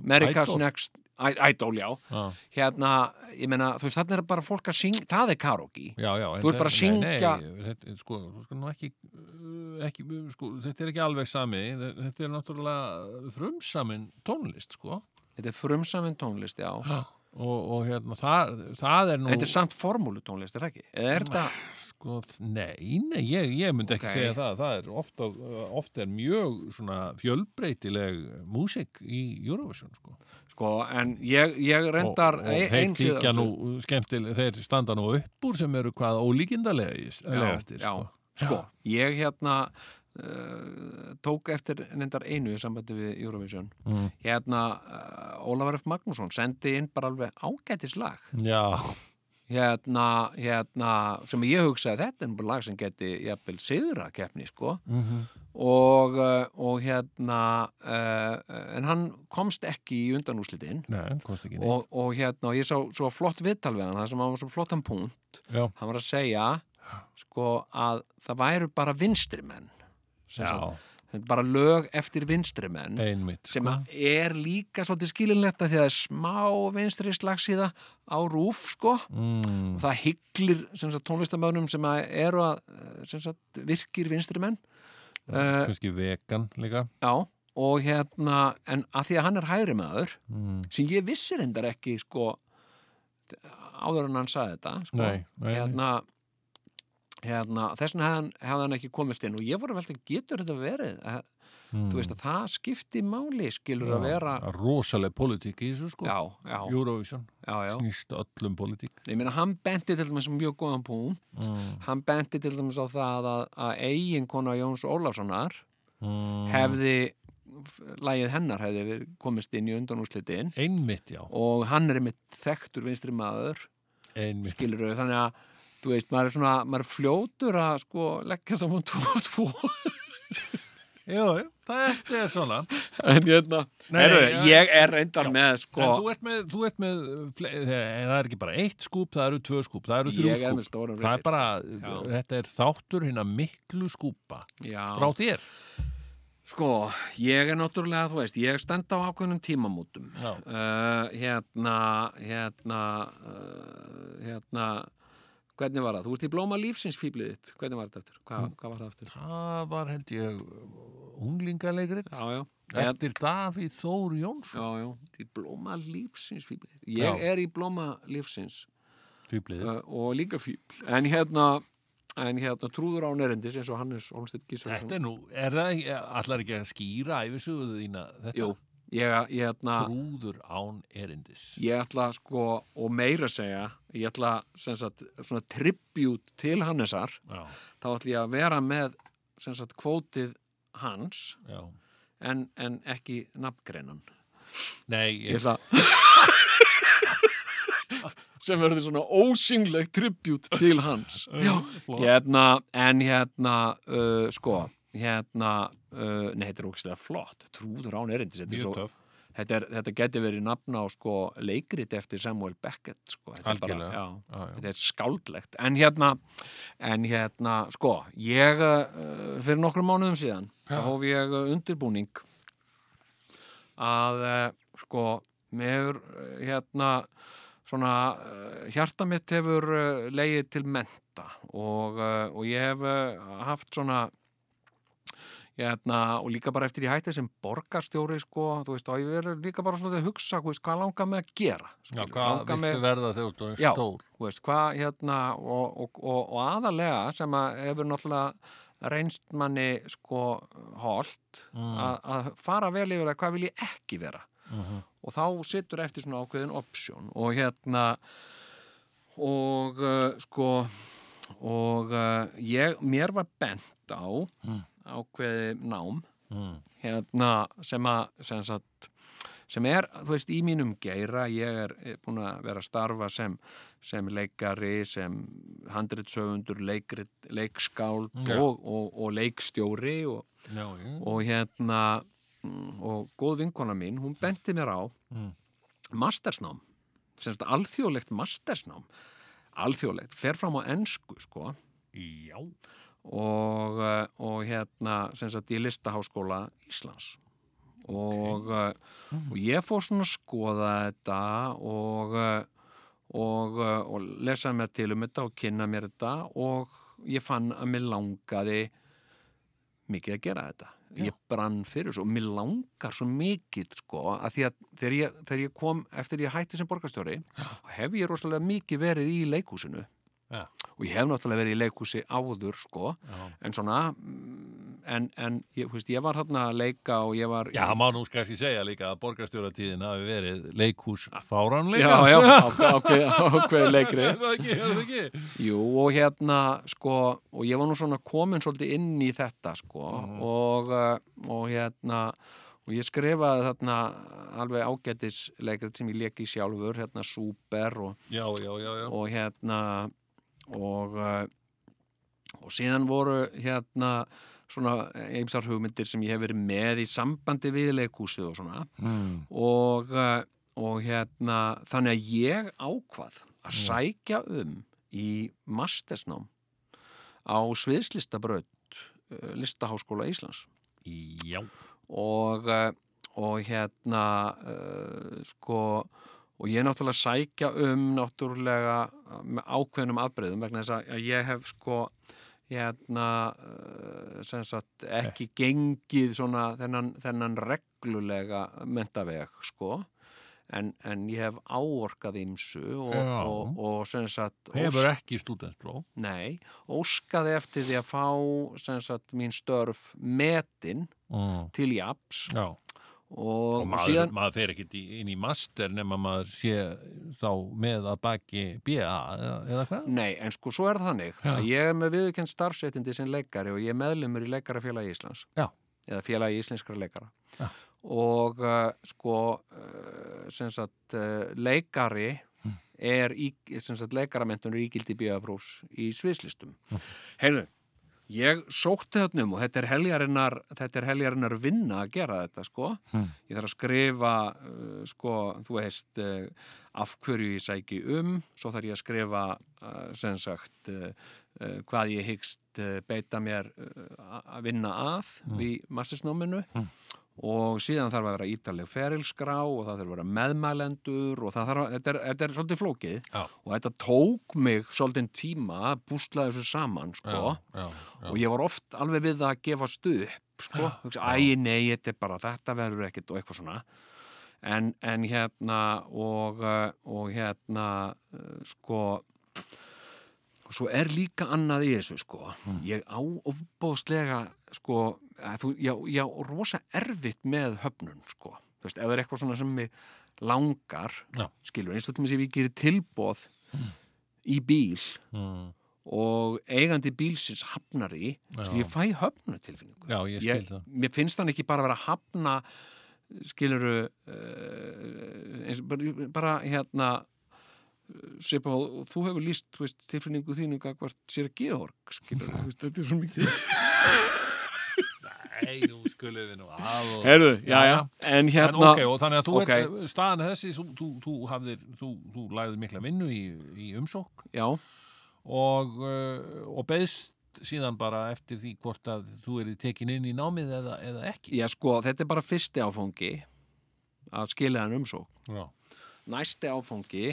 S2: America's
S1: Idol.
S2: Next I- Idol, já
S1: Já,
S2: hérna, ég meina, þú veist, þarna er bara fólk að syngja, það er karaoke.
S1: já, já en
S2: Þú ert bara að
S1: þetta- nei,
S2: syngja-
S1: Nei, þetta, sko, þú sko nú ekki, uh, ekki uh, sko, þetta er ekki alveg sami þe- þetta er náttúrulega frumsamin tónlist, sko
S2: Þetta er frumsaminn tónlist, já.
S1: og, og hérna, það, það er nú
S2: Þetta er samt formúlutónlist, er það ekki? Eða er þetta,
S1: Sko, nei, nei, ég, ég myndi ekki
S2: Ok.
S1: segja það. Það er ofta, ofta er mjög svona fjölbreytileg músík í Eurovision, sko.
S2: sko, en ég, ég reyndar
S1: og, og þeir
S2: einhliða
S1: þykja
S2: þessu.
S1: nú, skemmtileg, þeir standa nú upp úr sem eru hvað
S2: já,
S1: ólíkindalegasti,
S2: já,
S1: sko.
S2: sko, ég hérna uh, tók eftir reyndar einu í sambandi við Eurovision.
S1: Mm.
S2: Hérna, uh, Ólafur F. Magnússon sendi inn bara alveg ágætis lag.
S1: Já,
S2: Hérna, hérna, sem ég hugsaði þetta er bara lag sem geti, jafnvel, siðra keppni, sko.
S1: Mhm.
S2: og, uh, og hérna uh, en hann komst ekki í undanúslitin
S1: nei, komst ekki neitt.
S2: og, og hérna, og ég sá svo flott viðtal við hann það sem hann var svo flottan punkt
S1: Já,
S2: hann var að segja sko að það væru bara vinstrimenn sem
S1: já,
S2: sagt, þetta er bara lög eftir vinstrimenn
S1: einmitt,
S2: sem
S1: sko.
S2: að er líka svolítið skilinlegt að því að það er smá vinstri slagsíða á rúf sko
S1: Mm,
S2: það hygglir sem sagt, tónlistamöðnum sem að eru að eh, sem sagt, virkir vinstri menn uh,
S1: kannski vegan líka.
S2: Já, og hérna, en að því að hann er hægri maður,
S1: Mm,
S2: sem ég vissi reyndar ekki, sko, áður en hann saði þetta, sko,
S1: nei, nei,
S2: hérna, hérna, þess vegna hefði hann, hefði hann ekki komist inn og ég voru velta, getur þetta verið að, þú
S1: Mm.
S2: veist að það skipti máli skilur að vera
S1: rosaleg politík í þessu sko
S2: já, já,
S1: Eurovision,
S2: já, já
S1: snýst öllum politík
S2: ég meina hann benti til dæmis á mjög góðan pún hann benti til dæmis á það að, að eigin kona Jóns Ólafssonar
S1: Mm,
S2: hefði lægið hennar hefði verið- komist inn í undanúslitin
S1: einmitt já,
S2: og hann er einmitt þekktur vinstri maður
S1: einmitt
S2: skilur við, þannig að þú veist, maður er svona, maður er fljótur að sko leggja saman tvo og tvo
S1: já, já, þetta er svona
S2: en hérna,
S1: Nei,
S2: Heyrðu,
S1: nei, já.
S2: ég er reyndar með sko,
S1: en þú ert með, þú ert með fle- en það er ekki bara eitt skúp, það eru tvö skúp það eru þrjú
S2: ég er með
S1: skúp
S2: stóra
S1: það er bara,
S2: Já.
S1: þetta er þáttur hérna miklu skúpa frá þér
S2: sko, ég er náttúrulega, þú veist, ég stend á ákveðnum tímamótum
S1: Já.
S2: uh, hérna hérna uh, hérna hvernig var það? Þú ert í blóma lífsins fíblið þitt hvernig var þetta aftur? Hva,
S1: Hm.
S2: Hvað var það aftur?
S1: það var held ég unglingalegrið
S2: Já, já, hérna,
S1: eftir Davíð Þór Jónsson
S2: já, já í blóma lífsins fíblið þitt
S1: Já.
S2: ég er í blóma lífsins
S1: Tvíbliðið.
S2: uh, og líka fíbl en hérna, en hérna trúður á nærendis eins og Hannes Olmstedt
S1: Þetta
S2: Gísarsson
S1: er nú, er það ekki, allar ekki að skýra æfisöguðu þína þetta
S2: Jú, ég, ég hérna
S1: trúður án erindis
S2: ég ætla sko og meira segja, ég ætla sem sagt svona tribut til Hannesar
S1: Já,
S2: þá ætlum ég að vera með sem sagt kvótið hans
S1: já
S2: en, en ekki nafngreinan
S1: Nei, ég,
S2: ég ætla sem verður svona ósynleg tribut til hans Já,
S1: flott.
S2: hérna, en hérna uh, sko hérna, uh, nei þetta er ókvæslega flott trúður án erindis þetta, er
S1: mjög
S2: svo,
S1: töff
S2: þetta, er, þetta geti verið nafna á sko leikrit eftir Samuel Beckett sko, þetta er bara-
S1: Algjörlega.
S2: já,
S1: Já, já.
S2: þetta er skáldlegt en hérna, en hérna sko, ég uh, fyrir nokkrum mánuðum síðan þá hóf ég uh, undirbúning að uh, sko, meður uh, hérna svona uh, hjarta mitt hefur uh, leið til menta og, uh, og ég hef uh, haft svona Hérna, og líka bara eftir ég hætti sem borgarstjóri sko, þú veist, og ég verið líka bara svona að hugsa, þú veist, hvað langar mig að gera
S1: Já,
S2: skilur,
S1: hvað
S2: langar mig-
S1: viltu verða þegar þú
S2: Já.
S1: er stór?
S2: þú veist, hvað hérna og, og, og, og aðalega sem að hefur náttúrulega reynst manni sko holt
S1: Mm.
S2: að að fara vel yfir að hvað vil ég ekki vera
S1: Mhm.
S2: og þá situr eftir svona ákveðin option og hérna og uh, sko og uh, ég, mér var bent á
S1: Mm.
S2: ákveði nám
S1: Mm.
S2: hérna sem að sem, sagt, sem er, þú veist, í mínum geira ég er búin að vera að starfa sem, sem leikari sem handritsöfundur leikrit, leikskáld
S1: Já.
S2: og, og, og leikstjóri og,
S1: Já, já
S2: og hérna mm, og góð vinkona mín, hún benti mér á
S1: Mm.
S2: mastersnám sem sagt alþjóðlegt mastersnám alþjóðlegt, fer fram á ensku sko
S1: Já,
S2: og, eh, og hérna sem sagt í listaháskóla Íslands og, okay. og ég fór svona að skoða þetta og, eh, og, eh, og lesa mér til um þetta og kynna mér þetta og ég fann að mér langaði mikið að gera þetta ég brann fyrir þessu og mér langar svo mikið sko að því að þegar ég, þegar ég kom eftir ég hætti sem borgarstjóri þá hef ég rosalega mikið verið í leikhúsinu
S1: Já.
S2: og ég hef náttúrulega verið í leikhúsi áður sko
S1: já
S2: en svona mm, en, en ég, þú veist, ég var hérna að leika og ég var
S1: Já, það má nú kannski segja líka að borgarstjóratíðin hafi verið leikhús
S2: já,
S1: fáránleika
S2: já, ákveð, ákveð leikri
S1: Er það ekki, er það ekki?
S2: Jú, og hérna, sko, og ég var nú svona komin svolítið inn í þetta, sko,
S1: Mhm.
S2: og, uh, og hérna, og ég skrifaði þarna alveg ágætisleikrit sem ég leki sjálfur, hérna, súper og,
S1: Já, já, já, já
S2: og hérna og uh, og síðan voru hérna svona eimsar hugmyndir sem ég hef verið með í sambandi við leikúsið og svona
S1: mm.
S2: og, uh, og hérna þannig að ég ákvað að sækja um í mastersnám á sviðslistabraut uh, listaháskóla Íslands
S1: Já,
S2: og, eh, og hérna uh, sko og ég er náttúrulega að sækja um náttúrulega eh, með ákveðnum afbreyðum vegna þess að- að ég hef sko hérna eh, sem sagt ekki gengið svona þennan, þennan reglulega mentaveg sko en, en ég hef áorkað ymsu og,
S1: Já.
S2: og, og, sem sagt
S1: hefur ekki stúdentspróf
S2: Nei, óskaði eftir því að fá sem sagt mín störf metin
S1: mm.
S2: til japs
S1: Já,
S2: og,
S1: og maður,
S2: síðan,
S1: maður fer ekki inn í master nema maður sé þá með að baki BA eða, eða hvað?
S2: nei, en sko svo er það þannig að ég er með viðurkend starfsettindi sem leikari og ég er meðlumur í leikarafélagi Íslands
S1: Já.
S2: eða félagi íslenskra leikara
S1: Já.
S2: og uh, sko uh, sem sagt uh, leikari
S1: Hmm.
S2: er í, sem sagt leikaramentunur ígildi bíðaprós í sviðslistum
S1: Hmm.
S2: Heyrðu, ég sótti þarna um og þetta er heljarinnar, þetta er heljarinnar vinna að gera þetta, sko.
S1: Hmm.
S2: Ég þarf að skrifa, uh, sko, þú veist, uh, af hverju ég sæki um, svo þarf ég að skrifa, uh, sem sagt, uh, uh, hvað ég hyggst uh, beita mér uh, að vinna að
S1: Hmm.
S2: við mastersnáminu. Og síðan þarf að vera ítaleg ferilskrá og það þarf að vera meðmælendur og það þarf að, þetta er, þetta er svolítið flókið
S1: Já.
S2: og þetta tók mig svolítið tíma að búsla þessu saman, sko
S1: já, já.
S2: og ég var oft alveg við að gefa stuð upp sko, hugsa, æ nei, þetta er bara þetta verður ekkert og eitthvað svona en, en hérna og, uh, og hérna uh, sko svo er líka annað í þessu sko
S1: Hmm.
S2: ég á ofbóðslega sko, að þú, já, já, rosa erfitt með höfnun sko þú veist, ef það er eitthvað svona sem mig langar
S1: Já. Hmm.
S2: skilur, eins og þetta með sér við gerir tilbóð í bíl
S1: Mm.
S2: og eigandi bílsins hafnari sem ég fæ höfnutilfinningu
S1: Já, ég skil það.
S2: mér finnst hann ekki bara vera að hafna skiluru uh, eins, bara, bara hérna Sipa, þú hefur líst þú veist, tilfinningu þínu gagvart sér að Georg skilur, veist, þetta er svo mikið
S1: Nei, nú skulum við nú að og...
S2: en
S1: En
S2: hérna
S1: ok, og þannig að þú
S2: ok.
S1: ert, eh, staðan er þessi, þú, þú, þú, hafðir, þú, þú læðið mikla vinnu í, í umsók
S2: já,
S1: og, uh, og beðst síðan bara eftir því hvort að þú erið tekin inn í námið eða, eða ekki.
S2: já, sko, þetta er bara fyrsti áfangi að skilja hann umsók
S1: Já.
S2: næsti áfangi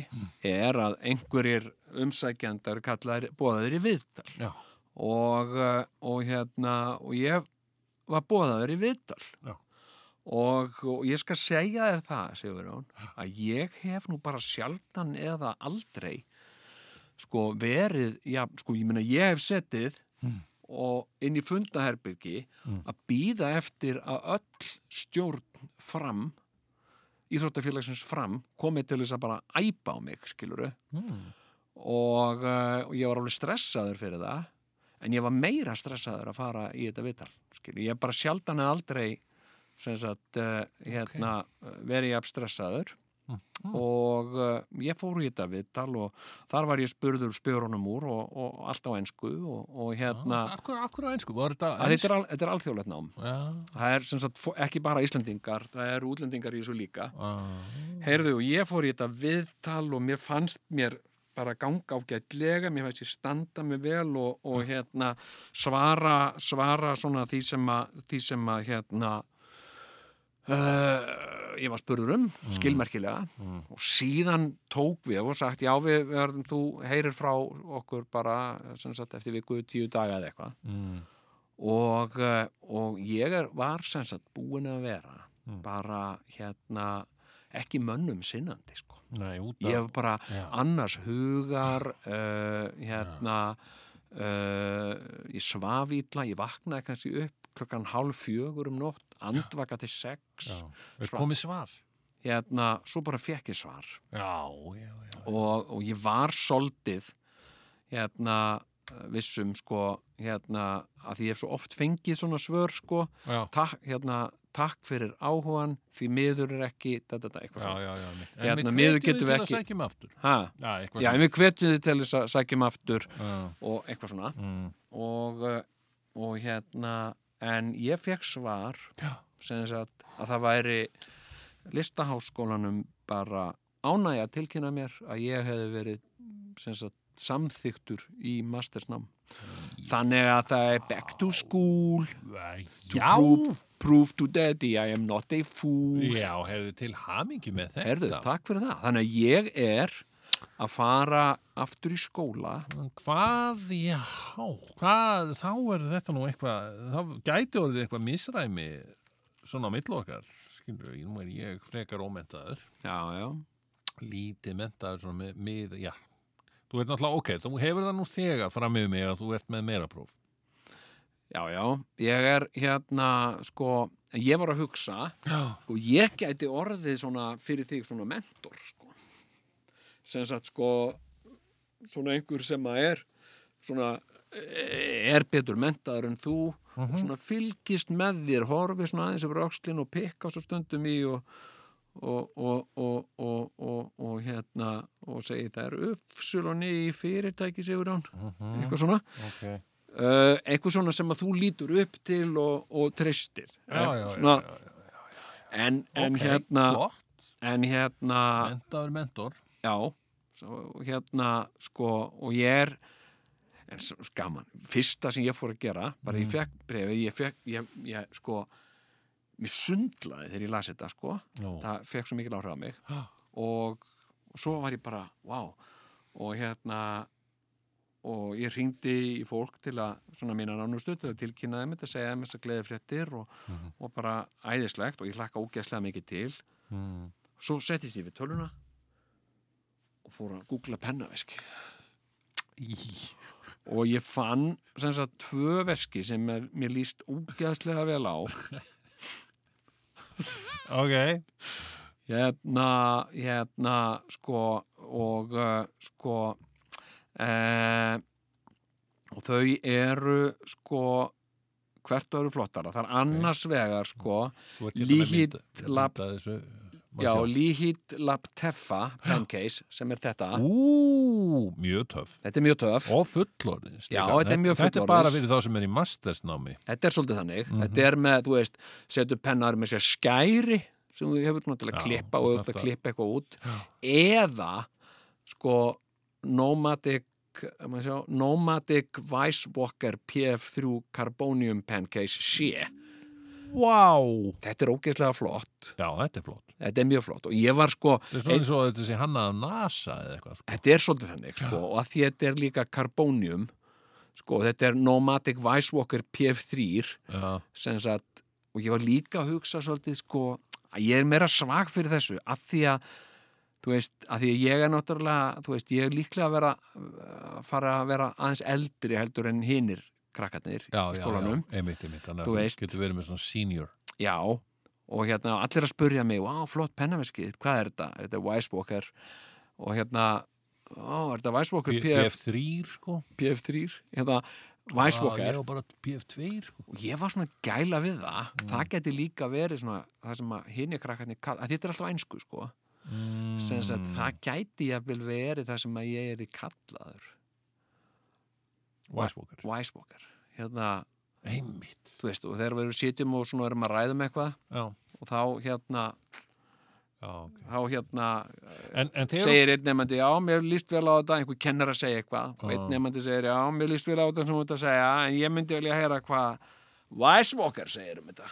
S2: er að einhverjir umsækjandar kallar bóðaðir í viðtal
S1: Já.
S2: og, uh, og hérna og ég var bóðaður í viðtal
S1: Já.
S2: og, og ég skal segja þér það Sigurjón, að ég hef nú bara sjaldan eða aldrei sko verið já, sko ég meina ég hef setið og inn í fundaherbyrgi að býða eftir að öll stjórn fram Íþróttafélagsins fram komið til þess að bara æpa á mig skiluru
S1: Hmm.
S2: og, uh, og ég var alveg stressaður fyrir það en ég var meira stressaður að fara í þetta vital skil. ég bara sjaldan eða aldrei sem sagt uh, hérna, okay. verið ég stressaður og uh, ég fór í þetta vital og þar var ég spurður spjörunum úr og, og allt á ensku og, og hérna
S1: Af hverju, af hverju á einsku? Var þetta
S2: að þetta er, al, þetta er alþjóðlegt nám
S1: Já,
S2: það er sem sagt fó- ekki bara Íslandingar það eru útlendingar í þessu líka
S1: já,
S2: Heyrðu, og ég fór í þetta viðtal og mér fannst mér bara ganga ágætlega, mér fannst ég standa mig vel og, og hérna svara, svara svona því sem að, því sem að hérna uh, ég var spurður um, skilmerkilega og síðan tók við og sagt, já við verðum, þú heyrir frá okkur bara, sem sagt, eftir viku tíu daga eða eitthvað
S1: mm,
S2: og, eh, og ég er, var sem sagt búin að vera
S1: Mm.
S2: bara hérna ekki mönnum sinnandi sko
S1: nei, út
S2: ég
S1: af,
S2: var bara
S1: Já.
S2: annars hugar uh, hérna uh, ég svaf ítla ég vaknaði kannski upp klokkan hálf fjögur um nótt, andvaka til sex
S1: já, er komið svar?
S2: hérna, svo bara fekk ég svar
S1: Já, já, já.
S2: og, og ég var soldið hérna vissum sko hérna að því ég hef svo oft fengið svona svör sko
S1: Já,
S2: takk, hérna, takk fyrir áhugan því miður er ekki da, da, da,
S1: já,
S2: eitthvað
S1: já, já, mitt.
S2: Hérna,
S1: við
S2: miður
S1: hvetjum þig
S2: getum
S1: til
S2: við
S1: að
S2: ekki-
S1: sækjum aftur.
S2: já,
S1: Já, eitthvað
S2: já
S1: svona.
S2: en við hvetjum þið til þess að sækjum aftur
S1: Já,
S2: og eitthvað svona
S1: mm,
S2: og, eh, og hérna en ég fekk svar
S1: Já.
S2: sem sagt að það væri listaháskólanum bara ánægja að tilkynna mér að ég hefði verið sem sagt samþyktur í mastersnám þannig að það er back to school to
S1: já,
S2: prove, prove to daddy I am not a fool
S1: já, heyrðu til hamingju með þetta.
S2: Herðu, takk fyrir það. Þannig að ég er að fara aftur í skóla.
S1: En Hvað, já, hvað, þá er þetta nú eitthvað, þá gæti orðið eitthvað misræmi svona á millu okkar, skilur við, nú er ég frekar ómentaður
S2: já, já,
S1: lítið mentaður svona með, með já, þú ert náttúrulega ok þú hefur það nú þegar fram með mig að þú ert með meira próf
S2: já, já ég er hérna, sko en ég var að hugsa
S1: já,
S2: sko, ég gæti orðið svona fyrir þig svona mentor sko. sem sagt sko svona einhver sem að er svona eh, er betur mentaður en þú og svona fylgist með þér horfið svona aðeins yfir öxlin og pikka svo stundum í og og, og, og, og, og, og hérna og segi það er uppsulunni í fyrirtæki Sigurjón eitthvað svona
S1: ok
S2: uh, eitthvað svona sem að þú lítur upp til og, og treystir Eh,
S1: já, já,
S2: svona, en, en
S1: Ok,
S2: hérna
S1: flott,
S2: en hérna
S1: mentaður mentor
S2: já, svo, hérna sko og ég er en s- skaman, fyrsta sem ég fór að gera bara
S1: Mm.
S2: ég fekk brefið, ég fekk ég, ég sko mér sundlaði þegar ég las þetta sko
S1: Nú.
S2: það fekk svo mikil áhrif á mig og, og svo var ég bara, wow og hérna og ég hringdi í fólk til að svona mína nánustu til að tilkynna þeim þetta segja þeim þess að gleði fréttir og, og bara æðislegt og ég hlakka ógeðslega mikið til
S1: mm.
S2: svo settist ég við töluna og fór að googla pennaveski
S1: Í,
S2: og ég fann sem sagt tvö veski sem er, mér líst ógeðslega vel á
S1: ok
S2: hérna, hérna sko og uh, sko uh, og þau eru sko hvert eru flottara það er annars vegar sko
S1: Þú ert hérna með
S2: Líhít
S1: mynd-
S2: lab-
S1: mynd af þessu, má
S2: já,
S1: sjá.
S2: Lihit Laptefa pancase sem er þetta
S1: Ú, mjög töff
S2: þetta er mjög töf
S1: og fullorðins
S2: Já,
S1: líka.
S2: þetta er mjög
S1: Þetta er
S2: fullorðins.
S1: bara fyrir þá sem er í mastersnámi
S2: þetta er svolítið þannig
S1: Mhm.
S2: þetta er með, þú veist, setur pennar með sér skæri sem þú hefur svona til að
S1: Já,
S2: klippa og auðvitað
S1: þetta-
S2: klippa eitthvað út eða sko nomadic ef maður sjá, nomadic Vicewalker PF3 Carbonium Pancase C
S1: Vá
S2: þetta er ógeðslega flott
S1: Já, þetta er flott
S2: þetta er mjög flott og ég var sko
S1: Þetta er svona eins og þetta sé hannað af NASA eða eitthvað sko.
S2: þetta er svolítið þannig sko, og að því þetta er líka karbónium sko, þetta er Nomadic Vicewalker PF3
S1: Já,
S2: sem sagt, og ég var líka að hugsa svolítið sko, að ég er meira svag fyrir þessu að því að þú veist, að því að ég er náttúrulega þú veist, ég er líklega að vera að fara að vera aðeins eldri heldur en hinir krakkarnir
S1: já,
S2: í
S1: já, já,
S2: skólanum
S1: einmitt, einmitt Þannig
S2: Þú
S1: að
S2: veist.
S1: þú getur verið með svona senior
S2: Já, og hérna allir að spurja mig, á, flott pennaveskið, hvað er þetta? Þetta er Wisewalker og hérna, ó, er þetta Wisewalker PF,
S1: PF3 sko
S2: PF3? Hérna,
S1: Já,
S2: Wisewalker
S1: Ég var bara PF2 sko
S2: og ég var svona að gæla við það það geti líka verið svona það sem að hinni krakkarnir kall, að þetta er alltaf einsku sko sem að það gæti ég vel verið það sem að ég er í kallaður
S1: Mm, Wisewalker
S2: Wisewalker hérna,
S1: Einmitt
S2: þú veist, og þegar við erum sitjum og svona erum að ræðum eitthvað
S1: Já,
S2: og þá hérna,
S1: já, ok
S2: þá hérna
S1: En, en þegar
S2: segir einn nefnandi, já, mér líst vel á þetta einhver kennar að segja eitthvað, og
S1: Ah.
S2: einn nefnandi segir já, mér líst vel á þetta sem þú ert að segja en ég myndi velja að heyra hvað Weisswalker segir um þetta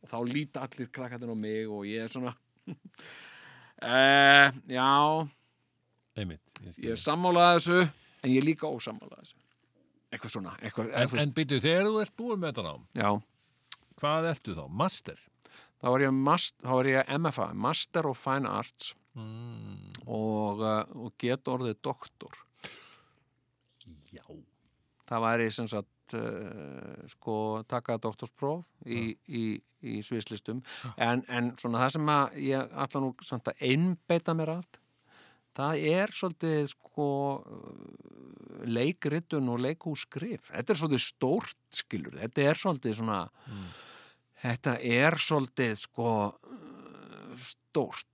S2: og þá líta allir krakkarnir á mig og ég er svona eh, já
S1: Einmitt ég skil.
S2: ég er sammálað þessu en ég er líka ósammálað þessu eitthvað svona, eitthvað,
S1: En,
S2: eitthvað
S1: en byrju, þegar þú ert búin með þetta nám
S2: já,
S1: Hvað ertu þá? Master?
S2: þá var ég, mast, þá var ég MFA Master of Fine Arts Mm. og, eh, og get orðið doktor
S1: Já
S2: það væri sem sagt uh, sko taka doktorspróf í, í, í sviðslistum en, en svona það sem að ég ætla nú samt að einbeita mér allt það er svolítið sko eh, leikritun og leikhússkrif þetta er svolítið stórt skilur þetta er svolítið svona þetta er svolítið sko eh, stórt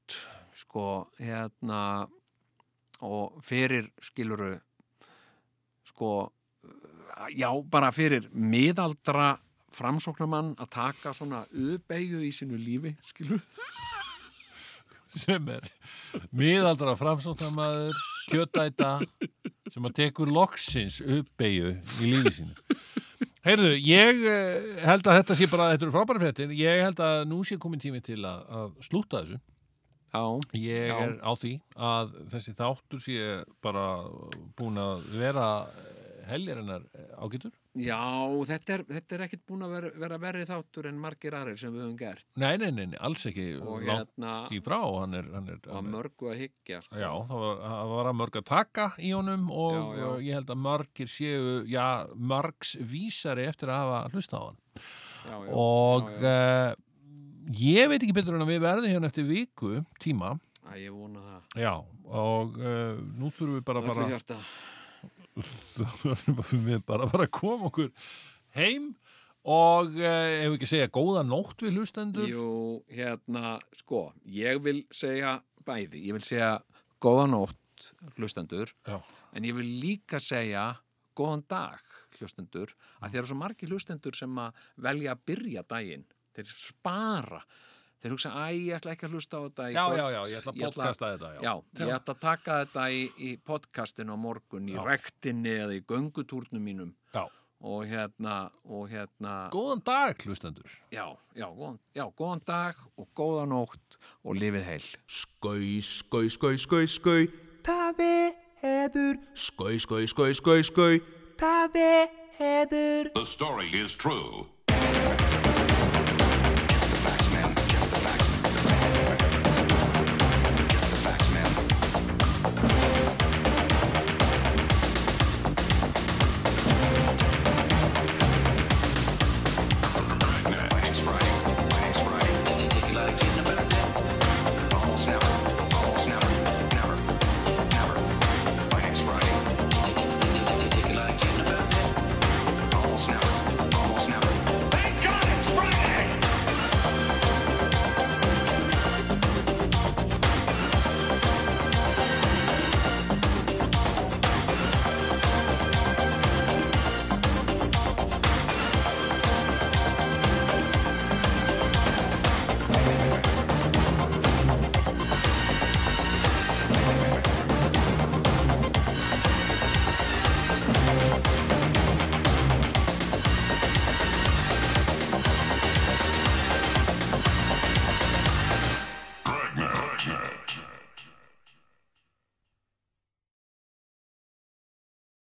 S2: sko hérna og fyrir skiluru sko já, bara fyrir miðaldra framsóknamann að taka svona uðbeigju í sínu lífi, skilur
S1: sem er miðaldra framsóttamæður kjötæta sem að tekur loksins uppeyju í lífi sínu Heyrðu, ég eh, held að þetta sé bara þetta eru frábæra fréttir, ég held að nú sé komin tími til að, að slúta þessu
S2: Já,
S1: ég
S2: Já.
S1: er á því að þessi þáttur sé bara búin að vera heljarinnar eh, ágætur
S2: Já, þetta er, þetta er ekkit búin að vera, vera verri þáttur en margir aðrir sem við höfum gert
S1: Nei, nei, nei, nei, alls ekki
S2: Og
S1: langt
S2: hérna-
S1: í frá, hann er, hann er,
S2: og að
S1: hann er
S2: mörgu að hyggja sko.
S1: Já, það var, það var að mörg að taka í honum og
S2: Já, já.
S1: og ég held að margir séu, já, margs vísari eftir að hafa hlusta á hann
S2: já, já,
S1: og
S2: já, já.
S1: eh, ég veit ekki betur en að við verðum hérna eftir viku tíma,
S2: Æ, ég vona það
S1: já og uh, nú þurfum við bara að
S2: Öllu
S1: fara
S2: hjarta
S1: þurfum við bara að fara að koma okkur heim og uh, ef við ekki að segja góða nótt við hlustendur
S2: Jú, hérna, sko ég vil segja bæði ég vil segja góða nótt hlustendur,
S1: Já.
S2: en ég vil líka segja góðan dag hlustendur, að þeir eru svo margir hlustendur sem að velja að byrja daginn þeir spara þeir hugsa, æ, ég ætla ekki að hlusta á þetta í
S1: já,
S2: kvöld.
S1: já, já, ég ætla að podcasta þetta
S2: Já, ég ætla að taka þetta í, í podcastinu á morgun, í
S1: Já.
S2: rektinni eða í göngutúrnum mínum
S1: já.
S2: og hérna, og hérna
S1: Góðan dag hlustendur
S2: já, já, góðan, já, góðan dag og góða nótt og lifið heil
S4: Skau, skau, skau, skau, skau, það veður. Skau, skau, skau, skau, skau, það veður.
S5: The story is true.